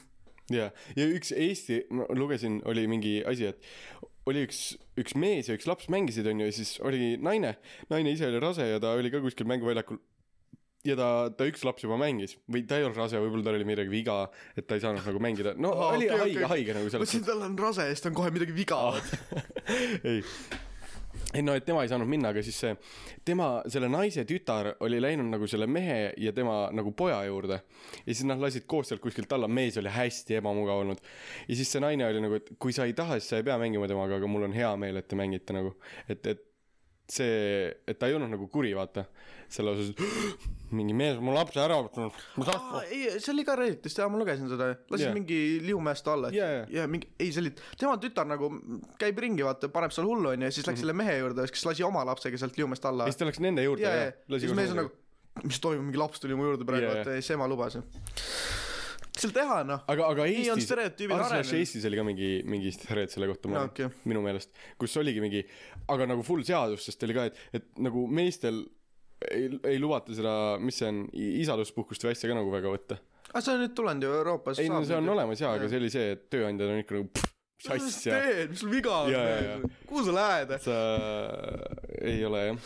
[SPEAKER 1] ja , ja üks Eesti , ma lugesin , oli mingi asi , et oli üks , üks mees ja üks laps mängisid , onju , ja siis oli naine , naine ise oli rase ja ta oli ka kuskil mänguväljakul . ja ta , ta üks laps juba mängis või ta ei olnud rase , võib-olla tal oli midagi viga , et ta ei saanud nagu mängida , no
[SPEAKER 2] Aa,
[SPEAKER 1] oh,
[SPEAKER 2] okei,
[SPEAKER 1] oli okay, haige
[SPEAKER 2] okei.
[SPEAKER 1] okay. , haige nagu selles
[SPEAKER 2] mõtlesin , tal on rase ja siis tal on kohe midagi viga .
[SPEAKER 1] mõttes , ei ei no , et tema ei saanud minna , aga siis see , tema , selle naise tütar oli läinud nagu selle mehe ja tema nagu poja juurde . ja siis nad lasid koos sealt kuskilt alla , mees oli hästi ebamugav olnud . ja siis see naine oli nagu , et kui sa ei taha , siis sa ei pea mängima temaga , aga mul on hea meel , et te mängite nagu . et , et see , et ta ei olnud nagu kuri , vaata . selle osas , et mingi mees on mu lapse ära võtnud . ma tahtsin .
[SPEAKER 2] ei , see oli ka Redditis , jaa , ma lugesin seda , lasin
[SPEAKER 1] Jaa.
[SPEAKER 2] yeah. mingi liumäest alla , et
[SPEAKER 1] Jaa,
[SPEAKER 2] yeah,
[SPEAKER 1] jaa.
[SPEAKER 2] yeah. ja mingi , ei see oli , tema tütar nagu käib ringi , vaata , paneb seal hullu onju ja siis läks mm -hmm. selle mehe juurde , kes lasi oma lapsega sealt liumäest alla
[SPEAKER 1] ja siis ta läks nende juurde
[SPEAKER 2] ja ,
[SPEAKER 1] ja,
[SPEAKER 2] ja , ja siis mees on nagu , mis toimub , mingi laps tuli mu juurde praegu ,
[SPEAKER 1] Jaa,
[SPEAKER 2] vaata , ja siis ema lubas ju . mis seal teha , noh .
[SPEAKER 1] aga , aga
[SPEAKER 2] Nii on
[SPEAKER 1] Eestis ,
[SPEAKER 2] stereotüübid arenenud.
[SPEAKER 1] Eestis oli ka mingi , mingi thread selle kohta , ma
[SPEAKER 2] Jaa,
[SPEAKER 1] arvan
[SPEAKER 2] okei.
[SPEAKER 1] okay. , minu meelest , kus oligi mingi , aga nagu full seadus , sest oli ka , et , et nagu meestel ei, ei lubata seda , mis see on , isaluspuhkust või asja ka nagu väga võtta .
[SPEAKER 2] aga Ah, see on nüüd tulenud ju Euroopas .
[SPEAKER 1] ei no see on olemas jaa , aga
[SPEAKER 2] Jaa.
[SPEAKER 1] see oli see , et tööandjad on ikka nagu pff, mis
[SPEAKER 2] mis sa
[SPEAKER 1] asja ,
[SPEAKER 2] teed , mis sul viga
[SPEAKER 1] Jaa, jaa,
[SPEAKER 2] on ? kuhu sa lähed ?
[SPEAKER 1] sa äh, ei ole jah ,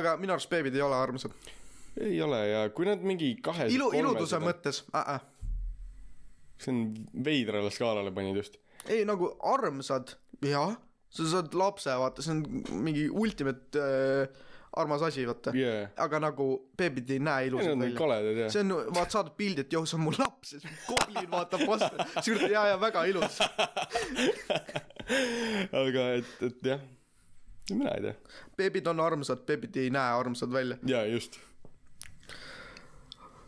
[SPEAKER 2] aga minu arust beebid ei ole armsad .
[SPEAKER 1] ei ole ja kui nad mingi kahe
[SPEAKER 2] ilu , iluduse . mõttes äh, , äh.
[SPEAKER 1] see on veidrale skaalale panid just .
[SPEAKER 2] ei nagu armsad , jah , sa saad lapse , vaata , see on mingi ultimate äh, armas asi , vaata .
[SPEAKER 1] jaa ,
[SPEAKER 2] aga nagu beebid ei näe
[SPEAKER 1] need
[SPEAKER 2] ilusad
[SPEAKER 1] on
[SPEAKER 2] välja .
[SPEAKER 1] koledad jah .
[SPEAKER 2] see on , vaat saadud pildi , et joh , see on mu laps ja siis koolin vaatab vastu , siis ütleb jaa , jaa , väga ilus .
[SPEAKER 1] aga et , et jah , mina ei tea .
[SPEAKER 2] beebid on armsad , beebid ei näe armsad välja .
[SPEAKER 1] jaa , just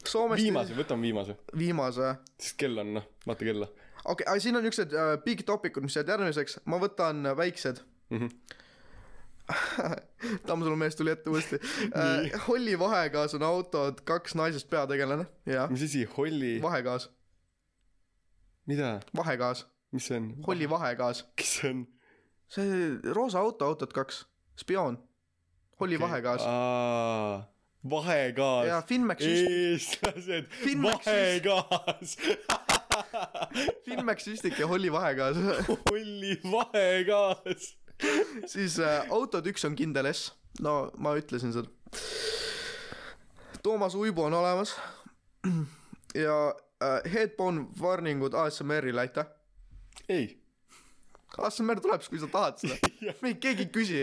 [SPEAKER 2] Soomest
[SPEAKER 1] viimase , võtame viimase ,
[SPEAKER 2] viimase
[SPEAKER 1] sest kell on noh , vaata kella
[SPEAKER 2] okei okay, , aga siin on niisugused äh, big topic'ud , mis jäävad järgmiseks , ma võtan äh, väiksed
[SPEAKER 1] mm . -hmm.
[SPEAKER 2] Tammsalu mees tuli ette uuesti äh, . Holli vahekaas on autod , kaks naisest peategelane , jah .
[SPEAKER 1] mis asi , holli ,
[SPEAKER 2] vahekaas ,
[SPEAKER 1] mida ,
[SPEAKER 2] vahekaas ,
[SPEAKER 1] mis see on ?
[SPEAKER 2] Holli vahekaas .
[SPEAKER 1] kes see on ?
[SPEAKER 2] see roosa auto , autod kaks , spioon , Holli okay. vahekaas .
[SPEAKER 1] vahekaas .
[SPEAKER 2] ja Finnmax Süst- ,
[SPEAKER 1] eestlased ,
[SPEAKER 2] Finnmax siis-
[SPEAKER 1] vahekaas ,
[SPEAKER 2] Finnmax Süstik ja Holli vahekaas .
[SPEAKER 1] Olli vahekaas .
[SPEAKER 2] siis äh, autod üks on kindel S , no ma ütlesin seda . Toomas Uibo on olemas ja äh, headphone warning'ud ASMR-ile , aitäh .
[SPEAKER 1] ei ,
[SPEAKER 2] ASMR tuleb siis , kui sa tahad seda . meid keegi ei küsi .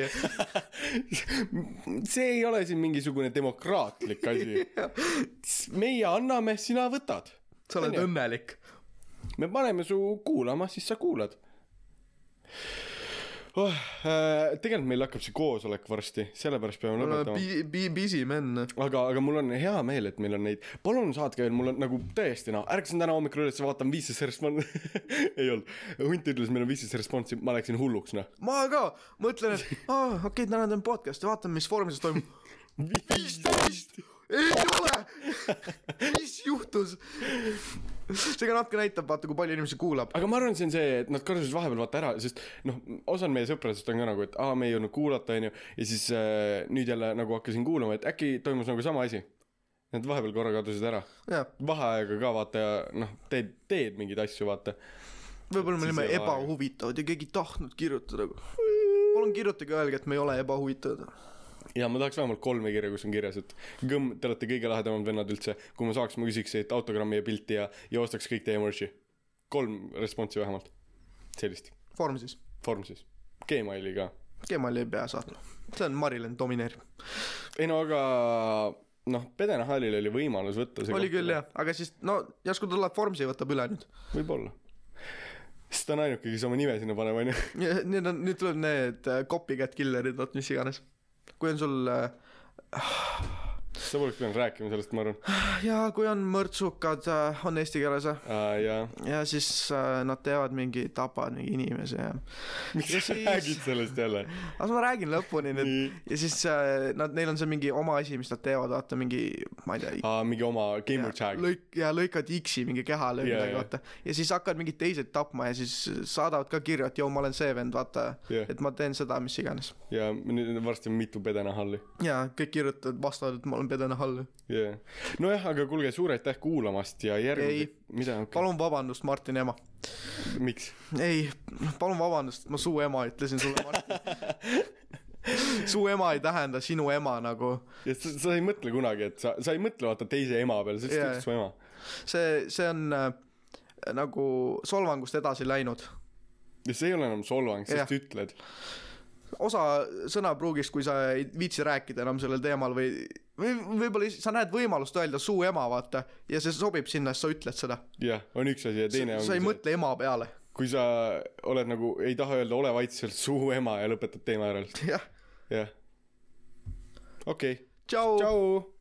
[SPEAKER 1] see ei ole siin mingisugune demokraatlik asi . meie anname , sina võtad .
[SPEAKER 2] sa oled
[SPEAKER 1] Onju.
[SPEAKER 2] õnnelik .
[SPEAKER 1] me paneme su kuulama , siis sa kuulad oh, . Äh, tegelikult meil hakkab see koosolek varsti , sellepärast peame
[SPEAKER 2] me
[SPEAKER 1] lõpetama
[SPEAKER 2] oleme . bi- , bi- , busy men .
[SPEAKER 1] aga , aga mul on hea meel , et meil on neid , palun saatke veel , mul on nagu tõesti noh , ärkasin täna hommikul üles , vaatan viisteist respon- , ei olnud , hunt ütles , meil on viisteist responsi , ma läksin hulluks noh .
[SPEAKER 2] ma ka mõtlen , et aa , okei okay, , täna teeme podcast'i , vaatame , mis vormis see toimub . viisteist ! ei ole . mis juhtus ? see ka natuke näitab , vaata , kui palju inimesi kuulab .
[SPEAKER 1] aga ma arvan , see on see , et nad karjusid vahepeal vaata ära , sest noh , osa meie sõpradest on ka nagu , et aa , me ei olnud kuulata , onju , ja siis äh, nüüd jälle nagu hakkasin kuulama , et äkki toimus nagu sama asi . Nad vahepeal korra kadusid ära ,
[SPEAKER 2] jah ,
[SPEAKER 1] vaheaega ka vaata ja noh , teed , teed mingeid asju , vaata .
[SPEAKER 2] võib-olla me
[SPEAKER 1] Siis
[SPEAKER 2] olime
[SPEAKER 1] ei ole aega.
[SPEAKER 2] ebahuvitavad ja keegi ei tahtnud kirjutada . palun kirjutage , öelge , et me ei ole ebahuvitavad .
[SPEAKER 1] ja ma tahaks vähemalt kolme kirja , kus on kirjas , et kõmm , te olete kõige lahedamad vennad üldse , kui ma saaks , ma küsiks teilt autogrammi ja pilti ja , ja ostaks kõik teie merch'i . kolm responsi vähemalt , sellist ,
[SPEAKER 2] vorm siis .
[SPEAKER 1] vorm siis , Gmaili ka .
[SPEAKER 2] Gmaili ei pea saatma . see on Marilyn domineeriv .
[SPEAKER 1] ei no aga noh , Pedenhalil oli võimalus võtta see
[SPEAKER 2] oli küll . jah , aga siis no järsku ta läheb Vormsi ja võtab üle nüüd .
[SPEAKER 1] võib-olla . sest ta on ainuke , kes oma nime sinna paneb , onju .
[SPEAKER 2] nüüd on , nüüd tuleb need äh, copycat killer'id , vot mis iganes . kui on sul äh,
[SPEAKER 1] sa poleks pidanud rääkima sellest , ma arvan
[SPEAKER 2] ja kui on mõrtsukad , on eesti keeles jah ,
[SPEAKER 1] uh, . ja
[SPEAKER 2] ja siis äh, nad teevad mingi , tapavad mingi inimese ja .
[SPEAKER 1] miks
[SPEAKER 2] Ja
[SPEAKER 1] sa
[SPEAKER 2] siis-
[SPEAKER 1] räägid sellest jälle ?
[SPEAKER 2] las ma räägin lõpuni nüüd
[SPEAKER 1] Nii.
[SPEAKER 2] ja siis äh, nad , neil on see mingi oma asi , mis nad teevad , vaata mingi , ma ei tea .
[SPEAKER 1] Uh, mingi oma gamer tag .
[SPEAKER 2] lõik- , ja lõikad X-i mingi kehale või
[SPEAKER 1] Jaa,
[SPEAKER 2] midagi ,
[SPEAKER 1] jaa.
[SPEAKER 2] vaata . ja siis hakkavad mingid teised tapma ja siis saadavad ka kirja , et joo , ma olen see vend , vaata .
[SPEAKER 1] Jah.
[SPEAKER 2] et ma teen seda , mis iganes .
[SPEAKER 1] ja nüüd varsti on mitu Pedenhali .
[SPEAKER 2] ja kõik kirjutavad , vastavad , et ma olen Pedene Hall .
[SPEAKER 1] jah , nojah , aga kuulge , suur aitäh kuulamast ja järgmine
[SPEAKER 2] Ei. ,
[SPEAKER 1] mida okay. ,
[SPEAKER 2] palun vabandust , Martini ema .
[SPEAKER 1] miks ?
[SPEAKER 2] ei , palun vabandust , ma su ema ütlesin sulle , Martin . su ema ei tähenda sinu ema nagu .
[SPEAKER 1] et sa, sa ei mõtle kunagi , et sa , sa ei mõtle vaata teise ema peale , sa
[SPEAKER 2] Jaa.
[SPEAKER 1] lihtsalt ütled su ema .
[SPEAKER 2] see , see on äh, nagu solvangust edasi läinud
[SPEAKER 1] ja see ei ole enam solvang ,
[SPEAKER 2] Jah.
[SPEAKER 1] sest sa ütled .
[SPEAKER 2] osa sõnapruugist , kui sa ei viitsi rääkida enam sellel teemal või , või võib-olla is- sa näed võimalust öelda su ema , vaata , ja see sobib sinna , sa ütled seda .
[SPEAKER 1] jah , on üks asi ja teine on
[SPEAKER 2] sa ei
[SPEAKER 1] see ,
[SPEAKER 2] mõtle ema peale .
[SPEAKER 1] kui sa oled nagu , ei taha öelda ole vait , sa oled su ema ja lõpetad teema ära lihtsalt ,
[SPEAKER 2] jah ,
[SPEAKER 1] jah . okei okay. ,
[SPEAKER 2] tšau .
[SPEAKER 1] tšau .